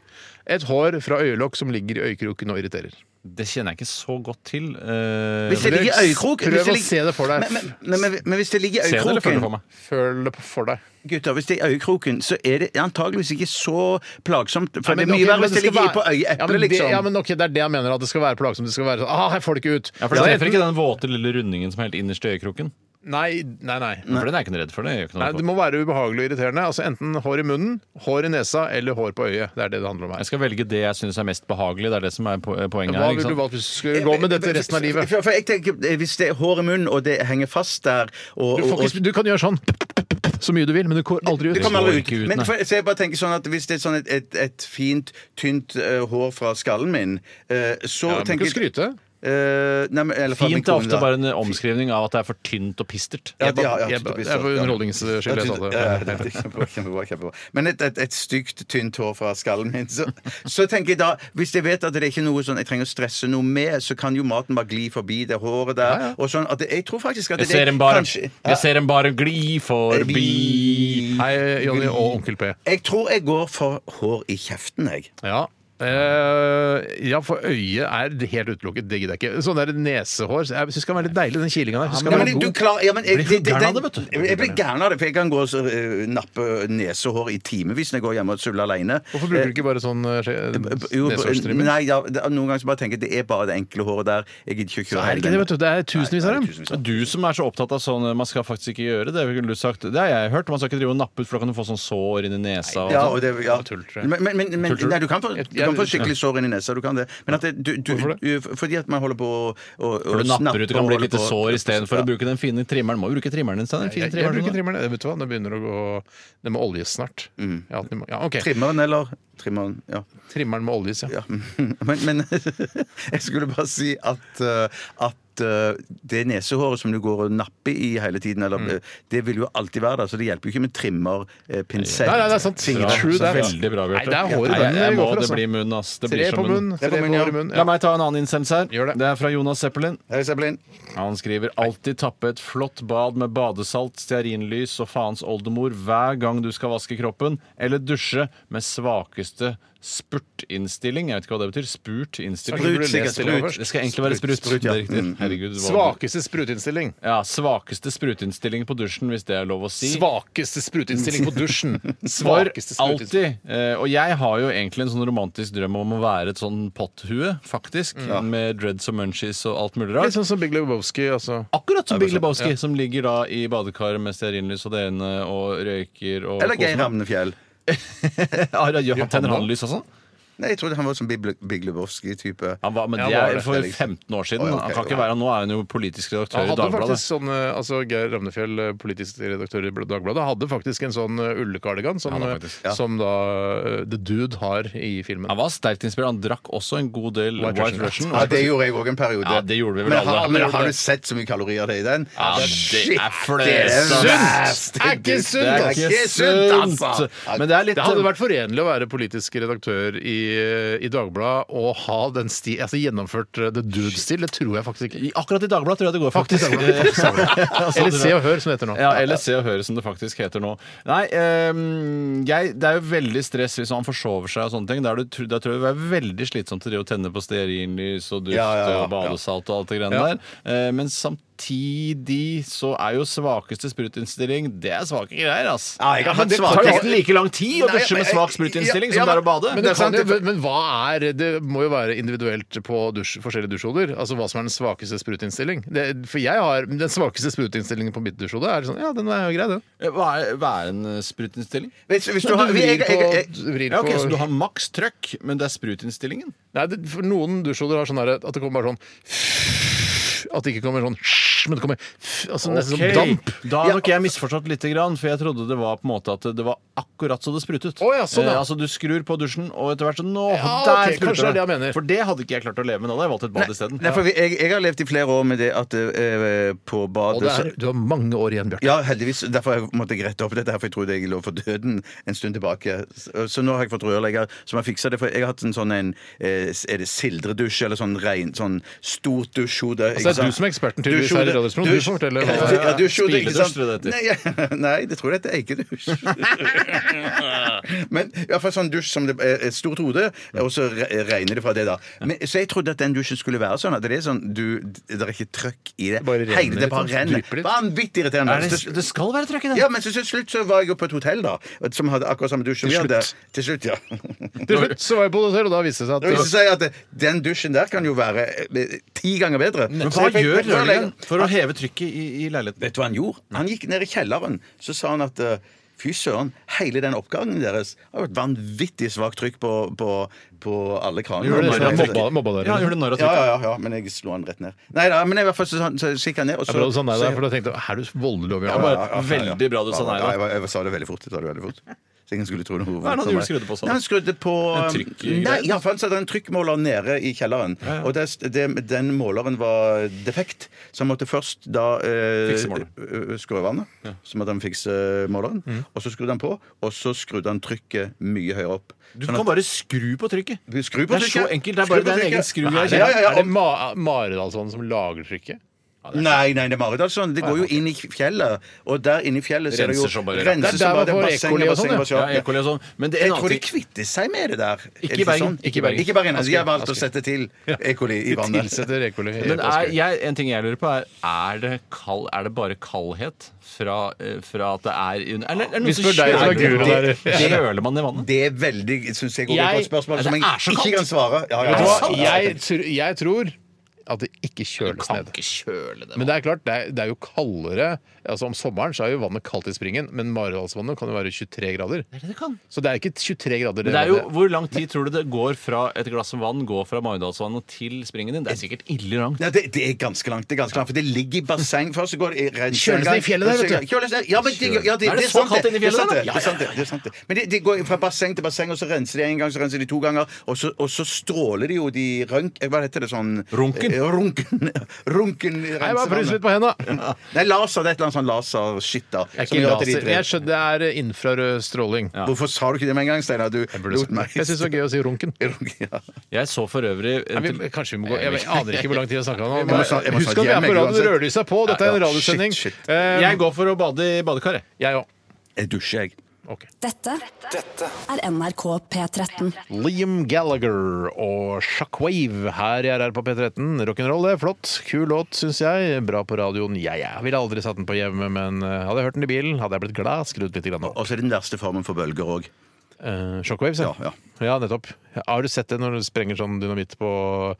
S4: et hår fra øyelokk som ligger i øyekroken og irriterer.
S5: Det kjenner jeg ikke så godt til. eh,
S3: Hvis det ligger i øyekroken
S4: Prøv
S3: hvis det
S4: å
S3: ligger-
S4: se det for deg.
S3: Men, men, nei, men, men hvis det ligger i
S5: Se det eller følg det for
S3: øyekroken,
S5: meg?
S4: Føl det for deg.
S3: gutter, hvis det er i øyekroken, så er det antageligvis ikke så plagsomt. For
S4: Ja, men
S3: det er mye
S4: ok, men
S3: verre hvis det
S4: skal
S3: ligger i på
S4: være- ja, men
S3: øyeeplet,
S4: det-
S3: liksom.
S4: Ja, men ok, Det er det jeg mener, at det skal være plagsomt. Det skal være sånn ah, jeg får det ikke ut.
S5: Ja, for Du treffer
S4: enten-
S5: ikke den våte lille rundingen som er helt innerst i øyekroken.
S4: nei, nei, nei.
S5: For den er jeg ikke noe redd for. det gjør ikke noe
S4: Nei, Det
S5: for.
S4: må være ubehagelig og irriterende. Altså Enten hår i munnen, hår i nesa eller hår på øyet. Det er det det handler om her.
S5: Jeg skal velge det jeg syns er mest behagelig. Det er det som er po- eh, poenget
S4: Hva
S5: her.
S4: vil du
S5: Ikke sant?
S4: valgt hvis du skulle gå med dette resten av livet?
S3: For, for jeg tenker, eh, Hvis det er hår i munnen, og det henger fast der og,
S4: Du,
S3: og,
S4: får
S3: og
S4: ikke, du kan gjøre sånn så mye du vil, men du går aldri ut.
S3: det kommer aldri ut.
S5: ikke ut,
S3: Men
S5: nei.
S3: for, så jeg bare tenker sånn at Hvis det er sånn et, et, et fint, tynt eh, hår fra skallen min, eh, så
S4: Ja, men
S3: tenker
S4: ikke skryte.
S3: Eh, nei, men, eller fra min
S5: Fint er
S3: kone, da.
S5: ofte bare en eh, omskrivning av at det er for tynt og pistert.
S3: Ja,
S4: Jeg bare-
S3: ja, ja,
S4: jeg bare-
S3: tydeligvis,
S4: jeg er for
S3: ja.
S4: underholdningsskyld, jeg sa det.
S3: Ja, ja, det er kjempebra, kjempebra, kjempebra. Men et, et, et stygt, tynt hår fra skallen min. Så, så tenker jeg da, hvis jeg vet at det er ikke noe sånn jeg trenger å stresse noe med, så kan jo maten bare gli forbi det håret der. Og sånn at det, jeg tror faktisk at det
S5: Jeg ser en bare,
S3: kanskje-
S5: jeg ser en bare gli forbi
S4: Hei, Jonny og Onkel P.
S3: Jeg tror jeg går for hår i kjeften, jeg.
S4: Ja. Eh, ja, for øyet er helt utelukket. Det gidder jeg ikke. Sånn der nesehår så Jeg syns det kan være litt deilig, den kilinga der. Jeg synes det
S3: Ja,
S4: kan
S3: men
S4: være
S3: du
S4: god.
S3: klar, ja, men jeg,
S5: Blir du gæren av det, vet du?
S3: Jeg, jeg blir gæren av det, for jeg kan gå og så, eh, nappe nesehår i timevis når jeg går hjemme og suller aleine.
S4: Hvorfor bruker du ikke bare sånn eh, skje-
S3: Jo,
S4: nesehårstrimmer?
S3: nei, ja, det, noen ganger så bare tenker jeg det er bare det enkle håret der. Jeg gidder ikke å
S4: Det
S3: kjøre
S4: er ikke det, vet du. Det er tusenvis av dem.
S5: Men Du som er så opptatt av sånn Man skal faktisk ikke gjøre det. Det, ville du sagt. det har jeg hørt. Man skal ikke drive og nappe ut, for da kan du få sånn sår inni nesa. Og
S3: Ja,
S5: sånn.
S3: og det, ja.
S4: tull, tror jeg.
S3: Men, men, men, men
S4: Tull, tror du?
S3: nei, du kan få, du
S4: Jeg-
S3: kan få skikkelig sår inn i nesa. Du kan det. Men at det, du, du,
S4: Hvorfor
S3: du- fordi at man holder på å å- å
S5: For du
S3: snappe
S5: napper ut, det
S3: og
S5: kan bli et
S3: holder
S5: lite
S3: på-
S5: sår istedenfor
S3: Ja.
S5: å bruke den fine trimmeren. Må jo bruke trimmeren din, Stein. Den fine
S4: Jeg, jeg bruker
S5: trimmeren. din, da.
S4: trimmeren. Mm. Vet du hva, det begynner å gå Det må oljes snart. Jeg har hatt den i mange- Ja, ok.
S3: Trimmeren, eller? Trimmeren, ja.
S4: Trimmeren må oljes, ja.
S3: ja. Men, men jeg skulle bare si at, eh, at eh, det nesehåret som du går og napper i hele tiden, eller, eh, det vil jo alltid være der, så det hjelper jo ikke med trimmer, eh, pinsett
S4: Nei, nei, det er sant.
S3: fingre.
S4: Bra. True that.
S5: Veldig bra, Bjarte.
S4: Nei, det er håret i
S5: Nei,
S4: munnen
S5: jeg,
S4: jeg
S5: må,
S4: går for,
S5: det
S4: altså.
S5: blir munn, ass. Det
S4: Tre
S5: blir så
S4: på munn,
S3: Det er
S4: tre
S3: på
S4: på
S3: munn, ja.
S4: hår i munn.
S5: La
S4: Ja.
S5: meg ta en annen innsendelse her.
S4: Gjør det.
S5: er fra Jonas Zeppelin.
S3: Hei, Zeppelin.
S5: Han skriver alltid tappe et flott bad med badesalt, stearinlys og faens oldemor hver gang du skal vaske kroppen, eller dusje med svakeste spurtinnstilling. Jeg vet ikke hva det betyr. Spurt innstilling.
S4: Sprut, sikkert. Sprut.
S5: Det skal egentlig være sprut.
S3: Sprut, ja.
S5: Det er riktig. Herregud, hva-
S4: Svakeste sprutinnstilling.
S5: Ja, svakeste sprutinnstilling på dusjen, hvis det er lov å si.
S4: Svakeste sprutinnstilling på dusjen.
S5: For
S4: Svakeste sprutinnstilling.
S5: alltid. Eh, og jeg har jo egentlig en sånn romantisk drøm om å være et sånn potthue, faktisk. Med dreads og munchies og alt mulig rart.
S4: Litt sånn som Big Lebowski, altså.
S5: Akkurat som Big Lebowski, som ligger da i badekaret med stearinlys og det ene, og røyker og
S3: Eller Geir
S5: koser meg.
S3: Ramnefjell.
S5: Har han- han tenner han lys og sånn?
S3: Nei, jeg trodde han var som Bibl- Big Lebowski-type.
S5: Han var, men
S4: Ja,
S5: det
S4: var
S5: er
S4: det.
S5: for 15 år
S3: Å,
S5: siden.
S3: ja, ok,
S5: han kan ikke
S3: ja.
S5: være, Nå er han jo politisk redaktør
S4: Han
S5: i
S4: hadde
S5: Dagbladet.
S4: faktisk sånn, eh, altså Geir Ramnefjell, eh, politisk redaktør i Dagbladet, hadde faktisk en sånn eh, ullekardigan som,
S5: Ja,
S4: eh,
S5: da, faktisk.
S4: som da eh, The Dude har i filmen.
S5: Han var sterkt inspirert. Han drakk også en god del
S4: White
S5: White,
S4: Russian.
S5: Russian.
S3: Ja, det gjorde jeg òg en periode.
S5: Ja, det gjorde vi vel
S3: men,
S5: alle.
S3: har, men
S5: Alle gjorde
S3: har du
S5: det.
S3: sett så mye kalorier det er i den?
S5: Ja, det er
S3: det er
S5: flesunt!
S3: verst.
S4: Er ikke sunt!
S3: Det er ikke sunt, altså!
S5: Men det er litt sånn-
S4: Det hadde vært forenlig å være politisk redaktør i i, i Dagbladet å ha den sti, altså gjennomført eh, the dude still. Det tror jeg faktisk ikke.
S5: I- Akkurat i Dagbladet tror jeg det går, faktisk. Altså,
S4: Eller Se
S5: tror jeg-
S4: og Hør, som det heter nå.
S5: Ja, eller Se og Hør, som det faktisk heter nå. Nei, ehm, jeg, det er jo veldig stress hvis man forsover seg og sånne ting. Da er det tr- da tror jeg det er veldig slitsomt å drive og tenne på stearinlys og duft
S3: Ja, ja, ja,
S5: og badesalt og alt det greiene der. Eh, men samtidig så er jo svakeste sprutinnstilling Det er svake greier, ass.
S3: Ja, jeg har hatt
S5: men det tar
S3: svake-
S5: nesten like lang tid å
S3: Nei,
S5: dusje med
S3: men-
S5: svak sprutinnstilling
S3: Ja, ja,
S5: som det er å
S3: men-
S5: bade.
S4: Men,
S3: det
S4: det
S3: er sant,
S4: kan jo,
S3: det-
S4: men- men hva er Det må jo være individuelt på dusj, forskjellige dusjhoder. Altså hva som er den svakeste sprutinnstilling. Det, for jeg har den svakeste sprutinnstillingen på mitt dusjhode. Er sånn, ja, den er jo grei, den.
S5: Eh, Hva er, hva er en eh, sprutinnstilling?
S3: Hvis, hvis
S4: Du
S3: du har, jeg,
S4: vrir
S3: jeg, jeg,
S4: på,
S3: jeg,
S4: du vrir
S5: Ja, ok,
S4: på-
S5: Så du har maks trøkk, men det er sprutinnstillingen?
S4: Nei, det, for noen dusjhoder har sånn derre at det kommer bare sånn At det ikke kommer sånn men det kommer altså, nesten
S5: Ok,
S4: som damp.
S5: Da har nok jeg misforstått litt, grann, for jeg trodde det var på en måte at det var akkurat så det sprutet.
S4: Å ja, sånn, ja.
S5: Eh, altså Du skrur på dusjen, og etter hvert så Nå,
S4: Ja,
S5: der
S4: ok, kanskje
S5: spruter
S4: det er det jeg mener.
S5: For det hadde ikke jeg klart å leve med. Da hadde jeg valgt et bad isteden.
S3: nei, for vi- jeg, jeg har levd i flere år med det at eh, på
S4: Og
S3: badet
S4: det er, du har mange år igjen, Bjarte.
S3: Ja, heldigvis. Derfor jeg måtte jeg rette opp dette, her, for jeg trodde jeg lå for døden en stund tilbake. Så så nå har jeg fått rørlegger som har fiksa det. For jeg har hatt en sånn en eh, Er det sildredusj eller sånn rein, sånn stort dusjhode?
S4: Altså, det er
S3: ikke sant?
S4: du som er eksperten tydeligvis her i Radioresepsjonen.
S3: Dusjhode,
S4: Du
S3: dusj-
S4: får fortelle eh, hva det er.
S3: Ja, dusjhode, ikke sant?
S5: Spiledusj, tror jeg det
S3: Nei, ja, nei, det tror jeg det er eikedusj. Men iallfall sånn dusj som det er et stort hode, og så re- regner det fra det, da. Men, så jeg trodde at den dusjen skulle være sånn at det er sånn du Det er ikke trøkk i det.
S4: Bare renner
S3: Hele det bare
S4: litt, drypper
S3: renner.
S4: litt.
S3: Vanvittig irriterende.
S5: Er det, det skal være trøkk i den.
S3: Ja, men så til slutt så var jeg jo på et hotell da som hadde akkurat samme dusj som vi hadde. Til slutt, ja.
S4: Til slutt så var jeg på hotell, og da viste det seg at
S3: Det vil si at eh, den dusjen der kan jo være eh, ti ganger bedre.
S5: Men
S3: Så
S5: hva
S3: jeg fikk-
S5: gjør
S3: fikk rørleggeren-
S5: rørleggeren for å heve trykket i, i leiligheten?
S3: Vet du hva han gjorde? Han gikk ned i kjelleren. Så sa han at eh, fy søren, hele den oppgangen deres har vært vanvittig svakt trykk på, på, på alle kranene.
S4: Gjorde det,
S3: Men-
S4: så han mobba, mobba dere.
S5: Ja, gjør det narr av
S3: ja,
S5: trykket.
S3: ja, ja, ja, men jeg slo han rett ned. Nei da, men i hvert fall så, så, så gikk han ned, og
S4: Jeg
S3: så
S4: ble også sånn nei,
S3: så-
S4: der, for da tenkte jeg er du voldelig over
S3: Ja,
S4: meg?
S3: ja, ja, ja, ja.
S5: Veldig bra du sa nei, da.
S3: Ja, jeg, var- jeg sa det veldig fort. Jeg sa det veldig fort. Så ingen skulle tro noe
S5: Hva er det han gjorde skrudde på, sa du?
S3: Nei, han skrudde på um,
S5: En trykk-
S3: Nei, ja, for han satte en trykkmåler nede i kjelleren. Og det, det, den måleren var defekt, så han måtte først da eh,
S5: Fikse måleren. Mm.
S3: eh, skru av vannet. Så måtte han fikse eh, måleren. Og så skrudde han på, og så skrudde han trykket mye høyere opp.
S5: Du
S3: Sånn
S5: kan
S3: at-
S5: bare skru på trykket.
S3: Skru på
S5: Det er
S3: trykket!
S5: så enkelt. Det er
S3: på
S5: bare det er en egen
S3: trykket.
S5: skru
S3: Nei,
S5: jeg
S3: ja, ja, ja,
S4: Er det Ma Maridalsvannet som lager trykket?
S3: Nei, nei, det er Maridalsvann. Det går jo inn i fjellet, og der inne i fjellet så er det jo
S5: Renser som bare-
S4: Det
S3: renser
S4: er
S3: som
S4: der
S3: bare det
S4: man får
S3: bassenget,
S4: ekoli og
S3: bassenget,
S4: sånn,
S3: bassenget.
S5: Ja, ekoli og sånn. Men det er en
S3: Jeg tror
S5: annen
S3: de
S5: ting.
S3: kvitter seg med det der. Er det Ikke
S5: i Bergen. Ikke i
S3: Bergen.
S5: Bergen.
S3: Ikke Bergen. Altså, jeg har
S4: Asker.
S3: valgt å sette til ekoli i vannet.
S4: Tilsetter ekoli
S5: Men er, jeg, en ting jeg lurer på, er er det, kald, er det bare kaldhet fra, eh, fra at det er under Eller er
S4: Vi
S5: det noen som
S4: spør deg som er
S5: kjøler-
S4: guru der.
S5: det- det Kjøler man i vannet?
S3: Det er veldig synes jeg, går på et
S5: Jeg-
S3: spørsmål
S4: Altså,
S3: som
S5: Det
S3: jeg
S5: er så
S3: ikke
S5: kaldt.
S3: kan svare. Ja, ja,
S4: Vet du
S3: ja.
S4: hva? Jeg, tr- jeg tror at det ikke kjøles
S5: Kan
S4: ned.
S5: ikke kjøle det.
S4: Men det er klart, det er, det er jo kaldere Altså Om sommeren så er jo vannet kaldt i springen, men Maridalsvannet kan jo være 23 grader.
S5: Det er det det kan.
S4: Så det er ikke 23 grader.
S5: Men det er jo,
S4: vannet.
S5: Hvor lang tid tror du det går fra et glass med vann går fra Maridalsvannet til springen din? Det er sikkert ille langt.
S3: Nei, det, det er ganske langt. det er ganske langt, For det ligger i basseng først. så går det i renser
S4: Kjøles ned i fjellet der, vet du.
S3: Kjøles ned. Ja, men det, ja, det,
S5: Er det
S3: det er
S5: så
S3: sant,
S5: kaldt
S3: det.
S5: inne i
S3: Det er
S5: fjellet
S3: sant,
S5: der,
S3: det.
S5: da?
S3: det, er sant, det. det er sant det. Men de, de går fra basseng til basseng, og så renser de én gang, så renser de to ganger, og så, og så stråler de jo de rønk... Hva heter det sånn
S5: Runken.
S3: Eh, Runken. Runken
S4: Nei, bare frys litt på henda!
S3: Nei, laser. Det er et eller annet sånn laserskitt da.
S4: Det er
S3: som
S4: ikke
S3: gjør at de
S4: laser.
S3: dreper.
S4: Jeg skjønner det er infrarød stråling.
S3: Ja. Hvorfor sa du ikke det med en gang, Steinar? Du
S4: Jeg
S3: lot meg
S4: syns det var gøy å si runken.
S3: Ja.
S5: Jeg så for øvrig
S4: Nei, vi, kanskje vi må gå Jeg vet- aner ikke hvor lang tid jeg snakka nå.
S3: må snart- jeg må
S4: Husk
S3: snart
S4: at vi er på
S3: hjem, jeg,
S4: radioen.
S3: uansett.
S4: Rødlyset er på. Dette er en
S3: Ja, ja.
S4: radiosending.
S3: Shit, shit.
S4: Eh,
S5: Jeg går for å bade i badekar, jeg.
S4: Jeg òg.
S3: Jeg dusjer, jeg.
S4: Ok.
S6: Dette
S7: Dette
S6: er NRK P13.
S4: Liam Gallagher og Shockwave her i RR på P13. Rock'n'roll, det. er Flott. Kul låt, syns jeg. Bra på radioen. Jeg ja, ja. ville aldri satt den på hjemme, men eh, hadde jeg hørt den i bilen, hadde jeg blitt glad. Skrudd litt grann opp.
S3: Og så er det den verste formen for bølger òg.
S4: Eh, shockwaves,
S3: Ja,
S4: ja, nettopp. Har du sett det når du sprenger sånn dynamitt på,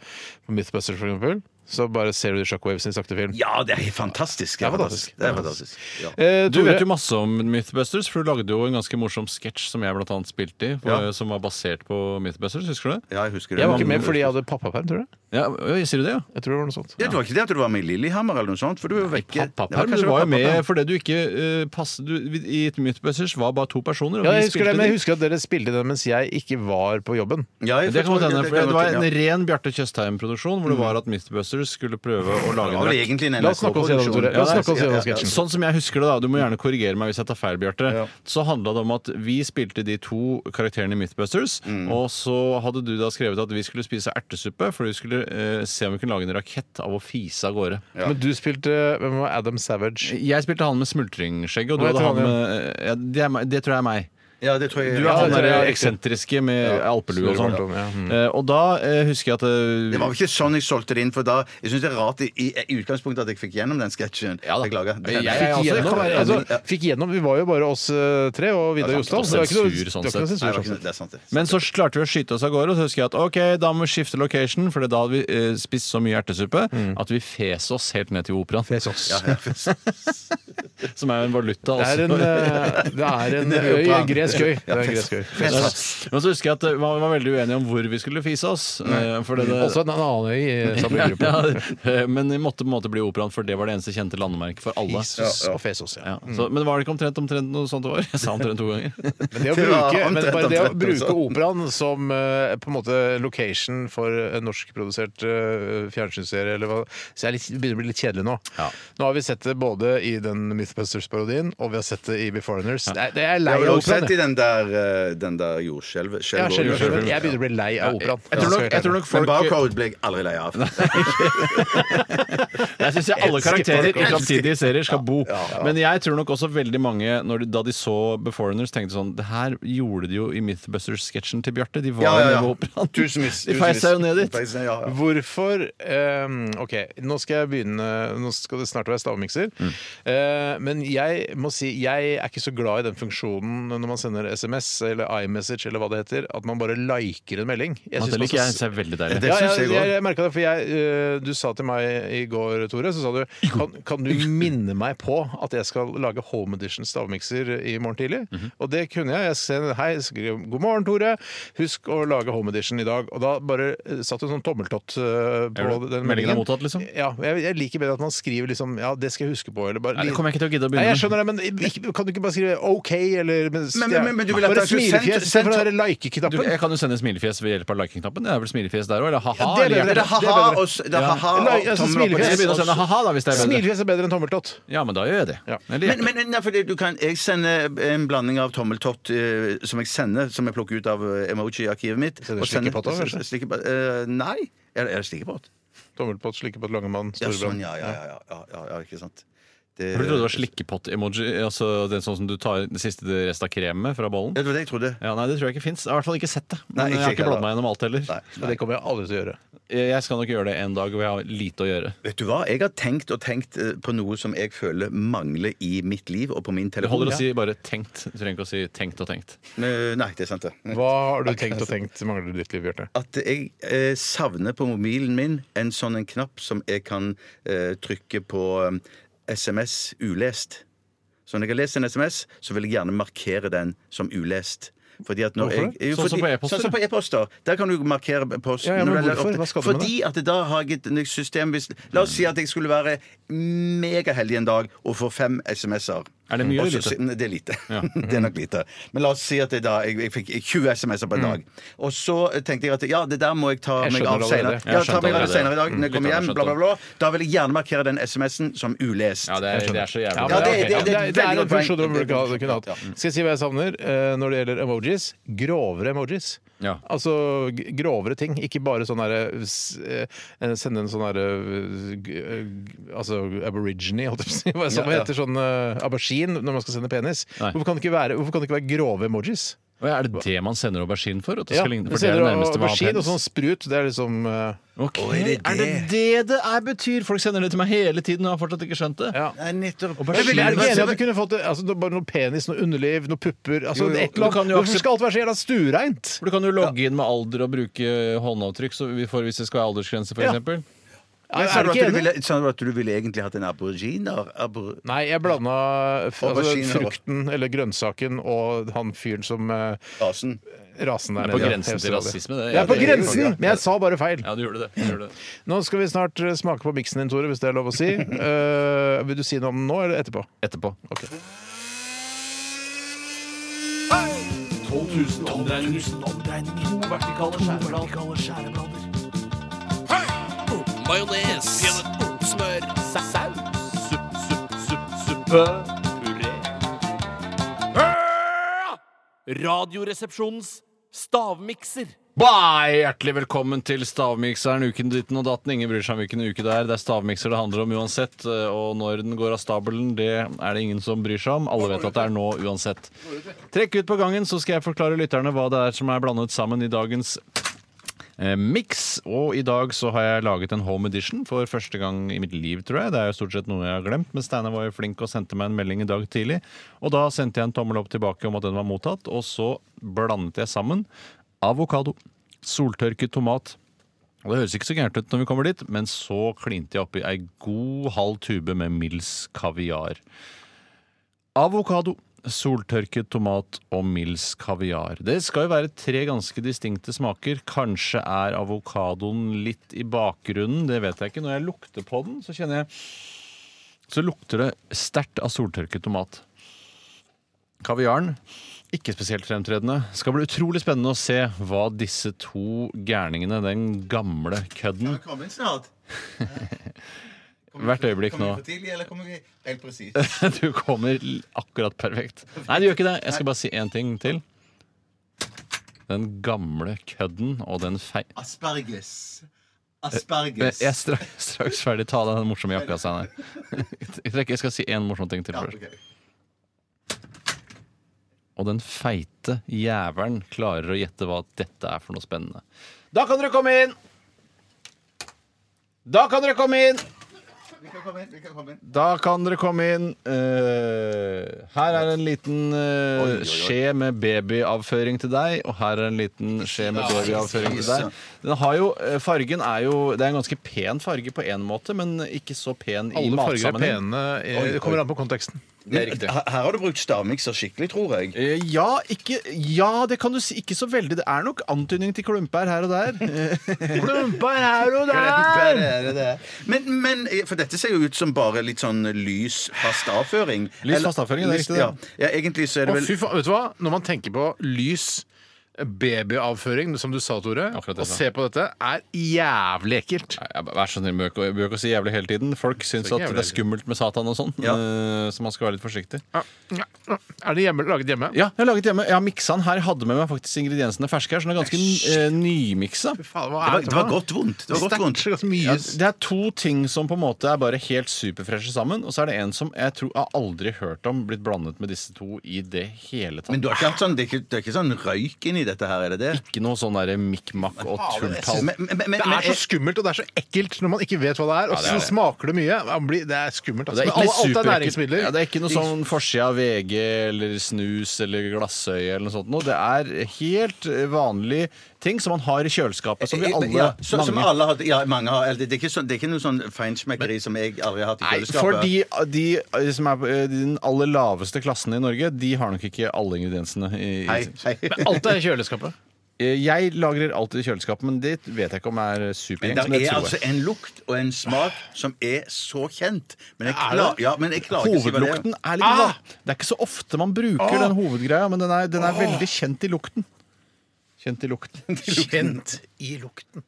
S4: på Mythbusters, for eksempel? Så bare ser du Shockwaves i sakte film.
S3: Ja, det er fantastisk. Det er fantastisk. Det er fantastisk. Ja.
S4: Eh,
S5: Du
S4: Tore,
S5: vet jo masse om Mythbusters, for du lagde jo en ganske morsom sketsj som jeg blant annet spilte i, hvor-
S3: Ja.
S5: som var basert på Mythbusters. Husker du det?
S3: Ja, jeg husker det.
S4: jeg var ikke med fordi jeg hadde pappaperm, tror jeg.
S5: Ja, øy, Sier du det, ja?
S4: Jeg tror det var noe sånt.
S3: Ja, det var ikke det at du var med i Lillehammer eller noe sånt? For du er jo vekke.
S5: Pappa,
S3: Ja,
S5: men
S3: kanskje
S5: du var jo
S3: pappaperm.
S5: med fordi du ikke uh, passet du, I et Mythbusters var bare to personer. og
S4: Ja,
S5: vi
S4: jeg husker
S5: spilte
S4: det, men
S5: de.
S4: jeg husker at dere spilte den mens jeg ikke var på jobben.
S3: Ja, jeg
S5: Det kan
S3: forstår-
S5: godt hende,
S3: det
S5: for
S3: kan
S5: det
S3: godt
S5: var en
S3: hende, ja.
S5: ren Bjarte Tjøstheim-produksjon hvor det var at Mythbusters Ghostbusters skulle prøve å lage
S3: Det
S5: en
S3: var vel
S5: rakett.
S3: egentlig en
S4: La oss snakke oss gjennom, Tore. La oss
S5: Ja,
S4: snakke oss
S5: ja,
S4: gjennom
S5: ja.
S4: sketsjen.
S5: Sånn som jeg husker det, da, du må gjerne korrigere meg hvis jeg tar feil, Bjarte,
S3: Ja.
S5: så handla det om at vi spilte de to karakterene i Mythbusters, og så hadde du da skrevet at vi skulle spise ertesuppe, for vi skulle eh, se om vi kunne lage en rakett av å fise av gårde.
S4: Men du spilte eh, Hvem var Adam Savage?
S5: Jeg spilte han med smultringskjegg, og du
S4: Hva
S5: hadde
S4: heter
S5: han
S4: han
S5: med eh, ja, det, er, meg- det tror jeg er meg.
S3: Ja, det tror jeg.
S5: Du er
S3: Ja,
S5: han
S3: det tror
S5: der
S3: jeg.
S4: er riktig.
S5: eksentriske med alpelue og sånn.
S4: snurrebarton, ja. Mm.
S5: Eh, Og da eh, husker jeg at eh,
S3: Det var vel ikke sånn jeg solgte det inn, for da Jeg syns det er rart i, i, i utgangspunktet at jeg fikk gjennom den sketsjen.
S5: Ja da.
S3: Beklager.
S5: Jeg- jeg-
S4: Fikk
S5: altså,
S4: igjennom,
S5: kan være enig.
S4: altså, fikk igjennom, Vi var jo bare oss eh, tre og Vidar
S5: Ja, det var
S4: Jostad. så
S5: ikke
S4: Det var ikke noe
S5: sensur, sånn
S4: det var ikke noe sensur.
S3: Nei, det
S5: sett.
S3: var
S4: sånn
S3: ikke-
S4: sett.
S3: det er sant, det.
S5: Men så klarte vi å skyte oss av gårde, og så husker jeg at ok, da må vi skifte location, for da hadde vi eh, spist så mye ertesuppe
S4: Mm.
S5: at vi fes oss helt ned til operaen. Fes oss. Som er jo en
S4: Det
S5: valuta,
S4: er
S5: altså.
S4: en, eh, det er en øy, en gresk øy. Det er en gresk øy.
S5: Men så husker jeg at eh, man var veldig uenige om hvor vi skulle fise oss. eh, For det, det,
S4: Også en annen øy i samme gruppe.
S5: ja, eh, men vi måtte på en måte bli operaen, for det var det eneste kjente landemerket for alle.
S4: Jesus og Fesos, ja.
S5: Ja, så, men var det ikke omtrent omtrent noe sånt det var? Jeg sa omtrent to ganger.
S4: Men det å
S3: Det var
S4: bruke, men
S3: omtrent,
S4: bare det å
S3: omtrent,
S4: bruke
S3: sånn.
S4: operaen som eh, på en måte location for en norskprodusert eh, fjernsynsserie eller hva, så jeg er litt, begynner å bli litt kjedelig nå.
S5: Ja.
S4: Nå har vi sett det både i den Mythbusters-parodien og vi har sett det i Beforeigners. Det er- Det er jeg lei
S3: Jeg har
S4: av
S3: også
S4: operaen.
S3: sett i
S4: jeg.
S3: den der, eh, den der jordskjelvet.
S4: Jeg, er
S3: skjelvet-
S4: skjelven. jeg begynner å bli lei av
S5: Jeg,
S4: operaen.
S5: tror nok, jeg tror nok
S3: Men
S5: folk
S3: Barcode ble jeg aldri lei av.
S5: Jeg syns alle
S4: elsker
S5: karakterer
S4: folk,
S5: i
S4: elsker.
S5: framtidige serier skal bo. Men jeg tror nok også veldig mange når de, da de så Beforeigners, tenkte sånn Det her gjorde de jo i Mythbusters-sketsjen til Bjarte. De var jo
S3: Ja, ja, ja.
S5: nede ved operaen.
S3: Tusenvis.
S5: De feis seg jo ned dit.
S3: Feis ned, ja, ja.
S4: Hvorfor ehm, OK, nå skal jeg begynne Nå skal det snart være stavmikser. Eh, men jeg må si jeg er ikke så glad i den funksjonen når man sender SMS eller iMessage eller hva det heter, at man bare liker en melding. Jeg
S5: Ja,
S4: synes
S5: Det
S4: man
S5: liker jeg.
S4: skal-
S5: Det er veldig
S3: Det
S5: deilig.
S4: ja,
S3: synes
S4: jeg,
S3: jeg
S4: jeg,
S3: også.
S4: jeg merket det, for jeg, eh, du sa til meg i går, Tore, så sa du kan, kan du minne meg på at jeg skal lage Home Edition stavmikser i morgen tidlig?
S5: Mhm.
S4: Og det kunne jeg. Jeg sendte hei, skrev god morgen, Tore. Husk å lage Home Edition i dag. Og da bare eh, satt du sånn tommeltott eh, på
S5: Gjør det?
S4: den
S5: Meldingen
S4: meldingen.
S5: er mottatt, liksom?
S4: Ja, jeg, jeg liker bedre at man skriver liksom ja, det skal jeg huske på, eller bare
S5: Nei, det kommer jeg ikke til å gidde å
S4: Nei,
S5: begynne
S4: jeg skjønner det, men ikke, kan du ikke bare skrive OK, eller men,
S3: Men- men- men- men du vil at
S4: Bare
S3: jeg skulle sendt-
S4: smilefjes, istedenfor den
S3: sendt-
S4: der
S5: Du,
S4: like-knappen.
S5: jeg kan jo sende smilefjes ved hjelp av liking-knappen. Det er vel smilefjes der òg? Eller ha-ha?
S4: Ja, det er
S5: eller
S4: bedre.
S3: Er det
S5: hjerte?
S3: ha-ha og s- det er ha-ha og
S4: Nei, altså,
S3: tommel opp og
S4: smilefjes.
S5: Jeg
S3: ned?
S5: begynner å sende ha-ha, da, hvis det er bedre.
S4: Smilefjes er bedre enn tommeltott.
S5: Ja, men da gjør jeg det.
S4: Ja.
S5: Eller hjerte.
S3: Men, men nei, for det, du kan, jeg sender eh, en blanding av tommeltott eh, som jeg sender, som jeg plukker ut av eh, emoji-arkivet mitt.
S4: Sender
S3: og sender-
S4: slikkepott også, kanskje?
S3: slikkepott, eh, Nei. Er er det slikkepott?
S4: Tommelpott, slikkepott, langemann,
S3: Ja, sånn,
S4: storebrand.
S3: ja, ja, ja, ja, ja, ja, ja, ikke sant. Det,
S5: For Du trodde det var slikkepott-emoji? Altså den sånn som du tar den siste rest av kremet fra bollen?
S3: Ja, det var det jeg trodde.
S5: Ja, nei, Det tror jeg ikke fins. Jeg har i hvert fall ikke sett det. Men
S3: Nei, ikke
S5: jeg har ikke
S3: heller.
S5: bladd meg gjennom alt heller.
S3: Nei.
S4: Og det kommer jeg aldri til å gjøre.
S5: Jeg skal nok gjøre det en dag hvor jeg har lite å gjøre.
S3: Vet du hva? Jeg har tenkt og tenkt eh, på noe som jeg føler mangler i mitt liv og på min
S5: Det
S3: telefon.
S5: holder å si bare 'tenkt'. Du trenger ikke å si 'tenkt og tenkt'.
S3: Eh, Nei, det er sant, det.
S4: Hva har du tenkt og tenkt mangler i ditt liv, Bjarte?
S3: At jeg eh, savner på mobilen min en sånn en knapp som jeg kan eh, trykke på eh, SMS ulest. Så når jeg har lest en SMS, så vil jeg gjerne markere den som ulest. Fordi at når
S4: Hvorfor
S3: jeg, jo,
S5: Sånn som
S3: fordi-
S5: på e-poster?
S3: Sånn som på e-poster. Der kan du markere posten.
S4: Ja, ja, men
S3: når du er
S4: hvorfor?
S3: opptatt.
S4: Hva skal du med
S3: fordi at da har jeg et nytt system hvis, La oss si at jeg skulle være megaheldig en dag og få fem SMS-er.
S5: Er det mye
S3: Og
S5: eller
S3: så-
S5: lite?
S3: Nei, Det er lite. det er nok lite. Men la oss si at jeg, da, jeg, jeg fikk 20 SMS-er på en dag. Og så tenkte jeg at ja, det der må jeg ta
S4: Jeg
S3: meg
S4: skjønner
S3: av senere.
S4: allerede.
S3: Ja,
S5: Jeg
S3: ta meg
S5: skjønte
S3: av det senere i dag
S5: allerede.
S3: når jeg kommer
S5: Mm,
S3: hjem.
S5: litt
S3: Bla, bla,
S5: av
S3: bla. Da vil jeg gjerne markere den SMS-en som ulest.
S5: Ja, det er, det er så
S4: Ja,
S3: Ja,
S5: jævlig.
S4: men, det,
S3: det-
S4: det, det,
S3: det-
S4: det er
S3: veldig
S4: en
S3: godt poeng.
S4: funksjon du burde ikke ha- kunne hatt.
S3: Ja.
S4: Skal jeg si hva jeg savner eh, når det gjelder emojis? Grovere emojis.
S5: Ja.
S4: Altså g- grovere ting. Ikke bare sånn derre s- eh, Sende en sånn derre eh, g- eh, Altså aborigine, holdt jeg på å si. Hva som
S3: Ja, ja.
S4: heter sånn eh, aubergine når man skal sende penis.
S5: Nei.
S4: Hvorfor kan, det ikke være, hvorfor kan det ikke være grove emojis?
S5: Og er det det man sender aubergine for? At det
S4: Ja,
S5: skal ligne,
S4: men
S5: for det
S4: sender
S5: er det
S4: du
S5: nærmeste man
S4: aubergine
S5: har
S4: og sånn
S5: pens.
S4: sprut, det er liksom eh,
S5: Ok.
S3: Oi, det er
S5: Er det
S3: det.
S5: det det er betyr? Folk sender det til meg hele tiden, og jeg har fortsatt ikke skjønt det.
S4: ja.
S3: Nei, nettopp.
S5: Og bare
S4: Jeg vil
S5: skjønner
S4: er du ikke
S5: det.
S4: enig i at du kunne fått det, altså, det er bare noe penis, noe underliv, noe pupper altså,
S5: Jo, jo,
S4: et eller
S5: du kan
S4: annet.
S5: jo
S4: Hvorfor skal alt være så jævla stureint?
S5: For Du kan jo logge inn med alder og bruke håndavtrykk så vi får, hvis det skal være aldersgrense. For
S4: Ja.
S5: eksempel.
S3: Men
S4: Er
S3: Sa
S4: du
S3: du
S4: ikke
S3: at
S4: enig?
S3: du ville, sa du at du ville egentlig hatt en aboriginer? Abor
S4: Nei, jeg blanda f- altså,
S3: Aubergine og-
S4: frukten eller grønnsaken og han fyren som eh,
S3: rasen?
S4: rasen der
S5: er på
S4: nede.
S5: grensen til
S4: Australia.
S5: rasisme, det.
S4: Jeg er på
S5: Ja, det-
S4: grensen,
S3: ja.
S4: men jeg sa bare feil.
S5: Ja, du gjorde det. Du gjorde det.
S4: Nå skal vi snart eh, smake på miksen din, Tore, hvis det er lov å si. Eh, vil du si noe om den nå eller etterpå?
S5: Etterpå.
S4: Ok.
S8: 12 000 omdreininger. To vertikale skjæreblader. majones, smør, saus, supp, supp, supp, suppe, puré. Radioresepsjonens stavmikser.
S5: Bye! Hjertelig velkommen til Stavmikseren, uken ditten og datten. Ingen bryr seg om hvilken uke det er. Det er stavmikser det handler om uansett. eh, Og når den går av stabelen, det er det ingen som bryr seg om. Alle vet at det er nå uansett. Trekk ut på gangen, så skal jeg forklare lytterne hva det er som er blandet sammen i dagens eh, Mix, og i dag så har jeg laget en home edition for første gang i mitt liv, tror jeg. Det er jo stort sett noe jeg har glemt, men Steinar var jo flink og sendte meg en melding i dag tidlig. Og da sendte jeg en tommel opp tilbake om at den var mottatt, og så blandet jeg sammen avokado, soltørket tomat og Det høres ikke så gærent ut når vi kommer dit, men så klinte jeg oppi ei god halv tube med Mills kaviar. Avokado, soltørket tomat og Mills kaviar. Det skal jo være tre ganske distinkte smaker. Kanskje er avokadoen litt i bakgrunnen, det vet jeg ikke. Når jeg lukter på den, så kjenner jeg Så lukter det sterkt av soltørket tomat. Kaviaren ikke spesielt fremtredende. Det skal bli utrolig spennende å se hva disse to gærningene, den gamle kødden
S3: Kom inn snart.
S5: Hvert øyeblikk nå.
S3: tidlig, eller kommer vi helt presis?
S5: Du kommer l- akkurat perfekt. Nei, du gjør ikke det. Jeg skal bare si én ting til. Den gamle kødden og den fei...
S3: Asperges.
S5: Men
S3: Asperges.
S5: Jeg er straks, straks ferdig. Ta av deg den morsomme jakka, Steinar. Jeg tror ikke Jeg skal si én morsom ting til først. Og den feite jævelen klarer å gjette hva dette er for noe spennende. Da kan dere komme inn! Da kan dere komme inn!
S3: Vi kan komme inn. vi kan komme inn.
S5: Da kan dere komme inn. Eh, her er en liten eh,
S3: Oi, oi, oi.
S5: skje med babyavføring til deg, og her er en liten skje med babyavføring til deg. Den har jo, eh, fargen er jo Det er en ganske pen farge på én måte, men ikke så pen i
S4: Alle farger er
S5: matsammenheng.
S4: pene. eh, Det kommer an på konteksten.
S3: Men eh, Her her har du brukt stavmikser skikkelig, tror jeg.
S5: Eh, Ja, ikke, ja, det kan du si. Ikke så veldig. Det er nok antydning til klumpær her og der. klumpær her og
S3: Men, men, for dette ser jo ut som bare litt sånn lys fast avføring.
S5: Lys fast avføring, det er
S3: Lys-
S5: riktig, det.
S3: Ja. ja, egentlig så er
S4: Å,
S3: det vel
S4: fy faen, vet du hva? Når man tenker på lys eh, Babyavføring, som du sa, Tore.
S5: Akkurat det
S4: Å
S5: jeg sa.
S4: se på dette er jævlig ekkelt.
S5: Nei, jeg- Vær så snill, bør ikke- bør ikke si jævlig hele tiden. Folk syns
S4: ikke
S5: at det
S4: jævlig
S5: er skummelt med Satan og sånn,
S3: Ja.
S5: eh, så man skal være litt forsiktig.
S4: Er det hjemme, laget hjemme?
S5: Ja, jeg har laget hjemme. Jeg har miksa den her. Jeg hadde med meg faktisk ingrediensene ferske her, så den er ganske eh, nymiksa.
S4: Faen, hva er
S3: det var,
S4: dette
S3: det
S4: for
S3: var
S4: noe?
S3: godt vondt. Det var godt vondt.
S4: Sterkt, ganske mye.
S5: Ja, det er to ting som på en måte er bare helt superfreshe sammen, og så er det en som jeg tror jeg aldri hørt om blitt blandet med disse to i det hele tatt.
S3: Men du har ikke hatt sånn, det er ikke, det er ikke sånn røyk inni dette her, er det det?
S5: Ikke noe sånn derre mikk-makk og tulltall.
S3: Men, men, men, men,
S4: Det er så skummelt og det er så ekkelt når man ikke vet hva det er. Og
S5: det er
S4: så
S5: det.
S4: smaker det mye. Man blir- Det er skummelt. Altså.
S5: Det er ikke
S4: Men
S5: noe
S4: alt, alt er
S5: superekkelt.
S4: næringsmidler.
S5: Ja, det er ikke noe sånn forside av VG eller snus eller glassøye eller noe sånt. Noe. Det er helt vanlige ting som man har i kjøleskapet, som vi alle
S3: Eh, ja, så, som
S5: mange
S3: alle har, ja, mange har eller det, det, er ikke sånn, det er ikke noe sånn feinschmeckeri som jeg aldri har hatt i
S5: Nei,
S3: kjøleskapet.
S5: fordi de eh, som er på eh, den aller laveste klassen i Norge, de har nok ikke alle ingrediensene. I, i-
S3: Hei, hei.
S4: Men alt er i kjøleskapet.
S5: Eh, Jeg lagrer alltid i kjøleskapet, men det vet jeg ikke om er
S3: Men
S5: supergjeng.
S3: det
S5: som det
S3: er
S5: tror
S3: altså
S5: jeg.
S3: en lukt og en smak som er så kjent. Men jeg,
S4: Er det?
S3: klar, ja, men jeg klarer ikke å si hva det er.
S5: Hovedlukten er litt
S4: Ah!
S5: va- Det er ikke så ofte man bruker den hovedgreia, men den er, den er veldig kjent i lukten. Kjent i lukten.
S4: Kjent i lukten.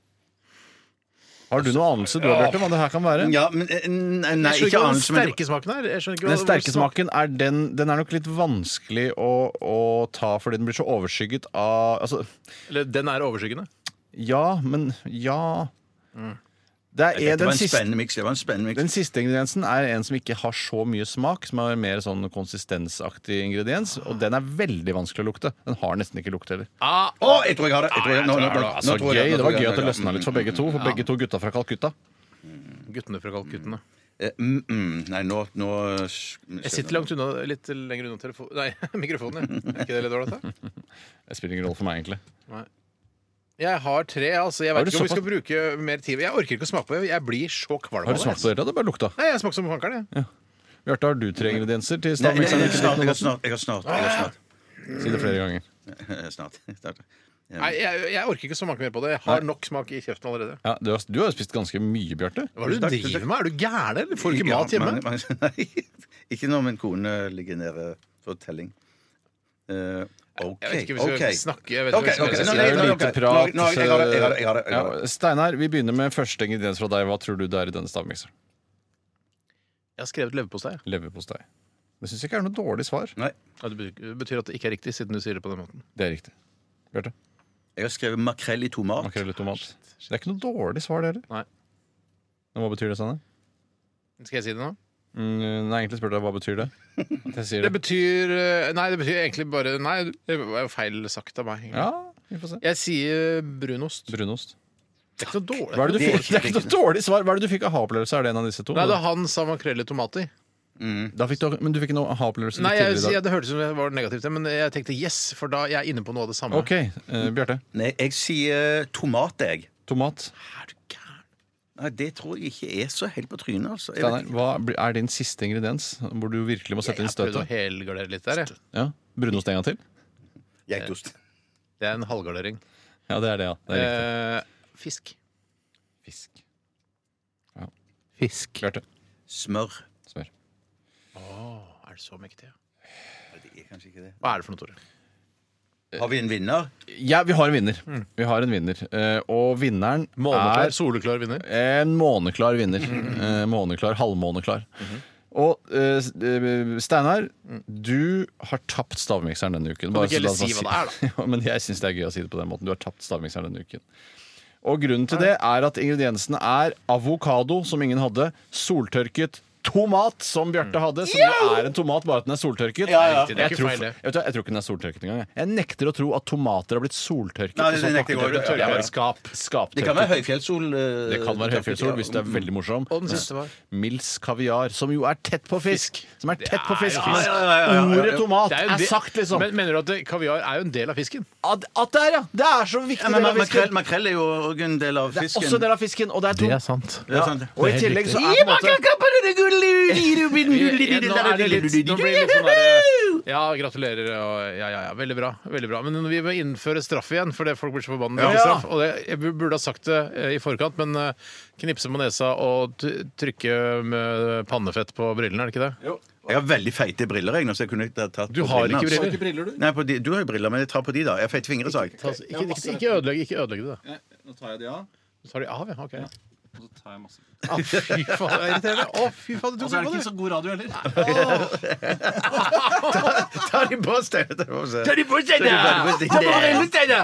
S5: Har du noe anelse du har, Bjarte, hva det her kan være?
S3: Ja, men eh, nei, nei,
S4: Jeg skjønner
S3: ikke
S4: ikke hva den sterke smaken
S3: anelse, men
S4: er. Jeg skjønner ikke hva
S5: Den
S4: hvor
S5: sterke
S4: smak-
S5: smaken er den Den er nok litt vanskelig å, å ta fordi den blir så overskygget av Altså,
S4: Eller den er overskyggende.
S5: ja, men ja Det
S3: Mm.
S5: er,
S3: det
S5: den
S3: var en
S5: siste
S3: spennende miks. Det var en spennende mix.
S5: Den siste ingrediensen er en som ikke har så mye smak, som er mer sånn konsistensaktig ingrediens,
S3: Ah.
S5: og den er veldig vanskelig å lukte. Den har nesten ikke lukt heller.
S3: Å, jeg tror jeg har det! Jeg tror jeg, nå, nå, nå, nå,
S5: Altså,
S3: tror jeg
S5: gøy, Det
S3: nå tror
S5: var
S3: jeg
S5: gøy
S3: nå tror
S5: at det
S3: jeg-
S5: løsna litt sånn. for begge to, for begge to gutta fra Calcutta.
S4: Guttene fra Kalkuttene.
S3: Eh, mm, mm, Nei, nå, nå sk-
S4: Jeg sitter langt unna, litt lenger unna telefon... Nei, mikrofonen. ja. Er ikke det litt dårlig? da?
S5: Det spiller ingen rolle for meg, egentlig.
S4: Jeg har tre. altså. Jeg
S5: Har
S4: vet
S5: du
S4: ikke om vi
S5: såpass-
S4: skal bruke mer tid. Jeg orker ikke å smake på det. Jeg blir så kvalm
S5: Har
S4: av det.
S5: du
S4: altså.
S5: smakt på det? Det bare lukta.
S4: Nei, jeg smaker som fankeren, jeg.
S5: Bjarte, har du tre ingredienser til
S3: Nei, nei, nei,
S5: stavmikseren?
S3: nei, snart, Jeg har snart. Jeg har snart.
S4: Ah!
S3: Jeg har snart.
S5: Si det flere ganger.
S3: Eh, snart. snart. Ja.
S4: Nei, jeg, jeg orker ikke å smake mer på det. Jeg har nok smak i kjeften allerede.
S5: Ja, du, har, du har jo spist ganske mye, Bjarte.
S4: Hva er det du
S3: Tusen takk,
S4: driver med? Er du gæren? eller? Får du ikke
S3: Ja,
S4: mat hjemme?
S3: mange- mange- nei, ikke når min kone ligger nede for telling. Eh, OK.
S4: Jeg vet ikke om vi skal
S3: ok.
S4: snakke, jeg vet ikke om vi
S3: Ok,
S4: skal
S3: ok.
S4: gjøre det.
S3: Nå,
S5: Det er
S3: nei,
S5: jo
S3: nei,
S5: lite
S3: ok.
S5: prat.
S3: Nå, nå, jeg har det, jeg har det, jeg har det, jeg har det.
S5: Ja, Steinar, vi begynner med første ingrediens fra deg. Hva tror du det er i denne stavmikseren?
S4: Jeg har skrevet leverpostei. jeg.
S5: Leverpostei. Det syns jeg ikke er noe dårlig svar.
S3: Nei,
S4: Ja, Det betyr- det betyr at det ikke er riktig, siden du sier det på den måten.
S5: Det er riktig. Bjarte?
S3: jeg har skrevet makrell i tomat.
S5: Makrell i tomat. Det er ikke noe dårlig svar, det heller.
S4: Nei.
S5: Men Hva betyr det, Steinar?
S4: Skal jeg si det nå?
S5: Mm, nei, egentlig spurte jeg hva betyr det At jeg sier
S4: Det
S5: det.
S4: betyr eh, Nei, det betyr egentlig bare Nei, det var jo feil sagt av meg. egentlig.
S5: Ja, vi får se.
S4: Jeg sier brunost.
S5: Brunost.
S4: Det er ikke noe dårlig.
S5: Hva er det du
S3: Det er
S5: fikk? Det er ikke noe dårlig svar. Hva er det du fikk aha-opplevelse? Er det en av disse to?
S4: Nei, da han sa makrell i tomat i.
S5: Da fikk du, men du fikk en aha-opplevelse
S4: Nei,
S5: litt
S4: jeg,
S5: tidligere i
S4: jeg,
S5: dag.
S4: det hørtes ut som det var negativt, men jeg tenkte yes, for da jeg er inne på noe av det samme.
S5: OK, eh, Bjarte.
S3: Nei, jeg sier eh, tomat, jeg.
S5: Tomat.
S4: Er du gæren?
S3: Nei, det tror jeg ikke er så helt på trynet, altså. Jeg
S5: Steinar,
S3: vet
S5: hva blir- er din siste ingrediens hvor du virkelig må
S4: Jeg
S5: sette inn
S4: har prøvd å
S5: støtet?
S4: helgardere litt der, jeg.
S5: Ja, Brunost en gang til?
S3: ikke. Geitost.
S4: Det er en halvgardering.
S5: Ja, det er det, ja. Det er riktig.
S4: Eh, fisk.
S5: Fisk.
S4: Fisk.
S5: Bjarte.
S3: Smør.
S5: Smør.
S4: Er det så mektig? ja?
S3: Nei, det er kanskje ikke det.
S4: Hva er det for noe, Tore?
S3: Har vi en vinner?
S5: Ja, vi har en vinner. Vi har en vinner. Eh, og vinneren
S4: Måneklar,
S5: er
S4: soleklar vinner.
S5: En måneklar vinner. Eh, måneklar, Halvmåneklar. Og eh, s- eh, Steinar, du har tapt stavmikseren denne uken.
S4: du ikke heller si hva det
S5: er, da? ja, men jeg syns det er gøy å si det på den måten. Du har tapt stavmikseren denne uken. Og grunnen til det er at ingrediensene er avokado, som ingen hadde, soltørket tomat, som Bjarte hadde, som jo er en tomat, bare at den er soltørket.
S4: Det er ikke
S5: Jeg, tror,
S4: feil,
S5: jeg,
S4: det.
S5: vet, du hva, jeg tror ikke den er soltørket engang. jeg. Jeg nekter å tro at tomater har blitt soltørket.
S3: Nei,
S5: og
S3: det
S5: så
S3: nekter jeg
S5: pakket
S3: også.
S5: opp. Jeg bare
S4: Skap.
S5: skaptørket.
S3: Det kan være høyfjellssol. eh,
S5: Det kan være høyfjellssol hvis du er veldig morsom.
S4: Og den siste var?
S5: Mils kaviar, som jo er tett på fisk. Som er tett på fisk.
S4: Ja, ja,
S5: Ordet tomat
S4: Det
S5: er,
S4: jo en del-
S5: sagt, liksom.
S4: Men mener du at det, kaviar er jo en del av fisken?
S5: at, at det er, ja! Det er så viktig.
S3: Ja, men
S5: del av
S3: makrell,
S5: fisken.
S3: makrell er jo også en del av
S5: det er
S3: fisken.
S5: også en del av fisken. Og det er, to-
S4: sant.
S3: Det er sant.
S5: Og i
S4: helt
S5: tillegg så
S4: riktig.
S5: er på en måte
S4: Nå er det litt, nå blir det litt sånn der, ja, gratulerer. Og, ja, ja, ja, veldig bra. veldig bra Men vi må innføre straff igjen, for det folk blir så forbanna.
S5: Ja.
S4: Ja. Straff, og det, jeg burde ha sagt det eh, i forkant, men eh, knipse på nesa og t trykke med pannefett på brillene, er det ikke det?
S3: Jeg har veldig feite briller, jeg. nå, Så jeg kunne ikke ha tatt
S4: Du
S3: på
S4: har
S3: brillene
S4: ikke
S3: hans.
S4: briller.
S3: Nei, på de, du har jo briller, men jeg tar på de, da. Jeg har feite fingre, sa jeg.
S4: Ta, altså, ikke, ikke, ikke ødelegg ikke ødelegg det, da.
S5: Nå tar jeg de av.
S4: Du tar de av, ja? OK.
S5: Og så tar jeg masse.
S4: Ah, fy faen, det er irriterende. Å, fy faen, du tok på det!
S5: så god radio heller.
S3: Ta de på, Steinar. ta de på, Steinar.
S4: de på seg,
S3: Ta de på seg, da!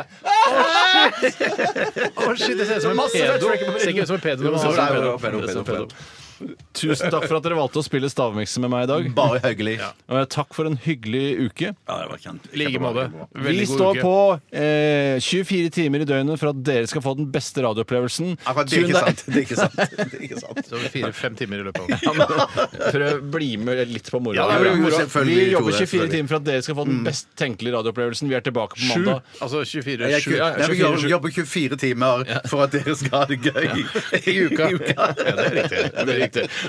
S4: Å, shit, det ser ut som en pedo. Det ser ikke ut som en pedo. men det ser ut som en pedo.
S3: Pedo, pedo, pedo.
S5: Tusen takk for at dere valgte å spille stavmikser med meg i dag.
S3: Bare hyggelig.
S5: Og eh, takk for en hyggelig uke.
S3: Ja, det var kjent.
S4: I like måte.
S5: Vi
S4: Veldig god
S5: står
S4: uke.
S5: på eh, 24 timer i døgnet for at dere skal få den beste radioopplevelsen.
S3: Akkurat det er
S5: Tun
S3: ikke
S5: deg-
S3: sant. Det er ikke sant. Det er ikke sant.
S4: Så fire-fem timer i løpet av
S5: Prøv å bli med litt på moroa.
S3: Ja, det blir
S5: Vi
S3: moro.
S5: Vi
S3: Selvfølgelig,
S5: jobber
S3: Tore,
S5: 24
S3: selvfølgelig.
S5: timer for at dere skal få den best tenkelige radioopplevelsen. Vi er tilbake på
S4: Sju,
S5: mandag.
S4: altså 24
S3: Jeg,
S4: sju.
S3: jeg, jeg, jeg jobber- jobber 24 timer for at dere skal ha det gøy i uka.
S4: Ja, det er riktig. Det er riktig.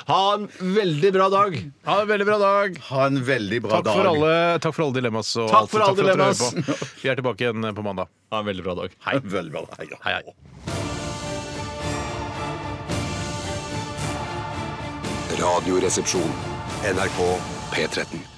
S5: Ha en veldig bra dag!
S4: Ha en veldig bra dag.
S3: Ha en veldig bra
S4: Takk
S3: dag.
S4: for alle, takk for alle dilemmas. Og
S5: Takk for alle
S4: at dere hører
S5: dilemmas.
S4: på. Vi er tilbake igjen på mandag.
S5: Ha en veldig bra dag.
S3: Hei. Veldig bra. Hei, ja.
S4: Hei, hei.
S7: Radioresepsjon. NRK P13.